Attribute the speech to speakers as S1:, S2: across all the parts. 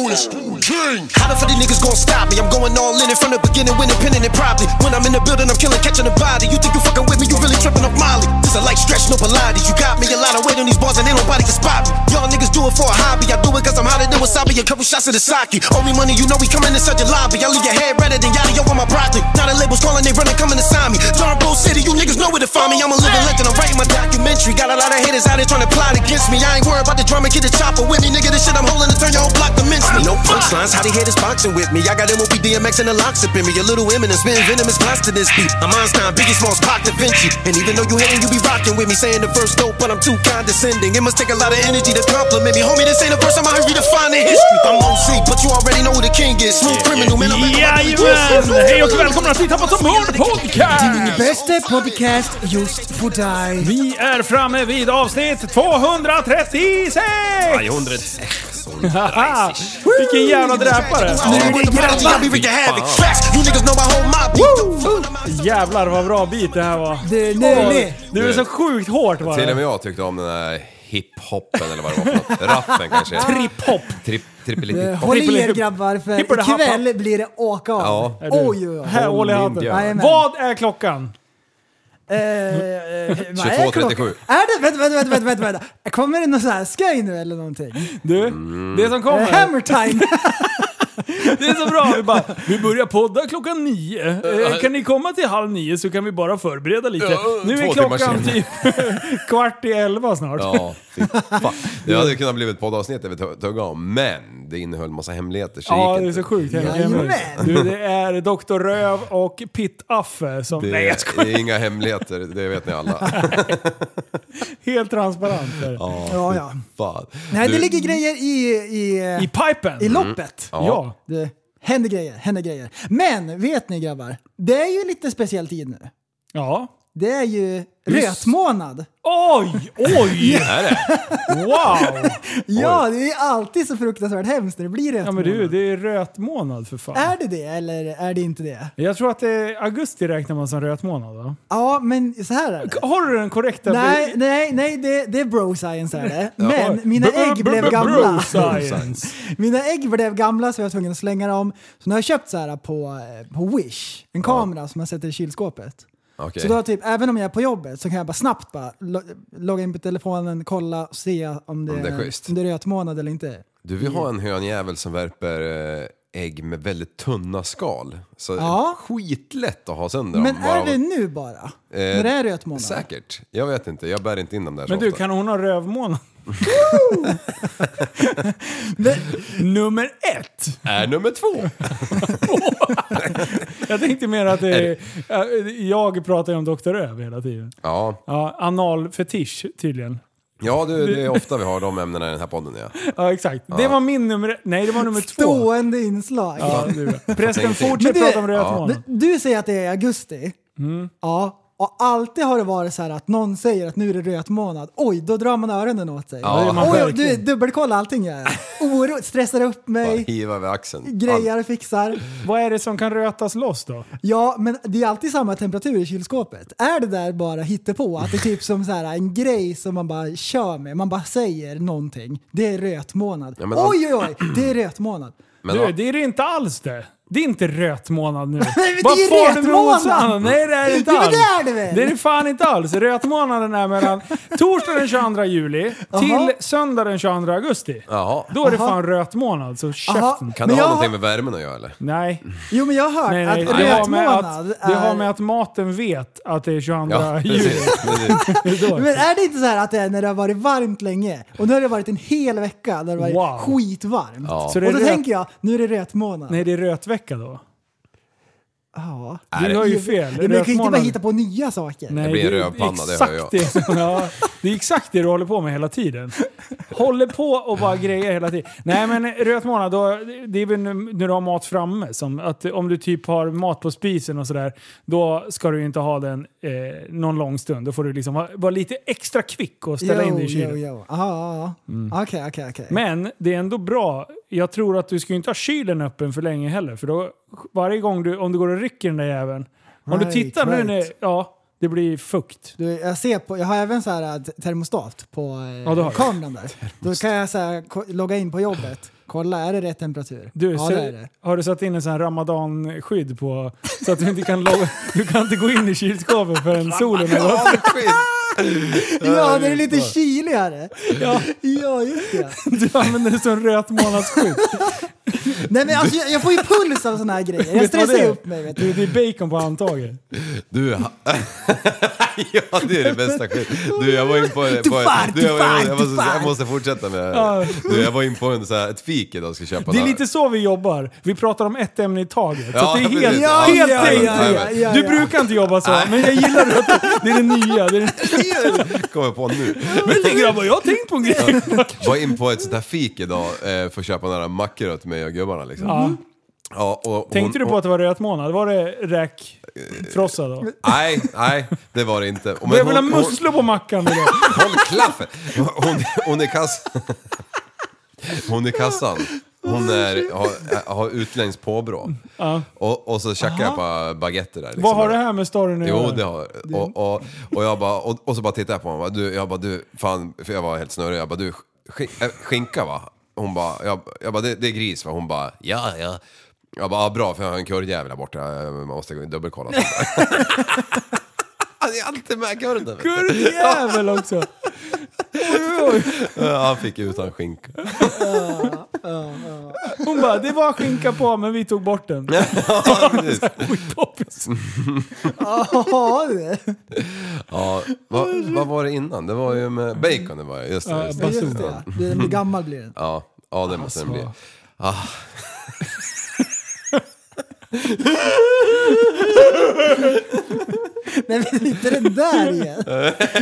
S1: How the fuck these niggas gonna stop me? I'm going all in it from the beginning, winning, pinning it probably. When I'm in the building, I'm killing, catching a body. You think you fucking with me? You really tripping off Molly. This a light stretch, no Pilates. You got me a lot of weight on these bars and ain't nobody can spot me. Y'all niggas do it for a hobby. I do it cause I'm hotter than wasabi. A couple shots of the sake. Only money you know we coming in such a lobby. I leave your head redder than yada yo on my project. Now the labels calling, they running, coming to sign me. John Bull City, you niggas know where to find me. I'm a living legend, I'm writing my documentary. Got a lot of haters out there trying to plot against me. I ain't worried about the drama, get the chopper with me. Nigga, this shit I'm holding to turn your whole block to mince me. No punchlines, how they haters boxing with me. I got MOP DMX and the locks up in me. A little Eminem spin venomous blast to this beat. I'm Einstein, Biggie Smalls, Pac Da Vinci. And even though you hating, you be rocking with me. Saying the verse dope, but I'm too condescending. It must take a lot of energy to compliment me. Homie, this ain't the first time I heard you define the history. I'm OC, but you already know who the king is. Smooth criminal, man. I'm
S2: Jajamän! Hej och välkomna till Tappat som hörn podcast!
S3: Bästa podcast just för dig.
S2: Vi är framme vid avsnitt 236! Haha, Vilken jävla dräpare!
S1: I'll be wreaking havoc. Facts, you niggas know my whole mob.
S2: Jävlar vad bra beat det här var.
S3: Det är Nelly.
S2: Det är så sjukt hårt bara.
S4: Till och med jag tyckte om den där hiphopen eller vad det var för något. Rappen kanske.
S2: Trip-hop.
S4: Tripp, trippelitt
S3: Eh, Håll
S4: hiphop.
S3: i er grabbar för
S2: Hippel-
S3: ikväll blir det åka av.
S4: Ja.
S2: Är du-
S3: Oj, oj, oj.
S2: Här, håll i handen.
S4: Ninja.
S3: Jajamän.
S2: Vad är klockan?
S3: Eh, eh, vad är
S4: 22.37?
S3: klockan? Är det? Vänta, vänta, vänta, vänta, vänta, vänta. Kommer det någon sån här skoj nu eller någonting?
S2: Du, det som
S3: Eh,
S2: kommer.
S3: Hammer time!
S2: Det är så bra. Vi, bara, vi börjar podda klockan nio. Eh, kan ni komma till halv nio så kan vi bara förbereda lite. Nu är
S4: två timmar
S2: klockan
S4: sen.
S2: typ kvart i elva snart.
S4: Ja, fy fan. Det
S2: Mm.
S4: hade kunnat blivit ett poddavsnitt där vi tog- tuggade om, men det innehöll massa hemligheter så
S2: Ja,
S4: gick
S2: det är
S4: inte.
S2: så sjukt. hela
S3: Jajamän.
S2: grejen. Du, det är Dr. Röv och Pitt Affe som...
S4: Det,
S2: Nej, jag
S4: är, det är inga hemligheter, det vet ni alla.
S2: ska- Helt transparent. där.
S3: Ja, ja.
S4: Fan.
S3: Nej, det
S4: Du-
S3: ligger grejer i, i,
S2: I pipen!
S3: i loppet.
S2: Ja.
S4: Mm.
S2: ja.
S3: Det händer grejer, händer grejer. Men vet ni grabbar, det är ju lite speciell tid nu. Det är ju rötmånad.
S2: Oj, oj!
S4: Är det?
S2: Wow!
S3: Ja, det är alltid så fruktansvärt hemskt när det blir rötmånad.
S2: Ja men du, det är rötmånad för fan.
S3: Är det det eller är det inte det?
S2: Jag tror att det är augusti räknar man som rötmånad va?
S3: Ja, men så här är det.
S2: Har du den korrekta?
S3: Nej, nej, nej, det, det är bro science är det.
S2: Oj.
S3: Men mina
S2: Bro-
S3: ägg
S2: bro-
S3: blev
S2: bro-
S3: gamla.
S2: Bro-science.
S3: Mina ägg blev gamla så jag var tvungen att slänga dem. Så nu har jag köpt så här på, eh, på Wish, en kamera som man sätter i kylskåpet.
S4: Okej.
S3: Så då typ, även om jag är på jobbet så kan jag bara snabbt bara lo- logga in på telefonen, kolla och se om det,
S4: Om det är schysst.
S3: om det är rötmånad eller inte.
S4: Du, vi har en hönjävel som värper eh, ägg med väldigt tunna skal. Så
S3: Ja.
S4: skitlätt att ha sönder
S3: Men
S4: dem. bara
S3: är
S4: av-
S3: det nu bara? när det är rötmånad?
S4: Säkert. Jag vet inte, jag bär inte in dem där så
S2: Men du,
S4: ofta.
S2: kan hon ha rövmånad? Nummer ett!
S4: Är Äh, nummer två!
S2: Jag tänkte mer att det är, jag pratar ju om Dr. Röv hela tiden.
S4: Ja,
S2: Ja, analfetisch tydligen.
S4: ja du, det är ofta vi har de ämnena i den här podden. Ja.
S2: Ja, exakt. Det var min nummer ett. Nej, det var nummer två.
S3: Stående inslag.
S2: Ja, det är bra. Prästen,
S4: Ingenting.
S2: fortsätt
S3: Men du-
S2: prata om rötmånad.
S3: Du, du säger att det är i augusti. Ja. Och alltid har det varit så här att någon säger att nu är det rötmånad. Oj, då drar man öronen åt sig.
S2: Ja, det gör man
S3: Oj, du
S2: verkligen.
S3: dubbelkollar allting jag gör. Oro, stressar upp
S4: Bara
S3: mig,
S4: hiva över axeln.
S3: grejar och fixar.
S2: Vad är det som kan rötas loss då?
S3: Ja, men det är alltid samma temperatur i kylskåpet. Är det där bara hittepå? Att det är typ som så här en grej som man bara kör med. Man bara säger någonting. Det är rötmånad.
S4: Ja, men-
S3: oj, oj, oj, det är rötmånad.
S4: Men,
S2: du,
S4: ja,
S2: det är det inte alls det. Det är inte röt månad nu.
S3: men det
S2: Vad
S3: är ju
S2: far du med
S3: rötmånad!
S2: osanna? Nej det är det inte
S3: Jo, men
S2: alls.
S3: det är det väl?
S2: Det är det fan inte alls. Rötmånaden är mellan torsdag den 22 juli till
S3: Jaha.
S2: söndag den 22 augusti.
S4: Jaha.
S2: Då är det
S3: Jaha.
S2: fan rötmånad, så käften.
S4: Kan
S3: Men
S4: det ha
S3: jag-
S4: någonting med värmen att göra eller?
S2: Nej.
S3: Jo men jag har hört
S2: Nej, nej.
S3: att
S2: Det, har med att,
S3: rötmånad
S2: det har
S3: är...
S2: med att maten vet att det är 22
S4: Ja,
S2: juli.
S4: precis. precis.
S2: Det är då.
S3: Men är det inte så här att det är när det har varit varmt länge? Och nu har det varit en hel vecka där det har varit
S2: Wow.
S3: skitvarmt.
S4: Ja.
S2: Så det är
S3: och då
S2: röt-
S3: tänker jag, nu är det rötmånad.
S2: Nej, det är rötvecka då.
S3: Ja.
S2: Du har ju fel.
S3: Men du kan ju inte bara
S2: Rötmånad.
S3: hitta på nya saker.
S2: Nej,
S4: Det blir en
S2: är
S4: rövpanna, det
S2: exakt
S4: hör jag.
S2: Det, som- ja, det är exakt det du håller på med hela tiden. Håller på och bara grejer hela tiden. Nej men röt månad, då, det är väl nu- när du har mat framme. Som att om du typ har mat på spisen och sådär, då ska du ju inte ha den eh, någon lång stund. Då får du liksom vara, vara lite extra kvick och ställa in det i kylen. Mm.
S3: Jo, jo. Aha, ja, ja. Okej, okej, okej.
S2: Men det är ändå bra. Jag tror att du ska ju inte ha kylen öppen för länge heller. För då, varje gång du, om du går och rycker den där jäveln. Om du
S3: Right,
S2: tittar nu
S3: right.
S2: när, ja, det blir fukt.
S3: Du, jag, ser på, jag har även så här att termostat på eh,
S2: Ja, det har du.
S3: kameran där. Då kan jag så här, ko- logga in på jobbet, kolla är det rätt temperatur?
S2: Du,
S3: ja,
S2: så,
S3: det är det.
S2: har du satt in en sån här ramadanskydd på så att du inte kan, logga, du kan inte gå in i kylskåpet förrän solen har gått?
S3: Ja, det är lite kyligare. Ja, ja just det.
S2: Du använder det som rötmånadsskydd.
S3: Nej, men alltså, jag, jag får ju puls av såna här grejer. Jag
S2: Vet du vad
S3: stressar ju
S2: det är?
S3: upp mig. Vet du.
S2: Du, det är bacon på handtaget.
S4: Du, ha- ja det är det bästa skit. Du jag var in på... på
S3: Tufar,
S4: du, jag, var- jag,
S3: tufar,
S4: måste, jag
S3: tufar.
S4: måste fortsätta med det här. Du, jag var in på en, så här, ett fik idag och ska köpa
S2: Det är
S4: där.
S2: lite så vi jobbar. Vi pratar om ett ämne i taget. Så
S4: Ja,
S2: att det är
S4: precis.
S2: helt,
S4: Ja,
S2: helt
S4: ja,
S2: enkelt.
S4: ja, ja,
S3: ja,
S2: Du
S3: ja.
S2: brukar inte jobba så, men jag gillar att det är det nya. Det är det...
S4: Kommer jag på nu.
S2: Men grabbar, jag har tänkt på en grej.
S4: Var in på ett sånt här fik idag eh, för att köpa några mackor åt mig och gubbarna liksom.
S2: Ja.
S4: Ja, och hon-
S2: Mm. Tänkte du på att det var röt månad? Var det räkfrossa då?
S4: Nej, nej, det var det inte. Och men
S2: Jag vill ha
S4: hon- hon-
S2: musslor på mackan idag.
S4: Håll klaffen! Hon, hon är kass... Hon är kassan. Hon är, har, har utländskt påbrå. Och, och så tjackar jag på baguetter där. Liksom.
S2: Vad har det här med storyn att
S4: Jo,
S2: göra?
S4: det har och, och, och jag. Bara, och, och så bara tittade jag på honom. Bara, du, jag bara, du, fan, för jag var helt snurrig. Jag bara, du, skin- äh, skinka va? Hon bara, jag, jag bara, det, det är gris va? Hon bara, ja, ja. Jag bara, ah, bra för jag har en kurvjävel där borta. Jag måste gå och dubbelkolla. Han är alltid med kurden.
S2: Kurvjävel också!
S4: Ja, Han fick utan skinka.
S2: Hon bara, det var skinka på men vi tog bort den.
S4: Ja, precis.
S2: Skitpoppis.
S3: Ja, det.
S4: ja, vad, vad var det innan? Det var ju med bacon det var ju, just det.
S2: Ja,
S4: Just
S2: bara-
S4: det.
S3: Just det. det. Den blir gammal blir den.
S4: Ja, ja det måste den bli. Ah.
S3: Nej, men inte den där igen.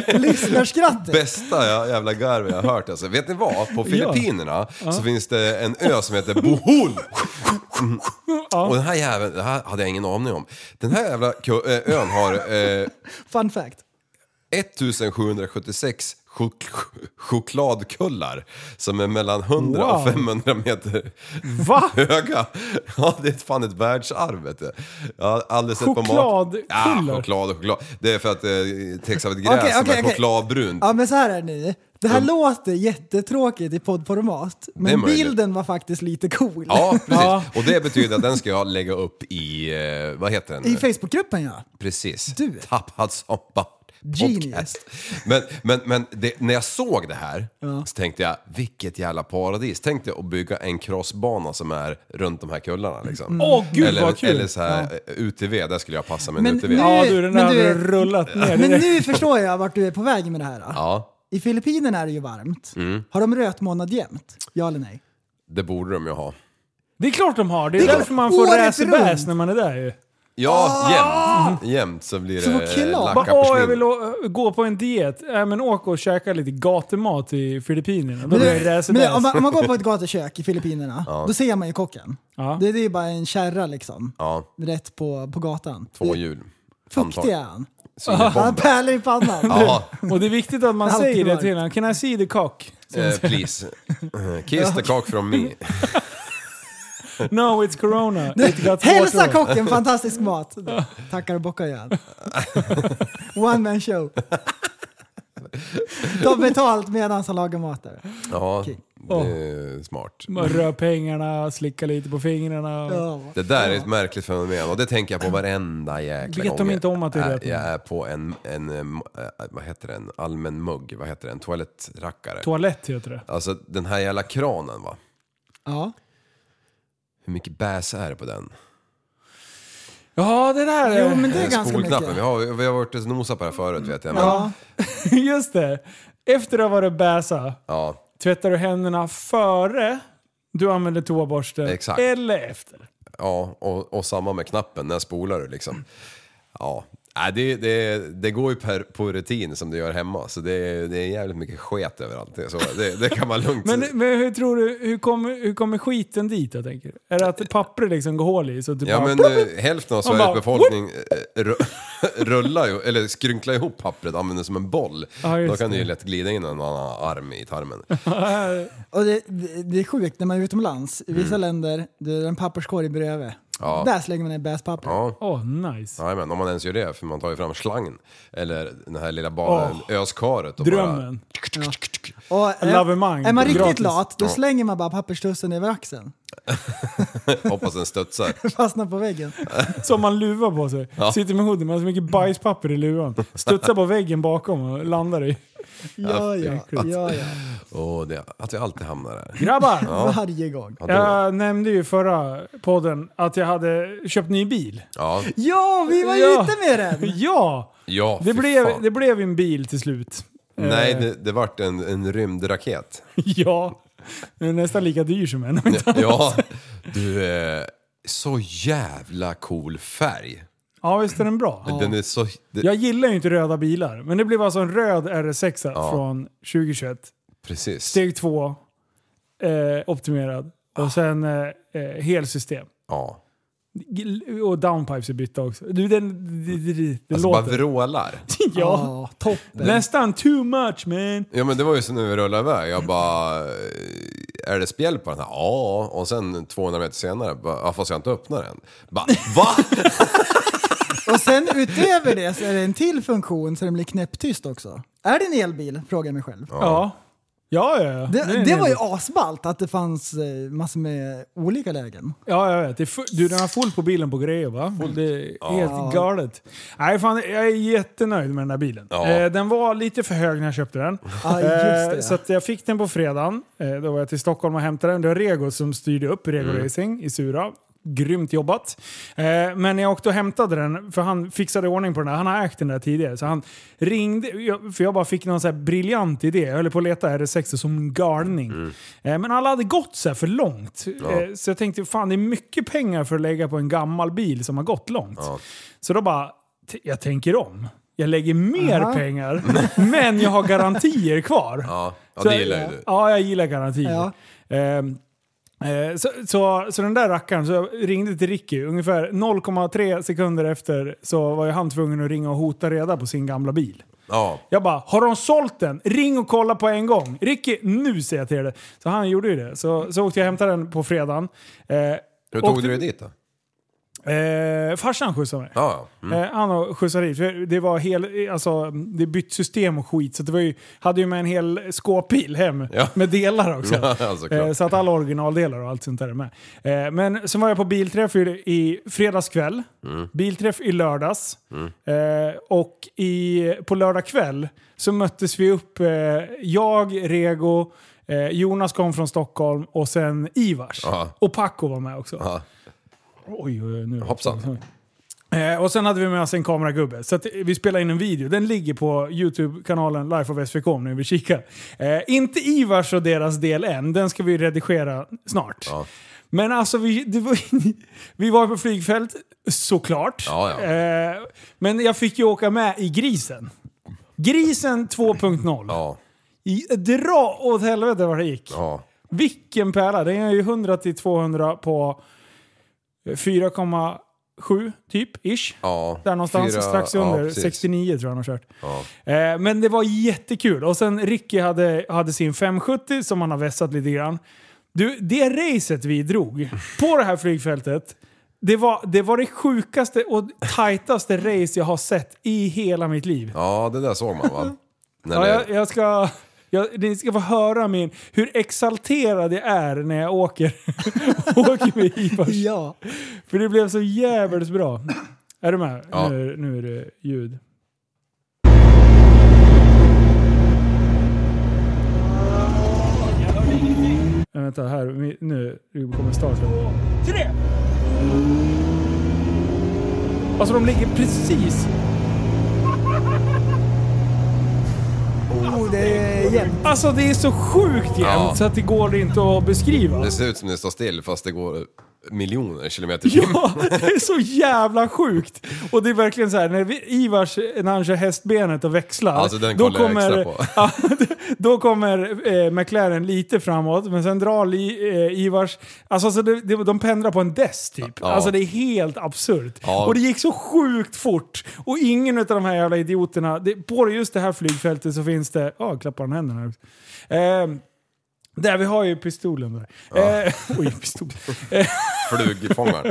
S3: Lyssnarskrattet.
S4: Bästa ja, jävla garv jag har hört alltså. Vet ni vad? På Filippinerna så finns det en ö som heter Bohol. Och den här jäveln, det här hade jag ingen aning om. Den här jävla ku- eh, ön har eh,
S3: Fun fact.
S4: 1776 chok chokladkullar som är mellan 100 och
S2: Wow.
S4: 500 meter
S2: Va?
S4: höga. Ja, det är fan ett världsarv vet du. Jag har aldrig sett på mat...
S2: Chokladkullar?
S4: Ja, choklad och choklad. Det är för att det täcks av ett gräs
S3: Okej,
S4: som
S3: okej,
S4: är
S3: okej.
S4: chokladbrunt.
S3: Ja men så här är det nu. Det här låter jättetråkigt i poddformat,
S4: Det är
S3: men
S4: möjligt.
S3: bilden var faktiskt lite cool.
S4: Ja, precis.
S2: Ja.
S4: Och det betyder att den ska jag lägga upp i, eh, vad heter den?
S3: I Facebookgruppen ja.
S4: Precis.
S3: Du.
S4: Tappad som barn.
S3: Genius.
S4: Podcast. Men, men, men det, när jag såg det här så tänkte jag, vilket jävla paradis. Tänk dig att bygga en crossbana som är runt de här kullarna.
S3: Mm.
S4: Liksom.
S2: Åh, gud,
S4: eller,
S2: vad kul.
S4: Eller så här, eh, UTV, där skulle jag passa med en
S3: Men
S4: UTV.
S3: nu-
S2: Ja du, den där
S3: Men du-
S2: hade rullat ner
S3: Men
S2: direkt.
S3: nu förstår jag vart du är på väg med det här. då.
S4: Ja, Mm.
S3: I Filippinerna är det ju varmt. Har de rötmånad jämt? Ja eller nej?
S4: det borde de ju ha.
S2: Det är klart de har. Det är,
S3: klart.
S2: därför man får
S3: Året
S2: racerbäs
S3: runt.
S2: när man är där ju.
S4: Ja, jämt. Jämt så blir
S3: Ah! Så
S4: det
S3: kul.
S4: lacka
S2: Bara, åh, jag
S4: persnitt.
S2: vill å- gå på en diet. Äh, men åk och käka lite gatumat i Filippinerna. Då
S3: Men,
S2: blir det
S3: du,
S4: alltså,
S3: men om,
S2: racerbäs.
S3: man, om man går på ett gatukök i Filippinerna, då ser man ju kocken.
S2: Ja.
S3: Det, det är ju bara en kärra liksom,
S4: Ja,
S3: rätt på, på gatan.
S4: två hjul.
S3: Fuktig är han. Han har
S4: Svinebomber.
S3: pärlor i pannan.
S4: Ja,
S2: Och det är viktigt att man
S3: Alltid
S2: säger det
S3: varmt.
S2: till honom. Can I see the cock?
S4: eh, please. Kiss the cock from me.
S2: No, it's corona. It got
S3: Hälsa
S2: water.
S3: kocken fantastisk mat! Tackar och bockar igen. One man show. Ta betalt medan han lagar mat där.
S4: Ja, Det är smart.
S2: Bara Rör pengarna, slicka lite på fingrarna.
S3: Ja.
S4: Det där är ett märkligt fenomen och det tänker jag på varenda
S2: Vet
S4: jäkla
S2: de
S4: gång. jag-
S2: inte om att det är
S4: är-
S2: röd på?
S4: Jag är på en, en, em, eh, vad heter det, en allmän mugg, vad heter det, en toalettrackare.
S2: Toalett heter det.
S4: alltså den här jävla kranen va.
S3: Ja.
S4: Hur mycket bäs är det på den?
S2: Ja, det där är...
S3: Jo, men det är ganska
S4: Spolknappen, Eh, vi
S3: mycket.
S4: har, vi har varit och nosat på det här förut vet jag. Men, ja.
S3: Ja.
S2: Just det. Efter att ha varit bäsa, tvättar du händerna före du använder toaborsten
S4: Exakt.
S2: eller efter?
S4: Ja, och, och samma med knappen, när spolar du liksom? Ja, Nej, det, det, det går ju per, på rutin som det gör hemma, så det, det är jävligt mycket sket överallt. Det, är så, det, det kan man lugnt
S2: Men, men hur tror du, hur kommer, hur kommer skiten dit jag tänker? Är det att pappret liksom går hål i så att du
S4: Ja
S2: bara...
S4: men eh, hälften av Sveriges
S2: bara,
S4: befolkning eh, ru- rullar ju, eller skrynklar ihop pappret och använder som en boll.
S2: Ja, just
S4: Då kan det ju
S2: det.
S4: lätt glida in en annan arm i tarmen.
S3: Och det, det, det är sjukt när man är utomlands. I vissa länder, det är en papperskorg bredvid.
S4: Mm. Ja.
S3: Där slänger man ner bäspapper.
S4: Ja.
S2: Åh, nice.
S4: Nej, men om man ens gör det, för man tar ju fram slangen. Eller den här lilla bara, öskaret. Och Bara,
S2: Drömmen.
S3: Och eh,
S2: Lavemang.
S3: är, är man riktigt
S2: Gratis.
S3: lat, då slänger man bara papperstussen över axeln.
S4: hoppas den studsar.
S3: Fastnar på väggen.
S2: Som man luvar på sig. Sitter med hoodie, man har så mycket bajspapper i luvan. Studsar på väggen bakom och landar i.
S3: Ja, ja, ja, ja.
S4: Och det, att vi alltid hamnar där.
S2: Grabbar!
S3: Varje gång.
S4: Ja, då-
S2: Jag nämnde ju i förra podden att jag hade köpt ny bil.
S4: ja.
S3: Ja, vi var
S2: Ja.
S3: ute med den!
S2: Ja!
S4: ja
S2: Det
S4: fy
S2: blev,
S4: fan.
S2: det blev en bil till slut.
S4: Nej,
S2: Eh,
S4: det, det vart en, en rymdraket.
S2: Ja. Den är nästan lika dyr som en.
S4: Ja, du, eh, så jävla cool färg.
S2: Ja, visst är den bra?
S4: Den är så... Det,
S2: Jag gillar ju inte röda bilar, men det blev alltså en röd RS6
S4: Ja.
S2: från 2021.
S4: Precis.
S2: Steg 2, eh, optimerad.
S4: Ah.
S2: Och sen eh, eh, helsystem.
S4: Ja.
S2: G- Och downpipes är bytta också. Du, den, den, den, den
S4: Alltså bara
S2: låter.
S4: vrålar.
S2: Ja.
S3: Ja, toppen.
S2: Nästan too much man.
S4: Ja men det var ju så när vi rullade iväg. Jag bara... eh, Är det spjäll på den här? Ja. Och sen 200 meter senare, bara, ja, fast jag har inte öppnat den. Bara, va?
S3: Och sen utöver det så är det en till funktion så den blir knäpptyst också. Är det en elbil? Frågar jag mig själv.
S2: Ja. Ja, ja, ja.
S3: Det,
S2: är en
S3: det var ju
S2: elbil.
S3: asballt att det fanns eh, massor med olika lägen.
S2: Ja, jag vet. Det är full, du, den har fullt på bilen på grejer va? Det är helt galet. Nej, fan, jag är jättenöjd med den här bilen.
S4: Ja.
S2: Eh, den var lite för hög när jag köpte den.
S3: Ja, Ah, just det.
S2: Eh, så att jag fick den på fredagen. Eh, då var jag till Stockholm och hämtade den. Det var Rego som styrde upp Rego
S3: Mm.
S2: Racing i Sura. Grymt jobbat. Eh, men när jag åkte och hämtade den, för han fixade i ordning på den där. Han har ägt den där tidigare. Så han ringde, jag- för jag bara fick någon så här briljant idé. Jag höll på att leta RS6 som en galning.
S3: Mm.
S2: Eh, men alla hade gått så här för långt. Eh, så jag tänkte, fan det är mycket pengar för att lägga på en gammal bil som har gått långt. Så då bara, t- jag tänker om. Jag lägger mer pengar, men jag har garantier kvar.
S4: Ja, ja
S2: Så-
S4: det gillar ju du.
S2: Ja, jag gillar garantier.
S3: Ja.
S2: Ehm, eh, så, så, så den där rackaren, så jag ringde till Ricky. Ungefär 0,3 sekunder efter så var ju han tvungen att ringa och hota reda på sin gamla bil.
S4: Ja.
S2: Jag bara, har de sålt den? Ring och kolla på en gång. Ricky, nu säger jag till dig. Så han gjorde ju det. Så, så åkte jag och hämtade den på fredagen. Eh,
S4: Hur tog
S2: åkte-
S4: du dig dit då?
S2: Eh, farsan skjutsade mig.
S4: Ja, ja.
S2: Eh, han har skjutsat dit. För Det var hel, alltså, det är bytt system och skit, så det var ju, hade ju med en hel skåpbil hem
S4: Ja.
S2: med delar också.
S4: Ja, såklart.
S2: eh, så att alla originaldelar och allt sånt där är med. Eh, men sen var jag på bilträff i, i fredags kväll,
S4: Mm.
S2: bilträff i lördags eh, och i, på lördag kväll så möttes vi upp, eh, jag, Rego, eh, Jonas kom från Stockholm och sen Ivars.
S4: Ja.
S2: Och Paco var med också.
S4: Ja.
S2: Oj, oj, oj, nu. Mm.
S4: Hoppsan.
S2: Eh, och sen hade vi med oss en kameragubbe. Så att eh, vi spelade in en video. Den ligger på YouTube-kanalen Life of SVK om ni vill kika. Eh, inte Ivars och deras del än. Den ska vi redigera snart. Men alltså, vi, det var, vi var på flygfält, såklart.
S4: Ja, ja.
S2: Eh, men jag fick ju åka med i grisen. Grisen 2.0.
S4: Ja,
S2: I- Dra åt helvete vad det gick.
S4: ja.
S2: Vilken pärla! Den är ju 100-200 på 4,7 typ, ish.
S4: Ja.
S2: Där någonstans,
S4: Fyra-
S2: strax
S4: ja,
S2: under.
S4: precis.
S2: 69 tror jag han har kört.
S4: Ja.
S2: Eh, men det var jättekul. Och sen Ricky hade, hade sin 570 som han har vässat lite grann. Du, det racet vi drog på det här flygfältet, det var det, var det sjukaste och tajtaste race jag har sett i hela mitt liv.
S4: Ja, det där såg man va? När
S2: Ja,
S4: det,
S2: jag, jag ska... Jag, ni ska få höra min, hur exalterad jag är när jag åker, åker med Ivars.
S3: Ja.
S2: För det blev så jävligt bra. Är du med?
S4: Ja.
S2: Nu, nu är det ljud. Nej, Eh, vänta, här. mi- Nu kommer starten. Alltså de ligger precis...
S3: Oh, det är jämnt.
S2: Alltså det är så sjukt jämnt
S4: Ja.
S2: så att det går inte att beskriva.
S4: Det ser ut som det står still fast det går miljoner kilometer i timmen.
S2: Ja, det är så jävla sjukt! Och det är verkligen så här, när vi, Ivars, när han kör hästbenet och växlar.
S4: Alltså, den
S2: då
S4: kollar jag
S2: kommer,
S4: extra på.
S2: Ja, då kommer eh, McLaren lite framåt, men sen drar li, eh, Ivars... Alltså, så det, det, de pendlar på en dess typ.
S4: Ja.
S2: Alltså det är helt absurt.
S4: Ja.
S2: Och det gick så sjukt fort. Och ingen av de här jävla idioterna... Det, på just det här flygfältet så finns det... Ja, oh, klappar han händerna här också. Ehm, där, vi har ju pistolen där. Eh, oj, pistol.
S4: Flugfångaren.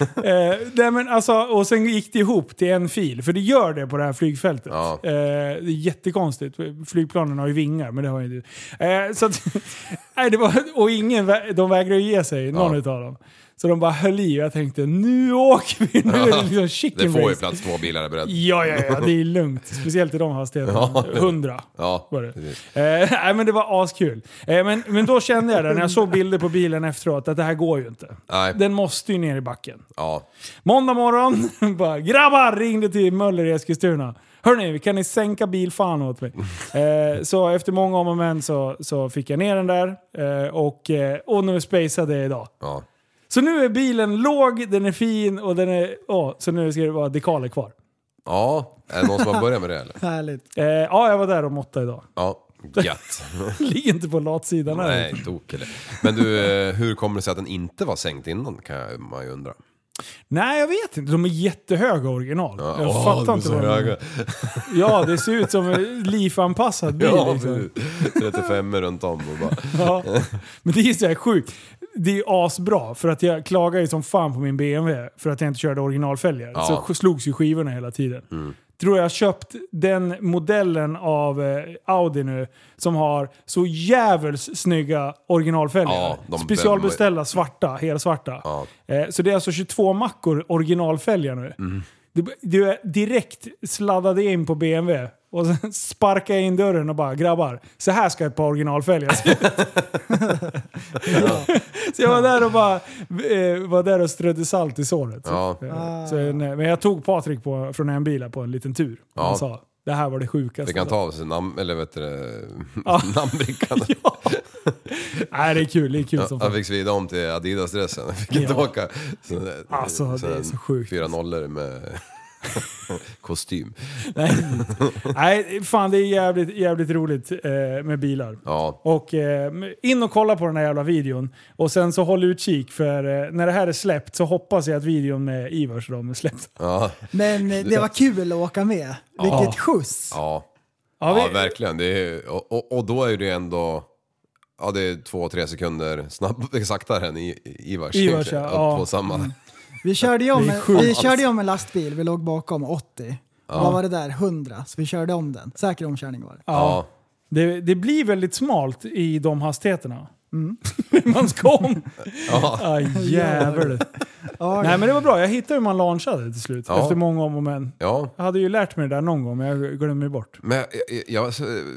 S2: Eh, nej men alltså, och sen gick det ihop till en fil, för det gör det på det här flygfältet.
S4: Ja.
S2: Eh, det är jättekonstigt. Flygplanen har ju vingar, men det har ju inte... Eh, så att, nej, det var, och ingen, vä- de vägrade ju ge sig, någon
S4: Ja.
S2: utav dem. Så de bara höll i och jag tänkte nu åker vi, nu är det liksom chicken
S4: Det får ju
S2: race.
S4: plats två bilar är beredd.
S2: Ja, ja, ja, det är lugnt. Speciellt i de hastigheterna.
S4: Ja, det-
S2: 100
S4: Ja,
S2: var det.
S4: precis.
S2: Eh, nej, men det var askul. Eh, men, men då kände jag det, när jag såg bilder på bilen efteråt, att det här går ju inte.
S4: Nej.
S2: Den måste ju ner i backen.
S4: Ja.
S2: Måndag morgon, bara grabbar ringde till Möller i Eskilstuna. Hörni, kan ni sänka bilfan åt mig? Eh, så efter många om och men så, så fick jag ner den där eh, och, eh, och nu spejsade jag idag.
S4: ja.
S2: Så nu är bilen låg, den är fin och den är... ja, så nu ska det vara dekaler kvar.
S4: Ja, är det någon som har börjat med det eller?
S3: Härligt.
S2: Eh, ja, jag var där om åtta idag.
S4: Ja, gött.
S2: Ligg inte på latsidan här.
S4: Nej, tok eller. Men du, eh, hur kommer det sig att den inte var sänkt innan kan jag- man ju undra.
S2: Nej, jag vet inte. De är jättehöga original. jag
S4: Åh,
S2: fattar
S4: de är
S2: inte
S4: så
S2: vad de
S4: höga.
S2: Ja, det ser ut som en LIF-anpassad bil.
S4: Ja,
S2: liksom.
S4: precis. 35 runt om och bara...
S2: Ja. Men det är så här sjukt. Det är ju asbra, för att jag klagar ju som fan på min BMW för att jag inte körde originalfälgar.
S4: Ja. Mm.
S2: Så slogs ju skivorna hela tiden. Tror jag har köpt den modellen av eh, Audi nu som har så jävels snygga originalfälgar.
S4: Ja, de-
S2: Specialbeställda svarta, helsvarta.
S4: Ja.
S2: Eh, så det är alltså 22 mackor originalfälgar nu.
S4: Mm.
S2: Du, du är direkt sladdade in på BMW och sen sparkade jag in dörren och bara “grabbar, så här ska ett par originalfälgar se så jag var där och bara eh, var där och strödde salt i såret.
S4: Ja.
S2: Så, eh, så, nej, men jag tog Patrik på, från en bil på en liten tur.
S4: Ja.
S2: Han sa det här var det
S4: Det
S2: sjukaste.
S4: kan ta av sig namn... Eller vet du det,
S2: Ja.
S4: Namnbrickan.
S2: ja. Nej, det är kul. Det är kul som
S4: Jag
S2: fan.
S4: fick svida om till Adidas-dressen. Jag fick inte
S2: Ja.
S4: åka. Så,
S2: Alltså, det är så sjukt.
S4: Fyra nollor med kostym.
S2: Nej. nej, fan det är jävligt, jävligt roligt eh, med bilar.
S4: Ja,
S2: Och eh, in och kolla på den här jävla videon. Och sen så håll utkik för eh, när det här är släppt så hoppas jag att videon med Ivars och de är släppt.
S4: ja,
S3: Men eh, det var kul att åka med. Vilket skjuts.
S4: ja.
S2: Ja,
S4: Ja,
S2: vi-
S4: verkligen. Det är, och, och, och då är det ändå... Ja, det är två, tre sekunder snabb, saktare än I- Ivars.
S2: Ivars, ja.
S4: Upp
S2: Ja. Mm.
S4: på samma.
S3: Vi körde ju om,
S2: Det är sjukt.
S3: vi körde ju om en lastbil, vi låg bakom 80. Vad var det där? 100. Så vi körde om den. Säker omkörning var det.
S2: Ja.
S4: Ja.
S2: Det, det blir väldigt smalt i de hastigheterna. man ska om. Ah, jävel.
S3: Ja,
S2: Nej men det var bra, jag hittade hur man launchade till slut.
S4: Ja.
S2: Efter många om och men.
S4: Ja.
S2: Jag hade ju lärt mig det där någon gång men jag glömmer bort.
S4: Men jag, jag, jag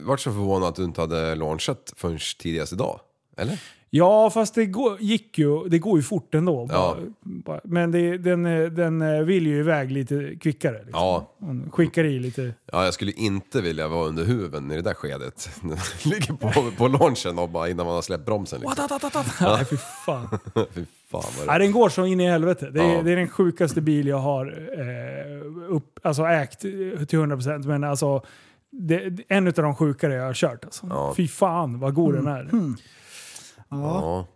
S4: vart så förvånad att du inte hade launchat förrän tidigast idag. Eller?
S2: Ja fast det går, gick ju, det går ju fort ändå.
S4: Ja.
S2: Bara- bara- Men det, den, eh, den eh, vill ju iväg lite kvickare. Liksom.
S4: Ja.
S2: Hon skickar i lite.
S4: ja. Jag skulle inte vilja vara under huven i det där skedet. Ligger på, på launchen och bara innan man har släppt bromsen. Liksom.
S2: Nej fy fan.
S4: Fy fan vad det
S2: Nej, den går så in i helvete. Det är,
S4: Ja.
S2: det är den sjukaste bil jag har eh, upp, alltså ägt eh, till 100%. Men alltså, det, det- en av de sjukare jag har kört. Alltså.
S4: Ja.
S2: Fy fan vad god
S3: Mm.
S2: den är.
S4: ja.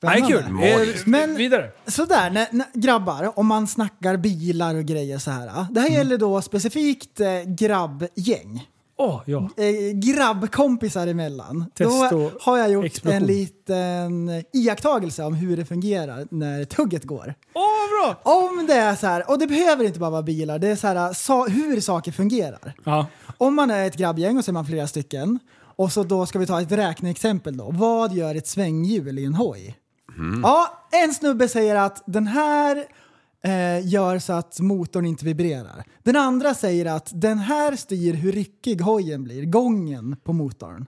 S2: Nej,
S3: spännande.
S2: kul.
S4: Magiskt.
S2: Eh, Men, vidare.
S3: Sådär, när, när, grabbar, om man snackar bilar och grejer så här. ah. Det här gäller då specifikt eh, grabbgäng.
S2: Åh, ja.
S3: Eh, grabbkompisar emellan.
S2: Testo-
S3: Då har jag gjort
S2: explosion.
S3: en liten eh, iakttagelse om hur det fungerar när tugget går.
S2: Åh, vad bra!
S3: Om det är så här, och det behöver inte bara vara bilar, det är så här, sa, eh, hur saker fungerar.
S2: Ja.
S3: Om man är ett grabbgäng och så är man flera stycken Och så då ska vi ta ett räkneexempel då. Vad gör ett svänghjul i en hoj? Ja, en snubbe säger att den här eh, gör så att motorn inte vibrerar. Den andra säger att den här styr hur ryckig hojen blir, gången på motorn.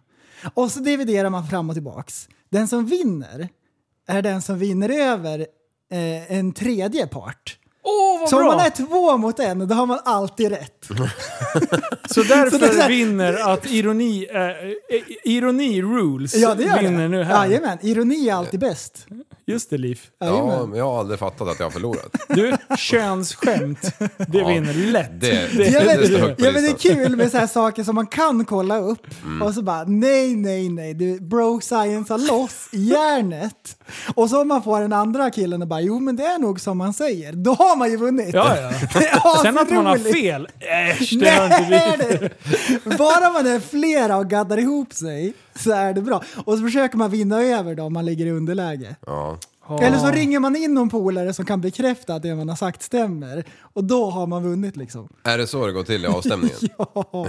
S3: Och så dividerar man fram och tillbaks. Den som vinner är den som vinner över eh, en tredje part.
S2: Åh, vad
S3: Så
S2: bra!
S3: om man är två mot en, då har man alltid rätt.
S2: Så därför
S3: Så det är så här-
S2: vinner att ironi, eh, eh, ironi rules
S3: Ja, det gör
S2: vinner
S3: det.
S2: nu här.
S3: Jajamän, ironi är alltid bäst.
S2: Just det Liv.
S4: Ja, men jag har aldrig fattat att jag har förlorat.
S2: Du, könsskämt, det vinner lätt.
S4: Det, det,
S3: Ja, men,
S4: det står högt på
S3: ja, men det är
S4: listan.
S3: kul med så här saker som man kan kolla upp och så bara nej, nej, nej, du bro science har loss i hjärnet. Och så om man får den andra killen och bara jo men det är nog som man säger, då har man ju vunnit.
S2: Ja, ja.
S3: Det är
S2: Sen att man har
S3: asroligt.
S2: fel, äsch, det har inte
S3: Nej,
S2: vi.
S3: det. Bara man är flera och gaddar ihop sig så är det bra. Och så försöker man vinna över dem om man ligger i underläge.
S4: Ja.
S3: Eller så ringer man in någon polare som kan bekräfta att det man har sagt stämmer. Och då har man vunnit liksom.
S4: Är det så det går till i avstämningen?
S3: Ja,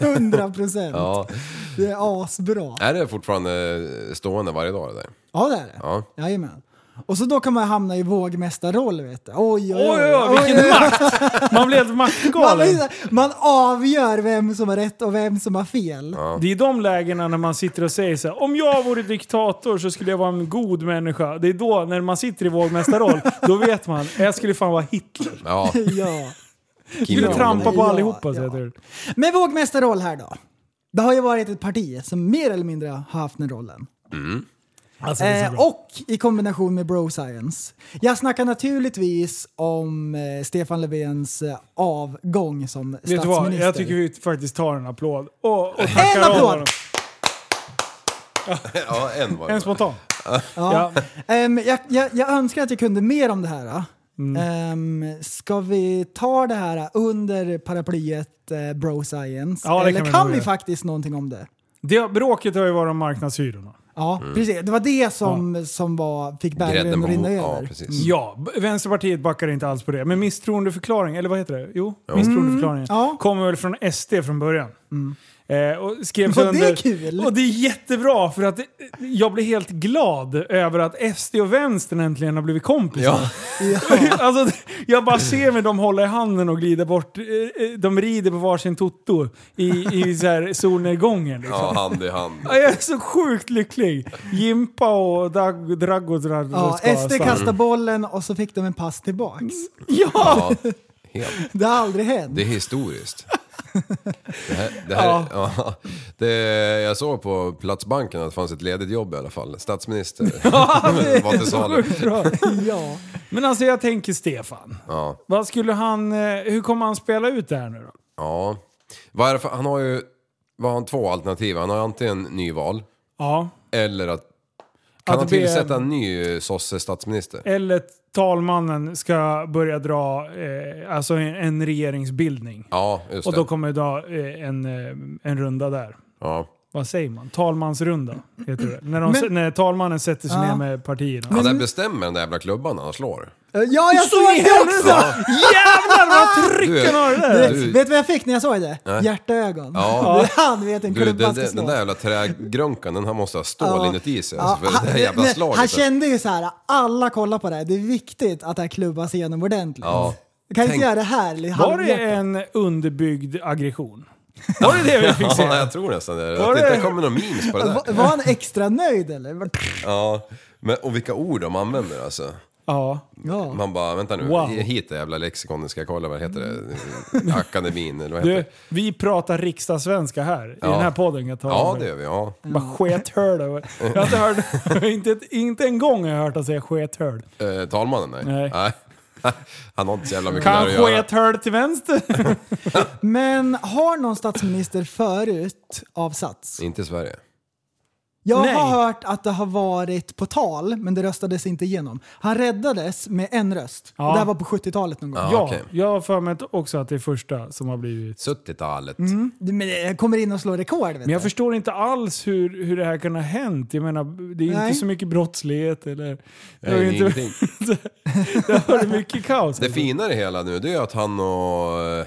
S3: 100 procent.
S4: Ja.
S3: Det är asbra.
S4: Är det fortfarande eh, stående varje dag det där?
S3: Ja, det är det.
S4: Ja.
S3: Jajamän. Och så då kan man hamna i vågmästarroll vet du. Oj, oj,
S2: Oj,
S3: oj.
S2: oj, oj, vilken makt! Man blir helt
S3: Man,
S2: maktgalen.
S3: man avgör vem som har rätt och vem som har fel.
S2: Det är de lägena när man sitter och säger så här, om jag vore diktator så skulle jag vara en god människa. Det är då, när man sitter i vågmästarroll, då vet man, jag skulle fan vara Hitler.
S4: Ja,
S3: Ja.
S4: Kim
S2: Skulle trampa på
S3: Ja,
S2: allihopa.
S3: ja.
S2: Så heter det.
S3: Men vågmästarroll här då. Det har ju varit ett parti som mer eller mindre har haft den rollen.
S2: Alltså, det är så
S3: Eh,
S2: bra.
S3: och i kombination med bro science. Jag snackar naturligtvis om eh, Stefan Löfvens eh, avgång som
S2: Vet du vad?
S3: statsminister.
S2: Jag tycker vi faktiskt tar en applåd. Och, och
S3: En
S2: tackar av
S3: applåd!
S2: honom.
S4: ja en var
S2: En
S4: det.
S2: spontan.
S3: Ja.
S2: Ja.
S3: Ehm, jag, jag, jag önskar att jag kunde mer om det här. då.
S2: Mm.
S3: Ehm, ska vi ta det här under paraplyet eh, bro science?
S2: Ja, det
S3: Eller
S2: kan vi
S3: kan,
S2: nog
S3: vi
S2: göra.
S3: faktiskt någonting om det?
S2: Det, bråket har ju varit om marknadshyrorna.
S3: Ja,
S4: Mm.
S3: precis. Det var det som, som var, fick
S4: Grädden
S3: bägaren
S4: på
S3: att rinna
S4: moset.
S3: över.
S4: Ja, precis.
S2: Ja, b- Vänsterpartiet backar inte alls på det. Men misstroendeförklaring, eller vad heter det? Jo, misstroendeförklaringen.
S3: Mm. Ja.
S2: Kommer väl från SD från början. Eh, och skrevs
S3: Och det är
S2: under.
S3: kul.
S2: Och det är jättebra för att eh, jag blir helt glad över att SD och vänstern äntligen har blivit kompisar.
S4: Ja,
S2: alltså, det- jag bara ser hur de håller i handen och glider bort. Eh, eh, De rider på varsin toto i, i så här solnedgången. Liksom.
S4: ja, hand i hand.
S2: Ja, Jag är så sjukt lycklig. Jimpa och Dag, Drago Drago
S3: Ja,
S2: ska
S3: SD
S2: stanna.
S3: kastade bollen och så fick de en pass tillbaks.
S2: Ja!
S4: Ja, helt.
S3: Det har aldrig hänt.
S4: Mm. Det är historiskt. Det här, det här, ja. det, jag såg på Platsbanken att det fanns ett ledigt jobb i alla fall. Statsminister var till salu.
S2: Bra.
S3: Ja.
S2: Men alltså jag tänker Stefan.
S4: Ja.
S2: Vad skulle han, eh, hur kommer han spela ut det här nu då?
S4: Ja. Vad är det för, han har ju vad har han två alternativ. Han har antingen nyval
S2: Ja.
S4: eller att... Kan
S2: Att
S4: han
S2: det blir-
S4: tillsätta en ny eh, sosse-statsminister?
S2: Eller talmannen ska börja dra eh, alltså en, en regeringsbildning.
S4: Ja, just
S2: Och då
S4: det.
S2: kommer dra eh, en, eh, en runda där.
S4: Ja.
S2: Vad säger man? Talmansrunda heter det. När, de,
S3: Men-
S2: när talmannen sätter sig
S3: Ja.
S2: ner med partierna.
S4: Han där bestämmer den där jävla klubban han slår.
S3: Ja, jag såg det också!
S2: Jävlar vad
S4: Du,
S2: trycken har det där!
S3: Vet
S4: du,
S3: du vad jag fick när jag såg det? Hjärtögon.
S4: Ja.
S3: Det- Han vet en
S4: du,
S3: klubba
S4: den,
S3: ska
S4: den,
S3: slå.
S4: den där jävla trägrunkan, den här måste ha stål
S3: Ja.
S4: inuti sig.
S3: Ja,
S4: Alltså, för det där
S3: han-
S4: jävla
S3: nej,
S4: slaget.
S3: Han kände ju så här, alla kollar på det här. Det är viktigt att det här klubbas igenom ordentligt.
S4: Ja.
S3: Du kan
S4: Tänk-
S3: inte göra det här i
S2: Var det
S3: halvhjärtat.
S2: en underbyggd aggression? Var det det vi fick se?
S4: Ja, jag tror nästan det.
S2: Var
S4: Att det
S2: det-
S4: inte kommer några memes på det
S3: Va-
S4: där.
S3: Var han extra nöjd eller?
S4: Ja. Men, och vilka ord de använder alltså.
S2: Ja.
S3: Ja.
S4: Man bara, vänta nu,
S2: Wow. Mm.
S4: hit det jävla lexikonet ska jag kolla, vad heter det? Akademin eller vad heter
S2: Du,
S4: det?
S2: vi pratar riksdagssvenska här i
S4: Ja.
S2: den här podden. Jag tar
S4: Ja, det gör vi. Ja.
S2: Bara skethörd. över- Jag har inte hört, inte, ett- inte en gång har jag hört att säga skethörd.
S4: Eh, talmannen, nej.
S2: Nej.
S4: Han har inte så jävla mycket där
S2: Kan
S4: att göra.
S2: skethörd till vänster?
S3: Men har någon statsminister förut avsatts?
S4: Inte i Sverige.
S3: Jag
S2: Nej.
S3: har hört att det har varit på tal, men det röstades inte igenom. Han räddades med en röst.
S2: Ja.
S3: Och det här var på 70-talet någon gång.
S4: Ja,
S2: Ja,
S4: okej.
S2: jag har för mig att- också att det är första som har blivit...
S4: 70-talet.
S2: Mm,
S3: Men jag kommer in och slår rekord. Vet
S2: Men jag
S3: du.
S2: förstår inte alls hur, hur det här kan ha hänt. Jag menar, det är
S3: Nej.
S2: inte så mycket brottslighet eller... Det
S4: Nej,
S2: har ju
S4: det är
S2: inte,
S4: ingenting.
S2: det har varit mycket kaos.
S4: Det fina i det hela nu, det är att han och eh,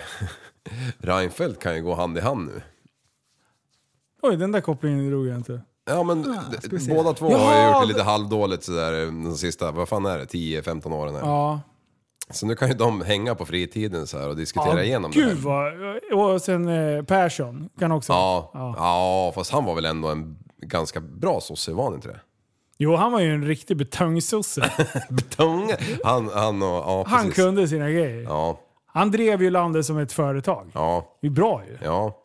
S4: Reinfeldt kan ju gå hand i hand nu.
S2: Oj, den där kopplingen drog jag inte.
S4: Ja men
S2: Ah,
S4: d-
S3: ska vi se.
S4: båda två har
S2: Jaha,
S4: ju gjort det
S2: det-
S4: lite halvdåligt sådär eh, de sista, vad fan är det, 10-15 åren här.
S2: Ja.
S4: Så nu kan ju de hänga på fritiden så här och diskutera igenom det
S2: Gud
S4: här.
S2: vad... Och sen eh, Persson kan också.
S4: Ja, ja. fast han var väl ändå en ganska bra sosse, var han inte det?
S2: Jo, han var ju en riktig betongsosse.
S4: Betong! Han, han och, ja precis.
S2: Han kunde sina grejer.
S4: Ja,
S2: Han drev ju landet som ett företag.
S4: ja,
S2: Det är bra ju.
S4: ja.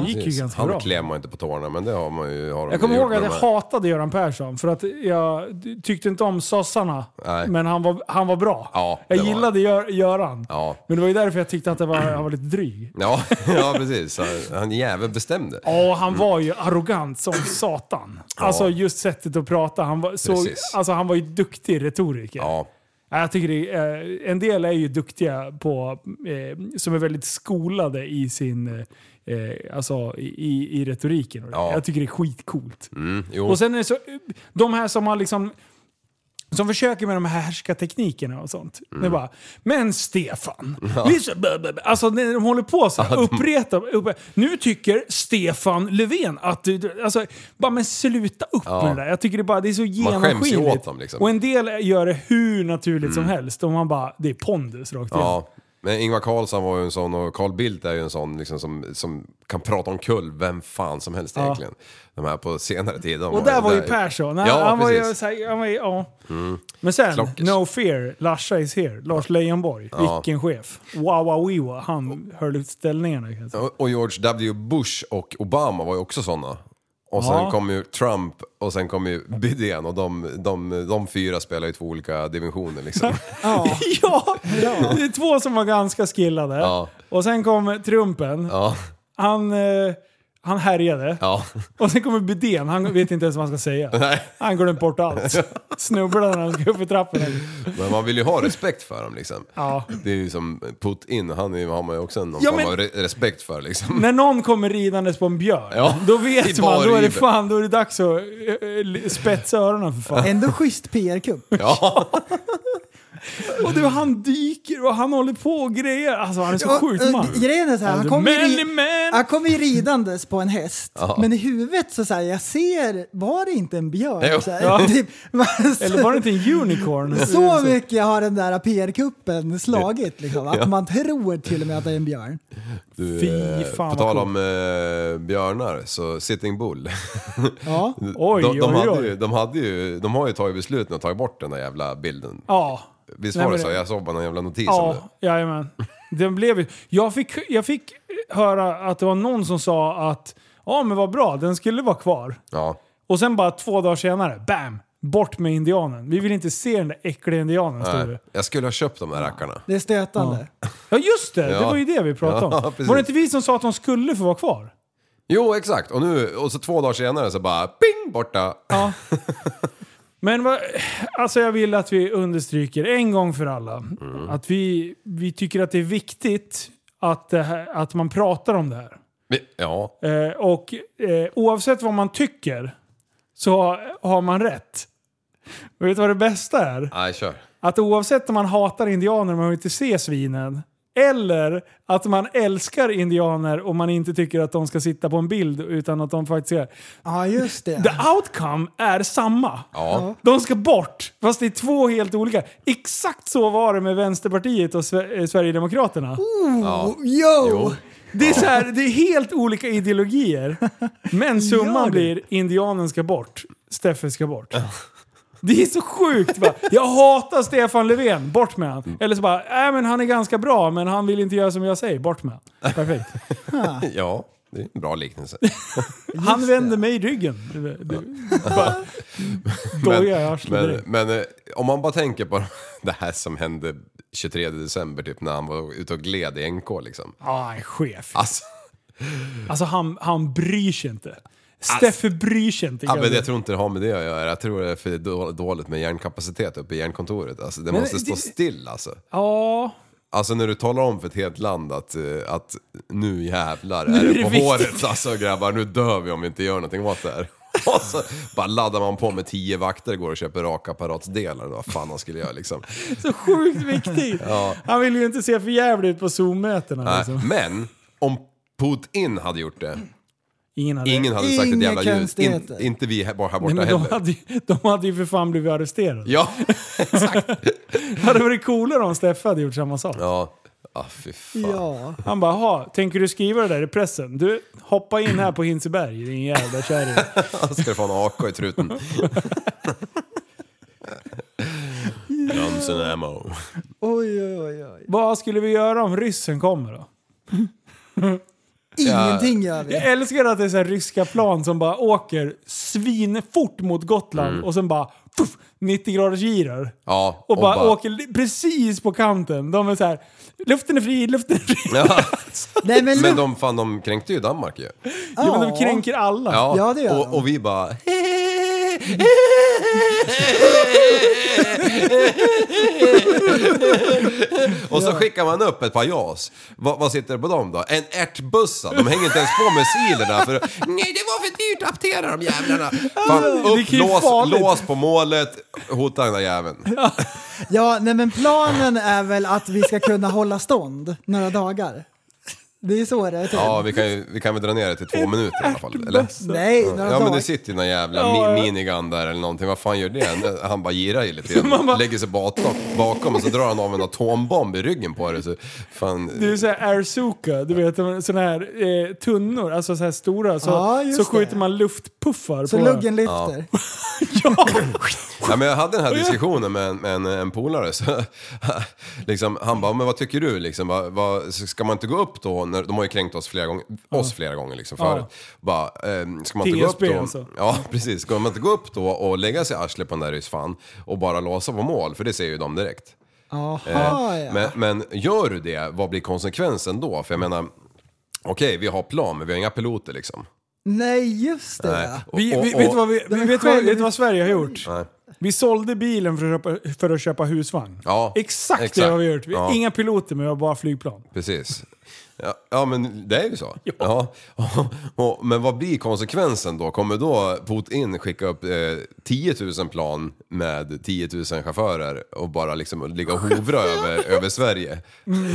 S2: Det gick ju
S4: precis.
S2: ganska
S4: han
S2: bra.
S4: klär man inte på tårna men det har man ju har de
S2: Jag kommer
S4: ju
S2: ihåg
S4: gjort
S2: att
S4: med
S2: jag
S4: de här.
S2: hatade Göran Persson för att jag tyckte inte om sossarna.
S4: Nej.
S2: Men han var, han var bra.
S4: Ja, det
S2: jag
S4: var
S2: gillade Gör, Göran.
S4: Ja.
S2: Men det var ju därför jag tyckte att det var, han var lite dryg.
S4: Ja, ja precis. Han, han jäveln bestämde.
S2: Ja, han var ju arrogant som satan. Alltså just sättet att prata. Han var, så,
S4: Precis.
S2: alltså, han var ju duktig retoriker.
S4: Ja,
S2: Ja, Jag tycker det, är- eh, en del är ju duktiga på, eh, som är väldigt skolade i sin, eh, eh, alltså i, i- i retoriken. och det.
S4: Ja.
S2: Jag tycker det är skitcoolt.
S4: mm, jo.
S2: Och sen är det så, de här som har liksom, som försöker med de här härskarteknikerna och sånt.
S4: Mm.
S2: Det är bara, men Stefan, lyssna, bla, bla, bla." alltså när de håller på så här, uppreta, upp, nu tycker Stefan Löfven att du, alltså bara men sluta upp med det där. Jag tycker det är bara, det är så
S4: Man skäms ju åt
S2: genomskinligt.
S4: dem, liksom.
S2: Och en del gör det hur naturligt som
S4: Mm.
S2: helst och man bara, det är pondus rakt igenom.
S4: Ja. Men Ingvar Carlsson var ju en sån och Carl Bildt är ju en sån liksom, som, som kan prata om kull vem fan som helst egentligen. De här på senare tid. de
S2: Och där var ju
S4: där-
S2: Persson. Han,
S4: Ja,
S2: han var ju
S4: precis. Mm.
S2: såhär, han var ju, ja. Men sen,
S4: Klockers.
S2: No Fear, Larsa is here, Lars Leijonborg. Vilken chef. Wawawiwa, han höll ut ställningarna. kan jag säga.
S4: Och- Och George W Bush och Obama var ju också såna. Och sen
S2: Ja.
S4: kom ju Trump och sen kom ju Biden och de, de, de fyra spelar ju två olika dimensioner liksom.
S2: Ja, det är två som var ganska skillade.
S4: Ja.
S2: Och sen kom Trumpen.
S4: Ja,
S2: Han, eh, han härjade.
S4: ja.
S2: Och sen kommer Bidén, han vet inte ens vad han ska säga. Han glömde bort allt. Snubblade när han skulle upp för trappan.
S4: Men man vill ju ha respekt för dem liksom.
S2: Ja.
S4: Det är ju som Putin, han är, ju- har man ju också någon
S2: Ja,
S4: form
S2: men-
S4: av re respekt för liksom.
S2: När någon kommer ridandes på en björn,
S4: Ja,
S2: då
S4: i
S2: vet man, då är det
S4: baryver.
S2: fan, då är det dags att eh, spetsa öronen för fan.
S3: Ändå schysst PR-kupp.
S4: Ja,
S2: Och du, han dyker och han håller på och grejer. Alltså han är så
S3: Ja,
S2: sjukt
S3: eh,
S2: man.
S3: Grejen är så här, han
S2: Alltså,
S3: kommer ju
S2: manly
S3: ri-
S2: man.
S3: han kommer ju ridandes på en häst, men i huvudet så säger jag ser, var det inte en
S4: Jo.
S3: björn? Så här, typ, man-
S2: Eller var det inte en unicorn?
S3: Så mycket har den där PR-kuppen slagit liksom, att man tror till och med att det är en björn.
S4: du,
S2: Fy
S4: eh,
S2: fan,
S4: På
S2: vad
S4: tal
S2: coolt.
S4: om eh, björnar, så Sitting Bull.
S3: Ja.
S2: Oj,
S4: de, de,
S2: oj,
S4: hade
S2: oj.
S4: Ju, de, hade ju, de har ju tagit beslut nu att ta bort den där jävla bilden.
S2: Ja.
S4: Visst
S2: Nej,
S4: var det
S2: men
S4: så?
S2: det-
S4: Jag såg bara någon jävla notis om Liksom det.
S2: Ja, jajamän. Den blev ju... Jag fick, jag fick höra att det var någon som sa att ja men vad bra, den skulle vara kvar.
S4: Ja.
S2: Och sen bara två dagar senare, bam! Bort med indianen. Vi vill inte se den där äckliga indianen, stod
S4: Nej,
S2: det.
S4: jag skulle ha köpt de där rackarna.
S3: Det är stötande.
S2: Ja just det, det
S4: Ja.
S2: var ju det vi pratade
S4: Ja,
S2: om.
S4: precis.
S2: Var det inte vi som sa att de skulle få vara kvar?
S4: Jo, exakt. Och, nu, och så två dagar senare så bara ping borta.
S2: Ja. Men vad, alltså jag vill att vi understryker en gång för alla
S4: Mm.
S2: att vi, vi tycker att det är viktigt att, det här, att man pratar om det här.
S4: Vi- Ja,
S2: Eh, och eh, oavsett vad man tycker så har man rätt. Och vet du vad det bästa är?
S4: nej kör.
S2: Att oavsett om man hatar indianer och man vill inte se svinen eller att man älskar indianer och man inte tycker att de ska sitta på en bild utan att de faktiskt är...
S3: Ja, just
S2: The
S3: det.
S2: outcome är samma.
S4: Ja.
S2: De ska bort, fast det är två helt olika. Exakt så var det med Vänsterpartiet och Sve- eh, Sverigedemokraterna.
S3: Oh, yo!
S4: Jo.
S2: Det, är så här, det är helt olika ideologier, men summan
S3: Ja, du.
S2: blir indianen ska bort, Steffe ska bort. Det är så sjukt va? Jag hatar Stefan Löfven, bort med
S3: Mm.
S2: han. Eller så bara, nej men han är ganska bra men han vill inte göra som jag säger, bort med han. Perfekt.
S4: Ja, det är en bra liknelse.
S2: Han vände mig ryggen. Du- du- bara- Doja i arslet
S4: men,
S2: direkt.
S4: men eh, om man bara tänker på det här som hände 23 december typ när han var ute och gled i NK liksom.
S2: Ah, en chef.
S4: Alltså,
S2: Alltså han, han bryr sig inte. Steffe bryr sig inte.
S4: ja,
S2: grabben.
S4: men jag tror inte det har med det att göra. Jag tror det är för då- dåligt med hjärnkapacitet uppe i hjärnkontoret. Alltså, det måste stå
S2: det-
S4: still alltså.
S2: Ja,
S4: Alltså när du talar om för ett helt land att, eh, att nu jävlar är
S2: är
S4: det,
S2: det
S4: på
S2: viktigt.
S4: håret alltså grabbar, nu dör vi om vi inte gör någonting åt det här. Och så bara laddar man på med tio vakter, går och köper rakapparatsdelar eller vad fan han skulle göra liksom.
S2: så sjukt viktigt. Han vill ju inte se för jävligt ut på Zoom-mötena.
S4: Nej,
S2: Liksom.
S4: Men om Putin hade gjort det,
S2: Ingen hade...
S4: Ingen hade sagt ett
S3: Inga
S4: jävla ljud. In,
S3: konstigheter.
S4: inte vi här, bara här borta
S2: Nej, men de,
S4: heller.
S2: hade, ju- de hade ju för fan blivit arresterade.
S4: Ja,
S2: Det hade varit coolare om Steffe hade gjort samma sak.
S4: ja. Ah, fy fan.
S3: Ja.
S2: Han bara, "Ha, tänker du skriva det där i pressen? Du, hoppa in här på Hinseberg, din jävla kärring.
S4: Han ska få en AK i truten. Guns and ammo.
S3: Oj, oj, oj, oj.
S2: Vad skulle vi göra om ryssen kommer då?
S3: Ingenting gör
S2: Jag
S3: vi.
S2: älskar att det är så här ryska plan som bara åker svinfort mot Gotland och sen bara puff, 90 graders girar.
S4: Mm. Ja,
S2: Och, bara, åker li- precis på kanten. De är så här, luften är fri, luften är fri.
S4: Ja.
S3: Nej, men,
S4: Men
S3: lu-
S4: de, fan, de kränkte ju Danmark ju.
S2: Ja. men de
S3: Ja.
S2: kränker alla.
S3: Ja, det gör
S4: och,
S3: de.
S4: och vi bara... och så skickar man upp ett par JAS. Vad, vad sitter det på dem då? En ärtbössa. De hänger inte ens på missilerna för... Nej, det var för dyrt att aptera de jävlarna. Fan,
S2: Det
S4: upp,
S2: kan ju
S4: lås,
S2: farligt.
S4: lås på målet, hota den där jäveln.
S3: ja, nej, men planen är väl att vi ska kunna hålla stånd några dagar. Det är så det är. typ.
S4: Ja, vi kan, ju, vi kan väl dra ner det till två minuter i alla fall. Eller?
S3: Nej, några
S4: Ja men
S3: dagar.
S4: det sitter ju någon jävla
S2: Ja,
S4: mi-
S2: ja.
S4: minigun där eller någonting. Vad fan gör det? Han bara girar ju lite grann.
S2: bara-
S4: Lägger sig bakom, bakom och så drar han av en atombomb i ryggen på det. Så fan...
S2: Det är såhär airzuka, du vet sådana här eh, tunnor, alltså så här stora. Så,
S3: Ja, just
S2: så skjuter
S3: det.
S2: man luftpuffar
S3: Så
S2: på
S3: luggen lyfter.
S4: Eh,
S2: Ja.
S4: Ja, men jag hade den här diskussionen med en, med en, en polare. Så, liksom, han bara, men vad tycker du? Liksom, vad, vad, ska man inte gå upp då? När, de har ju kränkt oss flera gånger, oss flera gånger liksom, förut. Bara, ehm, ska man inte gå upp
S2: TSB
S4: då?
S2: alltså.
S4: Ja, precis. Ska man inte gå upp då och lägga sig i arslet på den där ryssfan och bara låsa på mål? För det ser ju de direkt.
S3: Jaha, Ah, ja.
S4: Eh, Men, men gör du det, vad blir konsekvensen då? För jag menar, okej vi har plan men vi har inga piloter liksom.
S3: Nej, just det. ja.
S4: Och-
S2: Vi,
S4: och-
S2: vi,
S4: och-
S2: vet, du vad vi, vi,
S3: men
S2: vet, vad,
S3: själv-
S2: vet du vad Sverige har gjort?
S4: Nej.
S2: Vi sålde bilen för att köpa, för att köpa husvagn.
S4: Ja,
S2: exakt, det
S4: exakt.
S2: har vi gjort. Vi,
S4: Ja.
S2: Inga piloter men vi har bara flygplan.
S4: Precis. Ja, ja men det är ju så. Ja. Och, men vad blir konsekvensen då? Kommer då Putin skicka upp eh, 10 000 plan med 10 000 chaufförer och bara liksom ligga och hovra över, över Sverige?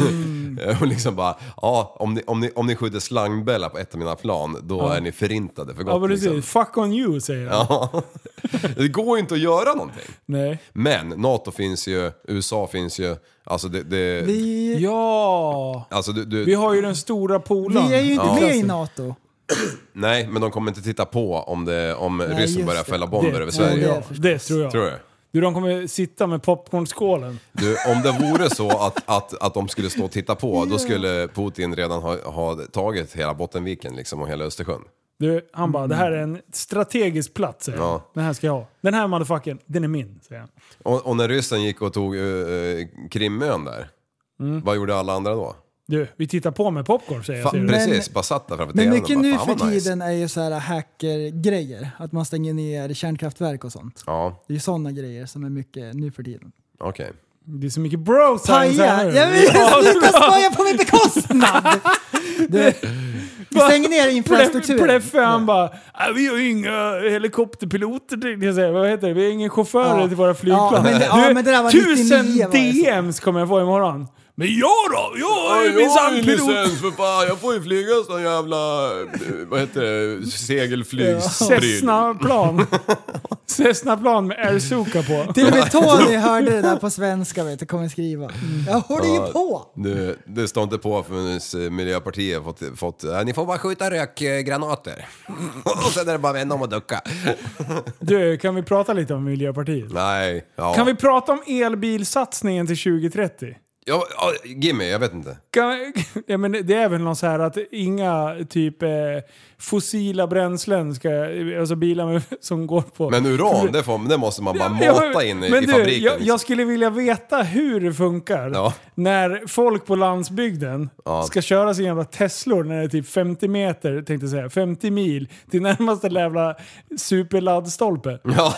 S4: och liksom bara, ja om ni, om ni, om ni skjuter slangbella på ett av mina plan då är ni förintade för
S2: Ja
S4: gott.
S2: precis.
S4: liksom.
S2: Fuck on you säger han.
S4: Ja. Det går ju inte att göra någonting.
S2: Nej.
S4: Men NATO finns ju, USA finns ju, alltså det... det
S3: Vi,
S2: Ja!
S4: alltså du, du,
S2: Vi har ju den stora polaren.
S3: vi är ju inte med i NATO.
S4: Nej, men de kommer inte titta på om, det, om ryssen
S3: just
S4: börjar
S3: det.
S4: fälla bomber över Sverige.
S2: Ja, det tror jag.
S4: Tror du?
S2: Du, de kommer sitta med popcornskålen.
S4: Du, om det vore så att, att, att de skulle stå och titta på, då skulle Putin redan ha, ha tagit hela Bottenviken liksom, och hela Östersjön.
S2: Du, han bara, det här är en strategisk plats. Säger han.
S4: Ja.
S2: Den här ska jag ha. Den här motherfuckern, den är min. Säger han.
S4: Och, och när ryssen gick och tog eh, eh, Krimön där,
S3: Mm.
S4: vad gjorde alla andra då?
S2: Du, vi tittar på med popcorn säger jag.
S4: Fan,
S2: Ser du.
S4: precis, bara satt där framför
S3: Men
S4: TVn och
S3: mycket
S4: bara,
S3: nu
S4: "Fan,
S3: för
S4: vad nice."
S3: tiden är ju så här hackergrejer. Att man stänger ner kärnkraftverk och sånt.
S4: Ja,
S3: Det är ju sådana grejer som är mycket nu för tiden.
S4: okej.
S2: Det är så mycket bro science här
S3: Paja!
S2: nu.
S3: Jag vill sluta skoja på min bekostnad! Du, vi stänger ner
S2: Pleffe
S3: infrastrukturen.
S2: Pleffe, han bara "Ah, vi har ju inga helikopterpiloter tänkte jag säga. Vad heter det? Vi har ingen chaufförer
S3: Ja.
S2: till våra flygplan.
S3: Ja, men det- ja, men det där var alltså. 99
S2: tusen
S3: var det så.
S2: DMs kommer jag få imorgon. Men jag då? Jag är ju minsann pilot.
S4: för fan, jag får ju flyga sån jävla, eh, vad heter det, segelflygspryl.
S2: Cessna-plan. Cessna-plan med Airzuka på.
S3: Till och med Tony hörde det där på svenska vet du, kommer skriva.
S2: Mm.
S3: Jag håller ju på!
S4: Det, det står inte på förrän Miljöpartiet fått, fått "Äh, ni får bara skjuta rökgranater. och sen är det bara att vända om och ducka.
S2: Du, kan vi prata lite om Miljöpartiet?
S4: Nej, ja.
S2: Kan vi prata om elbilsatsningen till 2030?
S4: ja, ja Gimme, jag vet inte.
S2: Kan, ja, men det är väl något så här att inga typ eh, fossila bränslen ska, alltså bilar med, som går på...
S4: Men uran, det, får, det måste man bara
S2: Ja,
S4: mata in i,
S2: men
S4: i
S2: du,
S4: fabriken.
S2: Jag,
S4: liksom.
S2: jag skulle vilja veta hur det funkar
S4: Ja.
S2: när folk på landsbygden
S4: Ja.
S2: ska köra sina jävla Teslor när det är typ 50 meter, tänkte jag säga, 50 mil till närmaste jävla superladdstolpe.
S4: liksom. Ja,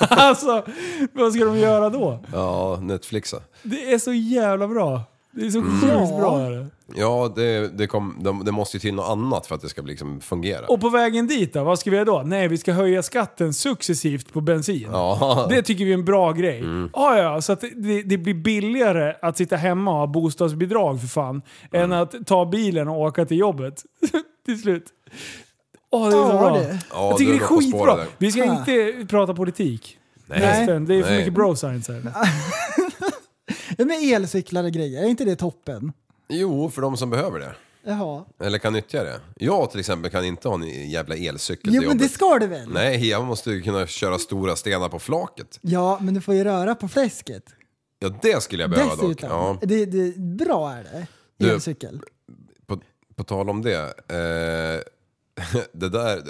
S2: alltså, vad ska de göra då?
S4: ja, Netflixa.
S2: Det är så jävla bra. Det är så sjukt bra. Är det.
S4: Ja, det, det, kom, de, det måste ju till något annat för att det ska liksom fungera.
S2: Och på vägen dit då, vad ska vi göra då? Nej, vi ska höja skatten successivt på bensin.
S4: Ja. Mm.
S2: Det tycker vi är en bra grej. Ah, ja, så att det, det blir billigare att sitta hemma och ha
S4: Mm.
S2: bostadsbidrag för fan, än att ta bilen och åka till jobbet. till slut. Åh, det är så
S3: Ja,
S2: bra.
S3: det.
S2: Jag tycker
S4: du
S2: det är
S4: var på spåret
S2: skitbra.
S4: där.
S2: Vi ska
S3: Ah.
S2: inte prata politik.
S3: Nej.
S2: Resten, Det är för
S4: Nej.
S2: mycket bro science här.
S3: Men elcyklar och grejer, är inte det toppen?
S4: Jo, för de som behöver det.
S3: Jaha.
S4: Eller kan nyttja det. Jag till exempel kan inte ha en jävla elcykel till
S3: Jo men det
S4: jobbet.
S3: ska du väl?
S4: Nej, jag måste ju kunna köra stora stenar på flaket.
S3: Ja, men du får ju röra på fläsket.
S4: Ja, det skulle jag behöva dock.
S3: Dessutom.
S4: Ja.
S3: Det, det, bra är det.
S4: Du-
S3: Elcykel.
S4: På, på tal om det. Eh, det där. Eh,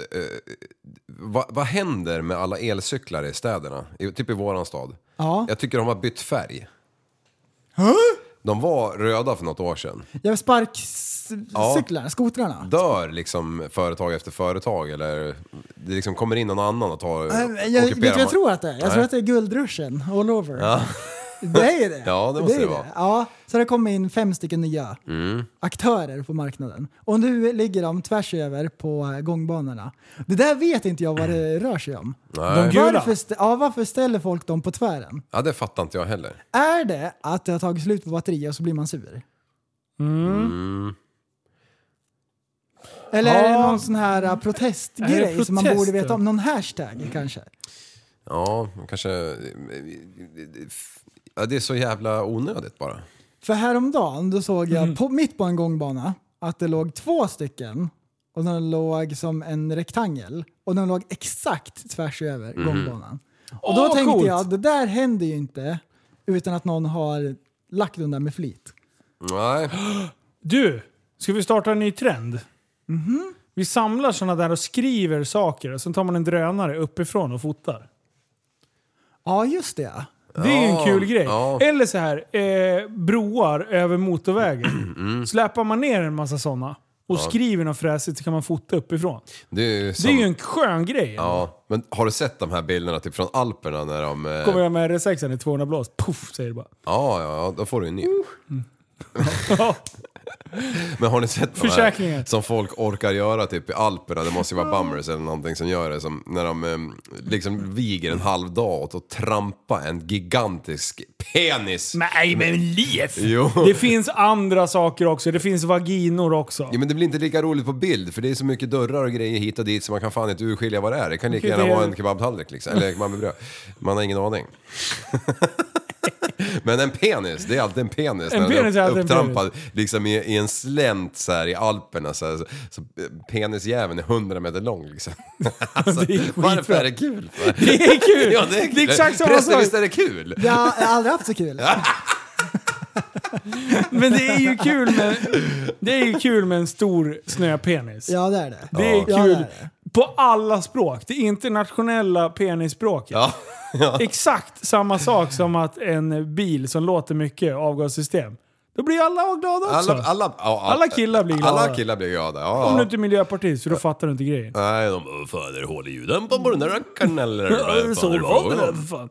S4: vad, vad händer med alla elcyklar i städerna? I, typ i våran stad.
S3: Ja.
S4: Jag tycker de har bytt färg. De var röda för något år sedan.
S3: Jag sparkcyklar, skotrarna.
S4: Dör liksom företag efter företag eller det liksom kommer in någon annan och tar
S3: Äh, Jag, vet du vad
S4: man-
S3: jag tror att det är? Jag tror
S4: Nej.
S3: att det är guldruschen all over. Det är det.
S4: Ja, det måste
S3: är
S4: det vara. Mm.
S3: Ja, så det kommer in fem stycken nya aktörer på marknaden. Och nu ligger de tvärs över på gångbanorna. Det där vet inte jag vad det rör sig om.
S2: De gula.
S3: Varför, st- ja, varför ställer folk dem på tvären?
S4: Ja, det fattar inte jag heller.
S3: Är det att det har tagit slut på batteri och så blir man sur? Mm. Eller är det
S2: Ja.
S3: någon sån här äh, protestgrej
S2: Är det
S3: som man
S2: protest
S3: borde veta
S2: då?
S3: om? Någon hashtag kanske?
S4: Ja, kanske... Ja, det är så jävla onödigt bara.
S3: För häromdagen då såg jag på, mitt på en gångbana att det låg två stycken och de låg som en rektangel och de låg exakt tvärs över gångbanan. Och då
S2: Åh,
S3: tänkte
S2: coolt!
S3: jag, det där händer ju inte utan att någon har lagt den där med flit.
S4: Nej.
S2: Du, ska vi starta en ny trend?
S3: Mhm.
S2: Vi samlar sådana där och skriver saker och sen tar man en drönare uppifrån och fotar.
S3: Ja, just det.
S2: Det är ju en kul grej.
S4: ja.
S2: Eller så här, eh, broar över motorvägen.
S4: Mm.
S2: Släpar man ner en massa sådana och skriver något fräsigt så kan man fota uppifrån.
S4: Det är ju,
S2: Det
S4: som,
S2: är ju en skön grej.
S4: ja, men har du sett de här bilderna typ från Alperna när de... eh,
S2: Kommer jag med R6 i 200 blås, puff säger det bara.
S4: Ja, ja, ja, då får du en ny. Men har ni sett de
S2: Försäkringar.
S4: här som folk orkar göra typ i Alperna? Det måste ju vara bummers eller någonting som gör det. Som när de em, liksom viger en halv dag åt att trampa en gigantisk penis.
S2: Nej men liv!
S4: Jo.
S2: Det finns andra saker också. Det finns vaginor också.
S4: Ja men det blir inte lika roligt på bild för det är så mycket dörrar och grejer hit och dit så man kan fan inte urskilja vad det är. Det kan lika
S2: Okej, det
S4: gärna
S2: är-
S4: vara en kebabtallrik liksom, eller man med bröd. Man har ingen aning. Men en penis, det är alltid en penis.
S2: En
S4: när den
S2: penis är alltid en
S4: upptrampad liksom i, i en slänt så här i Alperna så, här, så, så eh, penisjäveln är 100 meter lång liksom. alltså,
S2: Det är skitbra.
S4: varför är det kul?
S2: Det är kul!
S4: ja, det är kul.
S2: Det är exakt samma
S4: Förresten,
S2: sak.
S4: visst är det kul?
S3: Jag har aldrig haft så kul.
S2: Men det är ju kul med, det är ju kul med en stor snöpenis.
S3: Ja, det är det.
S2: Det är
S3: Ja,
S2: kul
S3: det är det.
S2: på alla språk. Det internationella penisspråket.
S4: Ja. ja.
S2: Exakt samma sak som att en bil som låter mycket avgassystem. Då blir alla glada också.
S4: Alla, alla, ja, ja.
S2: Alla killar blir glada.
S4: Alla killar blir glada. Ja,
S2: Om du
S4: ja.
S2: inte är miljöpartist, för då fattar du inte grejen.
S4: Nej, de föder hål i ljudämparen på den där rackaren eller vad fan Mm. är det
S2: Så
S4: frågan
S2: bra med det,
S4: om?
S2: för fan.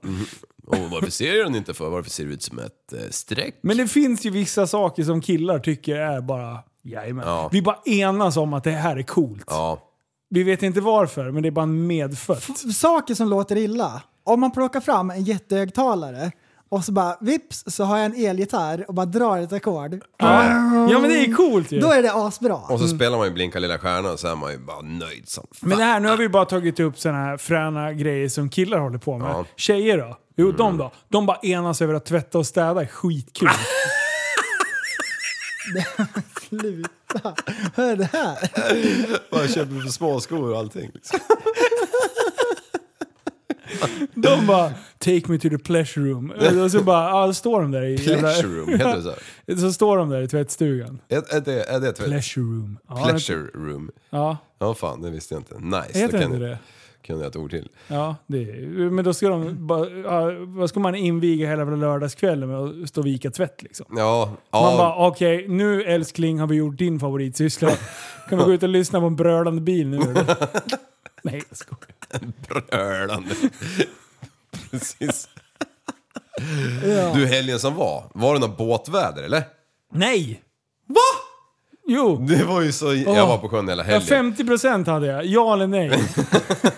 S4: Och varför ser jag den inte för? Varför ser det ut som ett eh, streck?
S2: Men det finns ju vissa saker som killar tycker är bara... Jajamän.
S4: Ja.
S2: Vi bara enas om att det här är coolt.
S4: Ja.
S2: Vi vet inte varför, men det är bara medfött.
S3: Saker som låter illa. Om man plockar fram en jättehögtalare och så bara vips så har jag en elgitarr och bara drar ett ackord.
S2: Ja men det är coolt ju.
S3: Då är det asbra.
S4: Och så spelar man ju Blinka lilla stjärna och så är man ju bara nöjd som fan.
S2: Men det här, nu har vi bara tagit upp såna här fräna grejer som killar håller på med.
S4: Ja. Mm.
S2: Tjejer då? Jo, de då? De bara enas över att tvätta och städa är skitkul.
S3: Sluta! Vad är det här?
S4: Man köper för små skor och allting. Liksom.
S2: De bara “Take me to the pleasure room”. Och så bara, ja, då står de där i... jävla-
S4: Pleasure room, heter det så?
S2: Så står de där i tvättstugan.
S4: Är, är det, är det ett
S2: Pleasure room. Ja,
S4: pleasure room?
S2: Ja,
S4: Ja, fan, det visste jag inte. Nice.
S2: heter det
S4: det kan,
S2: inte det?
S4: kunde jag ett ord till.
S2: Ja, det är, men då ska de bara, ja, vad ska man inviga hela lördagskvällen med att stå och vika tvätt liksom?
S4: Ja,
S2: Man
S4: ja.
S2: bara okej, nu älskling har vi gjort din favoritsyssla. Kan vi gå ut och lyssna på en brölande bil nu eller? Nej, jag skojar.
S4: Brölande. Precis. Du, helgen som var, var det något båtväder eller?
S2: Nej! Va? Jo!
S4: Det var ju så... Jag var på sjön hela
S2: Ja,
S4: helgen.
S2: 50% hade jag. Ja eller nej?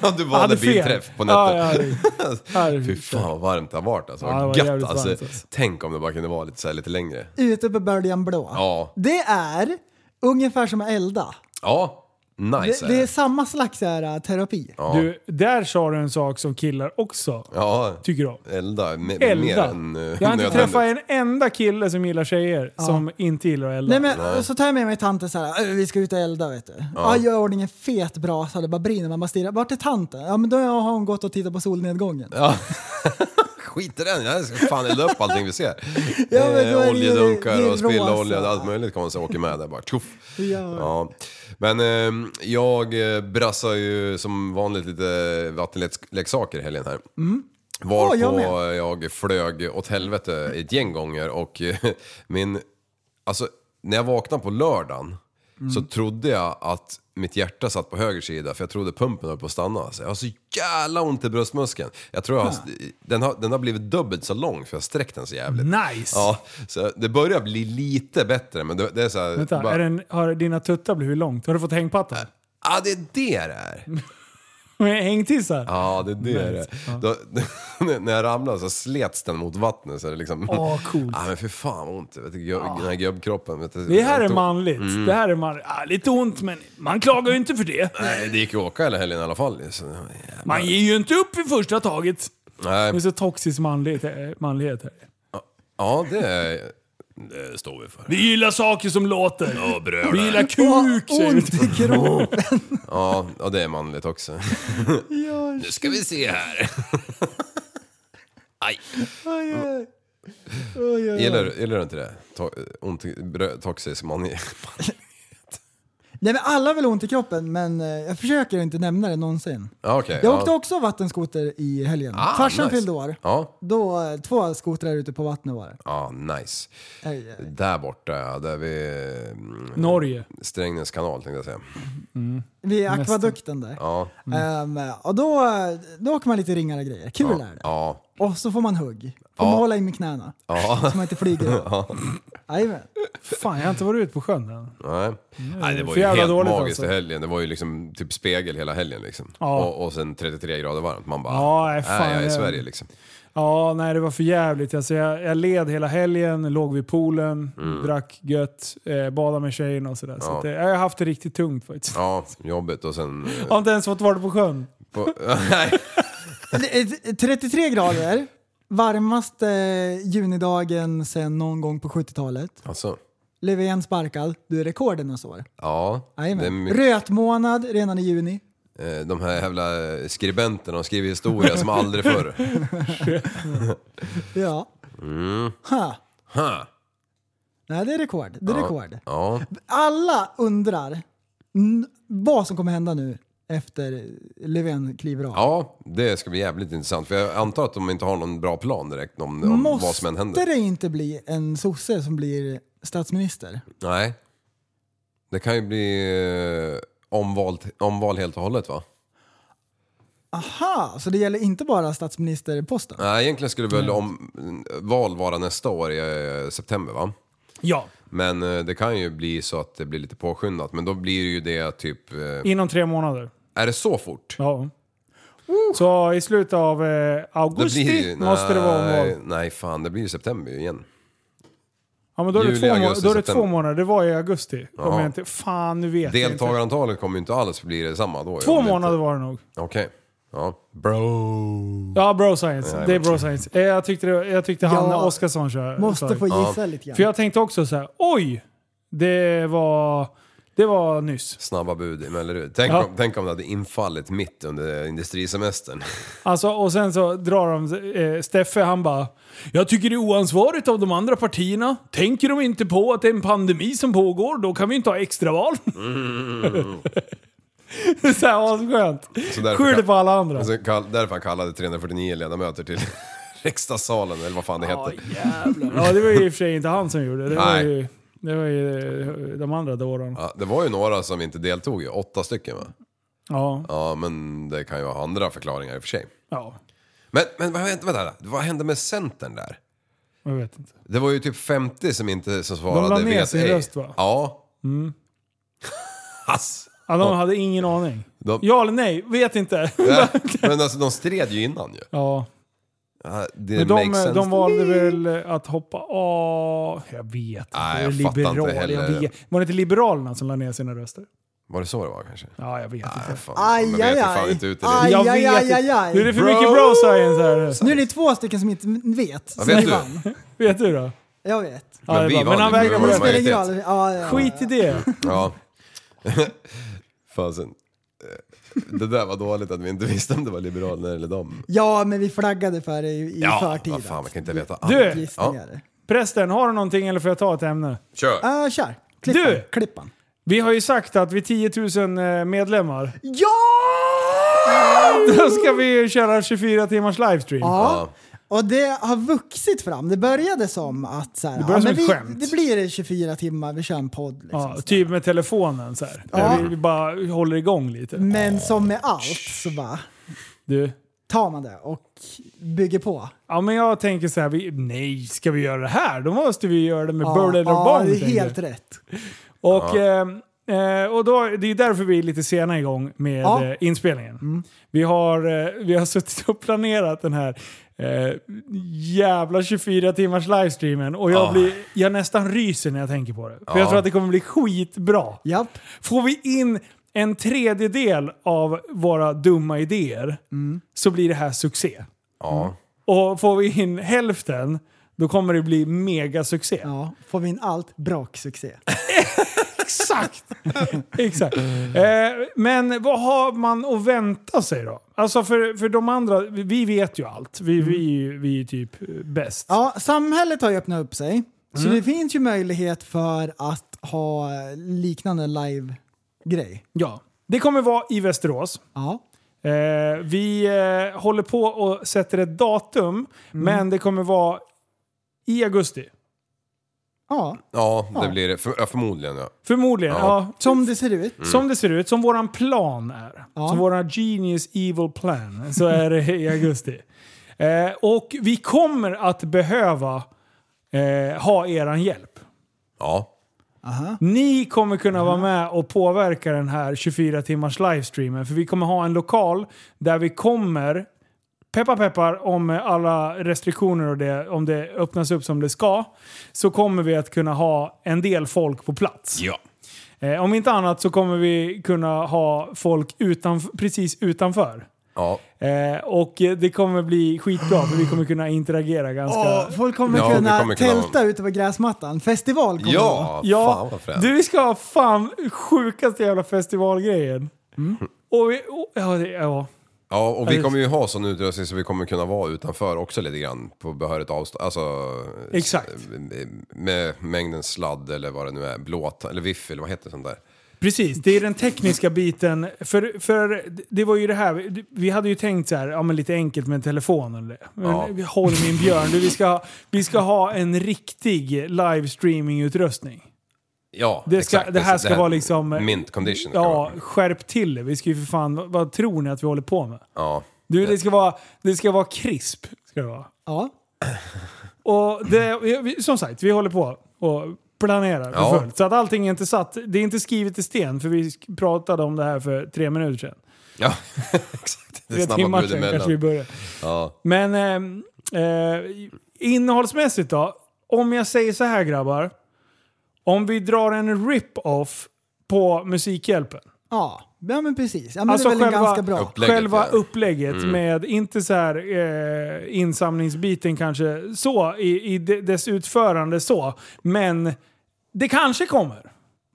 S4: Ja, du
S2: Jag
S4: valde
S2: hade fel.
S4: bilträff på nätterna.
S2: Ja, ja, ja. Ja,
S4: Fy fan vad varmt det har varit alltså.
S2: Ja, det var
S4: Vad Gött
S2: jävligt
S4: alltså.
S2: varmt, alltså.
S4: Tänk om det bara kunde vara lite, så här, lite längre.
S3: Ute på böljan blå.
S4: Ja.
S3: Det är ungefär som att elda.
S4: Ja. Nice
S3: Det, det är samma slags så här, terapi.
S2: Du, där sa du en sak som killar också
S4: Ja,
S2: tycker om.
S4: elda. Me- Mer
S2: Elda.
S4: än eh,
S2: Jag har inte
S4: nödvändigt.
S2: träffat en enda kille som gillar tjejer som inte gillar att elda.
S3: Nej, men, och Så tar jag med mig tanten så här, "Äh, vi ska ut och elda vet du. Ja. gör i ordning en fet brasa, det bara brinner, man bara stirrar. Vart är tanten? Ja men då har hon gått och tittat på solnedgången.
S4: Ja. Skit i den, jag ska fan elda upp allting vi ser.
S3: Ja, men då är
S4: eh,
S3: det ju- det
S4: oljedunkar
S3: är
S4: och spilla
S3: rosa.
S4: olja, allt möjligt konstigt åker med där bara. Tjoff.
S3: Ja.
S4: Ja. Men ehm, jag eh, brassar ju som vanligt lite vattenleksaker i helgen här.
S2: Mm.
S4: Varpå
S3: Åh, jag
S4: jag, flög åt helvete ett gäng gånger och eh, min... Alltså, när jag vaknade på lördagen så
S2: Mm.
S4: trodde jag att mitt hjärta satt på höger sida för jag trodde pumpen höll på att stanna. Alltså, jag har så jävla ont i bröstmuskeln. Jag tror jag har, den, har, den har blivit dubbelt så lång för jag har sträckt den så jävligt.
S2: Nice!
S4: Ja, så det börjar bli lite bättre men det, det är så här,
S2: Vänta,
S4: bara-
S2: är den, har dina tuttar blivit långt? Har du fått hängpatta?
S4: Ja, det är det det är.
S2: Hängtissar?
S4: Ja, det är det det är. Då, när jag ramlade så slets den mot vattnet så det liksom...
S2: Åh, coolt.
S4: Ja, men för fan vad ont. Vet du, gö- Den här gubbkroppen. Vet du,
S2: Det här är
S4: Jag tog-
S2: manligt. Det här är manligt. Ah, lite ont, men man klagar ju inte för det.
S4: Nej, det gick ju att åka hela helgen i alla fall. Så, ja.
S2: Man ger ju inte upp i första taget. Det är
S4: Nej,
S2: så toxisk manlighet, eh, manlighet här.
S4: ja, det, är- det står vi för.
S2: Vi gillar saker som låter.
S4: Ja, bröder.
S2: Vi gillar kuk,
S3: Åh,
S2: säger du.
S3: ont i kroppen!
S4: Ja, ja, det är manligt också.
S3: Ja,
S4: Nu ska vi se här. Aj.
S3: oj, oj. Oj, oj.
S4: Gillar, du- gillar du inte det? To ont, i brö- toxisk man.
S3: Nej men alla har väl ont i kroppen men eh, jag försöker inte nämna det någonsin.
S4: Ja, okej.
S3: Jag åkte
S4: ja.
S3: också vattenskoter i helgen.
S4: Ah,
S3: Farsan
S4: nice.
S3: fyllde år.
S4: Ja,
S3: Då, eh, två skotrar ute på vattnet var det. eh.
S4: ja, nice.
S3: Aj, aj.
S4: Där borta, ja, där vid mm,
S2: Norge.
S4: Strängnäs kanal tänkte jag säga.
S3: Vid akvadukten där.
S4: Ja.
S3: Ehm, och då, eh, då åker man lite ringar och grejer. Kul är det.
S4: Ja.
S3: Och så får man hugg. Får man hålla in med knäna. Så man inte flyger. Jajamän.
S2: Fan, jag har inte varit ute på sjön än.
S4: Nej. Nej, det var
S2: Mm. för
S4: ju
S2: jävla
S4: helt
S2: dåligt
S4: magiskt
S2: alltså.
S4: i helgen. Det var ju liksom typ spegel hela helgen liksom.
S2: Ja.
S4: Och, och sen 33 grader varmt. Man bara,
S2: Ja, nej, fan,
S4: nej, jag är i
S2: jag-
S4: Sverige liksom.
S2: Ja, nej det var för jävligt. Alltså, jag, jag led hela helgen, låg vid poolen, drack gött, eh, badade med tjejerna och sådär. Så
S4: Mm. Ja.
S2: att, eh, jag har haft det riktigt tungt faktiskt.
S4: Ja, jobbigt och sen... eh,
S2: Jag har inte ens fått vara på sjön.
S4: På, nej.
S3: Det är 33 grader. Varmaste junidagen sedan någon gång på 70-talet.
S4: Alltså,
S3: Löfven sparkad. Du är rekorden och så.
S4: ja. Det är
S3: Jajamän.
S4: mycket,
S3: Rötmånad redan i juni.
S4: eh, de här jävla eh, skribenterna, de skriver historia som aldrig förr.
S3: Ja. Ha.
S4: Mm. Ha.
S3: Nej, det är rekord. Det är rekord.
S4: Ja,
S3: Alla undrar n- vad som kommer hända nu efter Löfven kliver av.
S4: ja, det ska bli jävligt intressant. För jag antar att de inte har någon bra plan direkt om, om vad som än händer.
S3: Måste det inte bli en sosse som blir statsminister?
S4: Nej. Det kan ju bli eh, omval, omval helt och hållet va?
S3: Aha, så det gäller inte bara statsministerposten?
S4: Nej, egentligen skulle väl om, val vara nästa år i eh, september va?
S2: Ja,
S4: Men eh, det kan ju bli så att det blir lite påskyndat. Men då blir det ju det typ... eh,
S2: inom tre månader.
S4: Är det så fort?
S2: Ja. Så i slutet av eh, augusti måste det vara omval.
S4: nej, nej fan, det blir ju september ju igen.
S2: Ja, men då är det,
S4: Juli,
S2: två,
S4: augusti,
S2: må- då är det
S4: september.
S2: två månader. Det var i augusti. Om
S4: Ja.
S2: jag inte, fan, nu vet jag inte.
S4: Deltagarantalet kommer ju inte alls bli detsamma då. ju,
S2: Två
S4: om det inte-
S2: månader var det nog.
S4: Okej. Ja. Bro.
S2: Ja, bro science.
S4: Nej,
S2: det är
S4: men-
S2: bro science. Eh, Jag tyckte, det- jag tyckte han
S3: Ja,
S2: Oskarsson kör. sa
S3: Måste
S2: det.
S3: få gissa lite
S2: För
S3: grann.
S2: jag tänkte också så här: oj! Det var, det var nyss.
S4: Snabba bud i Mellerud. Tänk,
S2: Ja.
S4: om, tänk om det hade infallit mitt under industrisemestern.
S2: Alltså, och sen så drar de, eh, Steffe han bara “Jag tycker det är oansvarigt av de andra partierna. Tänker de inte på att det är en pandemi som pågår, då kan vi inte ha extraval?” Det är så här asskönt.
S4: Mm. Så därför
S2: Skyller
S4: kan-
S2: på alla andra.
S4: Alltså, kall, därför han kallade 349 ledamöter till riksdagssalen, eller vad fan det
S2: Ja,
S4: hette.
S2: jävlar. Ja, det var ju i och för sig inte han som gjorde det. Det var
S4: Nej.
S2: ju, det var ju eh, de andra dårarna.
S4: Ja, det var ju några som inte deltog ju, åtta stycken va?
S2: Ja.
S4: Ja, men det kan ju ha andra förklaringar i och för sig.
S2: ja,
S4: Men, men vad, hände, vänta, vad hände med Centern där?
S2: jag vet inte.
S4: Det var ju typ 50 som inte som svarade.
S2: la ner
S4: vet
S2: sin
S4: ej.
S2: röst, va? Mm.
S4: Ja. Ass.
S2: Ja, de hade ingen aning.
S4: De,
S2: Ja eller nej? Vet inte.
S4: Nej, men alltså de stred ju innan ju.
S2: Ja.
S4: Ja, Det
S2: Men
S4: makes
S2: de,
S4: sense.
S2: de valde väl att hoppa av... Jag vet inte.
S4: Nej,
S2: Det är
S4: jag fattar inte
S2: liberal,
S4: heller.
S2: jag vet. Var det inte Liberalerna som la ner sina röster?
S4: Var det så det var kanske?
S2: Ja, jag vet inte.
S4: Fan,
S3: Aj,
S4: man vet
S3: aj,
S4: ju fan
S3: aj.
S4: inte ut i
S3: Aj.
S4: det.
S2: Jag
S3: aj,
S2: vet
S3: aj,
S2: inte.
S3: aj, aj.
S2: Nu är det för mycket bro science här.
S3: Nu är ni två stycken som inte vet.
S4: Ja,
S3: som
S4: vet
S3: ni
S4: du?
S3: vann.
S2: Vet du då?
S3: Jag vet.
S2: Ja, det är
S4: vi
S2: bra.
S4: vann
S2: Men han
S4: ju,
S2: vägrar
S4: vi var
S3: Det
S4: ju
S2: bara-
S3: spelar ingen
S4: majoritet.
S3: roll. Ja, ja, ja.
S2: Skit i det.
S4: Ja. Fasen. eh, Det där var dåligt att vi inte visste om det var liberalerna eller dem.
S3: Ja, men vi flaggade för det i, i
S4: Ja,
S3: förtid. alltså.
S4: vad fan man kan inte veta allt.
S2: Du!
S3: Gissningar.
S2: Prästen, har du någonting eller får jag ta ett ämne?
S4: Kör!
S3: Ah, kör. Klippan.
S2: Du!
S3: Klippan.
S2: Vi har ju sagt att vid 10 000 eh, medlemmar,
S3: Ja!
S2: då ska vi ju köra 24 timmars livestream.
S3: Ja. Och det har vuxit fram. Det började som att så här, det,
S2: började som
S3: men
S2: ett
S3: vi,
S2: skämt.
S3: det blir 24 timmar, vi kör en podd. Liksom.
S2: Ja, typ med telefonen så här.
S3: Ja. Mm.
S2: Vi, vi bara håller igång lite.
S3: Men som med allt så bara
S2: Du,
S3: tar man det och bygger på.
S2: ja men jag tänker så här, vi, nej ska vi göra det här? Då måste vi göra det med Bird eller
S3: ja,
S2: Bomb.
S3: det är
S2: tänker jag.
S3: helt rätt.
S2: Och, eh, eh, och då, det är därför vi är lite sena igång med
S3: Ja. Mm.
S2: eh, inspelningen. Vi, har, eh, vi har suttit och planerat den här eh, jävla 24 timmars livestreamen och jag,
S4: Ah.
S2: blir, jag nästan ryser när jag tänker på det. För jag
S4: Ja.
S2: tror att det kommer bli skitbra.
S3: Japp.
S2: Får vi in en tredjedel av våra dumma idéer
S3: Mm.
S2: så blir det här succé.
S4: Ja.
S2: Och får vi in hälften då kommer det bli mega succé.
S3: Ja, får vi in allt, braksuccé.
S2: Exakt! Exakt. Eh, men vad har man att vänta sig då? Alltså för, för de andra, vi- vi vet ju allt. Vi, vi, är ju- vi är ju typ eh, bäst.
S3: Ja, samhället har ju öppnat upp sig. Så det finns ju möjlighet för att ha liknande live-grej.
S2: Ja. Det kommer vara i Västerås.
S3: Ja.
S2: Eh, vi eh, håller på och sätter ett datum, men det kommer vara i augusti.
S3: ja,
S4: Ja, det blir det. För, ja, förmodligen ja.
S2: Förmodligen. Ja.
S4: Ja.
S3: som det ser ut.
S2: Som det ser ut, som våran plan är.
S3: Ja.
S2: Som våran genius evil plan. Så är det i augusti. Eh, och vi kommer att behöva eh, ha eran hjälp.
S4: Ja.
S2: Ni kommer kunna vara med och påverka den här 24 timmars livestreamen. För vi kommer ha en lokal där vi kommer Peppar peppar, om alla restriktioner och det, om det öppnas upp som det ska, så kommer vi att kunna ha en del folk på plats.
S4: Ja.
S2: Eh, om inte annat så kommer vi kunna ha folk utanf- precis utanför.
S4: Ja.
S2: Eh, och eh, det kommer bli skitbra för vi kommer kunna interagera ganska...
S3: Åh, folk kommer
S4: Ja, vi
S3: kunna
S4: kommer kunna-
S3: tälta ute på gräsmattan. Festival kommer det vara.
S4: Ja, fan vad fränt.
S2: du vi ska ha fan sjukaste jävla festivalgrejen. Mm. Och vi, och, ja, det, ja.
S4: Ja, och vi kommer ju ha sån utrustning så vi kommer kunna vara utanför också lite grann på behörigt avstånd. Alltså,
S2: Exakt.
S4: s- Med mängden sladd eller vad det nu är, blåt eller viff eller vad heter sånt där?
S2: Precis, det är den tekniska biten. För, för det var ju det här, vi- vi hade ju tänkt så här, ja men lite enkelt med telefonen. eller- Men
S4: Ja.
S2: vi- Håll min björn, du, vi, ska, vi ska ha en riktig livestreamingutrustning.
S4: Ja,
S2: Det, ska,
S4: exakt. alltså,
S2: det här ska vara liksom...
S4: Mint condition. ska
S2: Ja,
S4: vara.
S2: skärp till det. Vi ska ju för fan... Vad, vad tror ni att vi håller på med?
S4: ja.
S2: Du, det ska vara, det ska vara krisp. Ska det vara.
S3: Ja.
S2: Och det, vi- vi- som sagt, vi håller på och planerar för
S4: Ja.
S2: fullt. Så att allting är inte satt. Det är inte skrivet i sten, för vi sk- pratade om det här för tre minuter sedan.
S4: ja. exakt. Det är
S2: Tre
S4: snabba
S2: timmar
S4: bud
S2: sedan kanske vi
S4: emellan.
S2: började.
S4: Ja.
S2: Men ehm, eh, innehållsmässigt då? Om jag säger så här grabbar. Om vi drar en rip-off på Musikhjälpen.
S3: Ja, ja men precis. Ja, men
S2: Alltså
S3: det är väl
S2: själva-
S3: ganska bra.
S4: Upplägget,
S2: Själva
S4: ja. Mm.
S2: upplägget med, inte så här eh, insamlingsbiten kanske så, i, i de- dess utförande så, men det kanske kommer.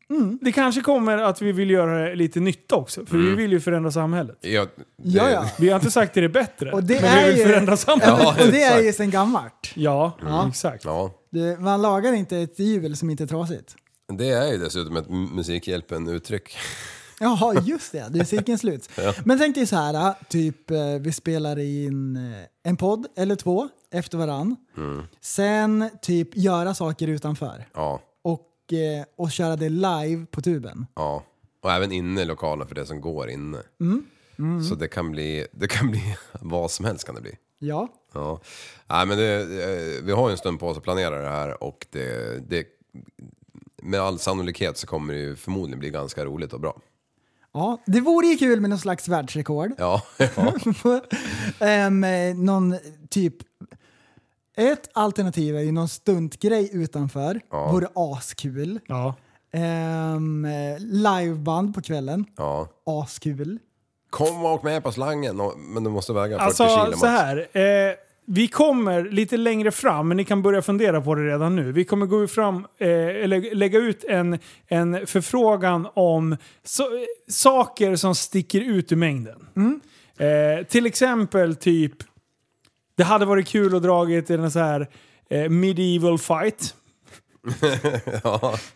S3: Mm.
S2: Det kanske kommer att vi vill göra lite nytta också, för
S4: Mm.
S2: vi vill ju förändra samhället.
S4: Ja, det-
S3: Ja, ja.
S2: Vi har inte sagt det är bättre,
S3: Och det
S2: men
S3: är
S2: vi vill
S3: ju-
S2: förändra
S3: Ja,
S2: samhället.
S3: men- och det är
S4: exakt.
S3: ju sen gammalt.
S2: Ja, exakt.
S4: ja.
S3: Du, man lagar inte ett hjul som inte är trasigt.
S4: Det är ju dessutom ett m- Musikhjälpen-uttryck.
S3: Jaha, just det. Det är cirkeln slut. Men tänk dig så här, typ eh, vi spelar in eh, en podd eller två efter varann. Sen typ göra saker utanför
S4: Ja,
S3: och, eh, och köra det live på tuben.
S4: ja. Och även inne i lokalen för det som går inne.
S2: Mm.
S4: Så det kan bli, det kan bli vad som helst kan det bli.
S3: Ja,
S4: Ja, Nej, men det, eh, vi har ju en stund på oss att planera det här och det, det, med all sannolikhet så kommer det ju förmodligen bli ganska roligt och bra.
S3: ja. det vore ju kul med någon slags världsrekord.
S4: Ja, ja,
S3: Ehm, eh, någon typ... Ett alternativ är ju någon stuntgrej utanför. Vore askul.
S2: Ja.
S3: Ehm, eh, liveband på kvällen.
S4: Ja.
S3: Askul.
S4: Kom och åk med på slangen, och- men du måste väga 40
S2: Alltså
S4: kilo
S2: så
S4: max.
S2: här. Eh, vi kommer lite längre fram, men ni kan börja fundera på det redan nu. Vi kommer gå fram, eh, eller lägga ut en, en förfrågan om so saker som sticker ut ur mängden. Eh, till exempel typ, det hade varit kul att dragit en så här eh, medieval fight.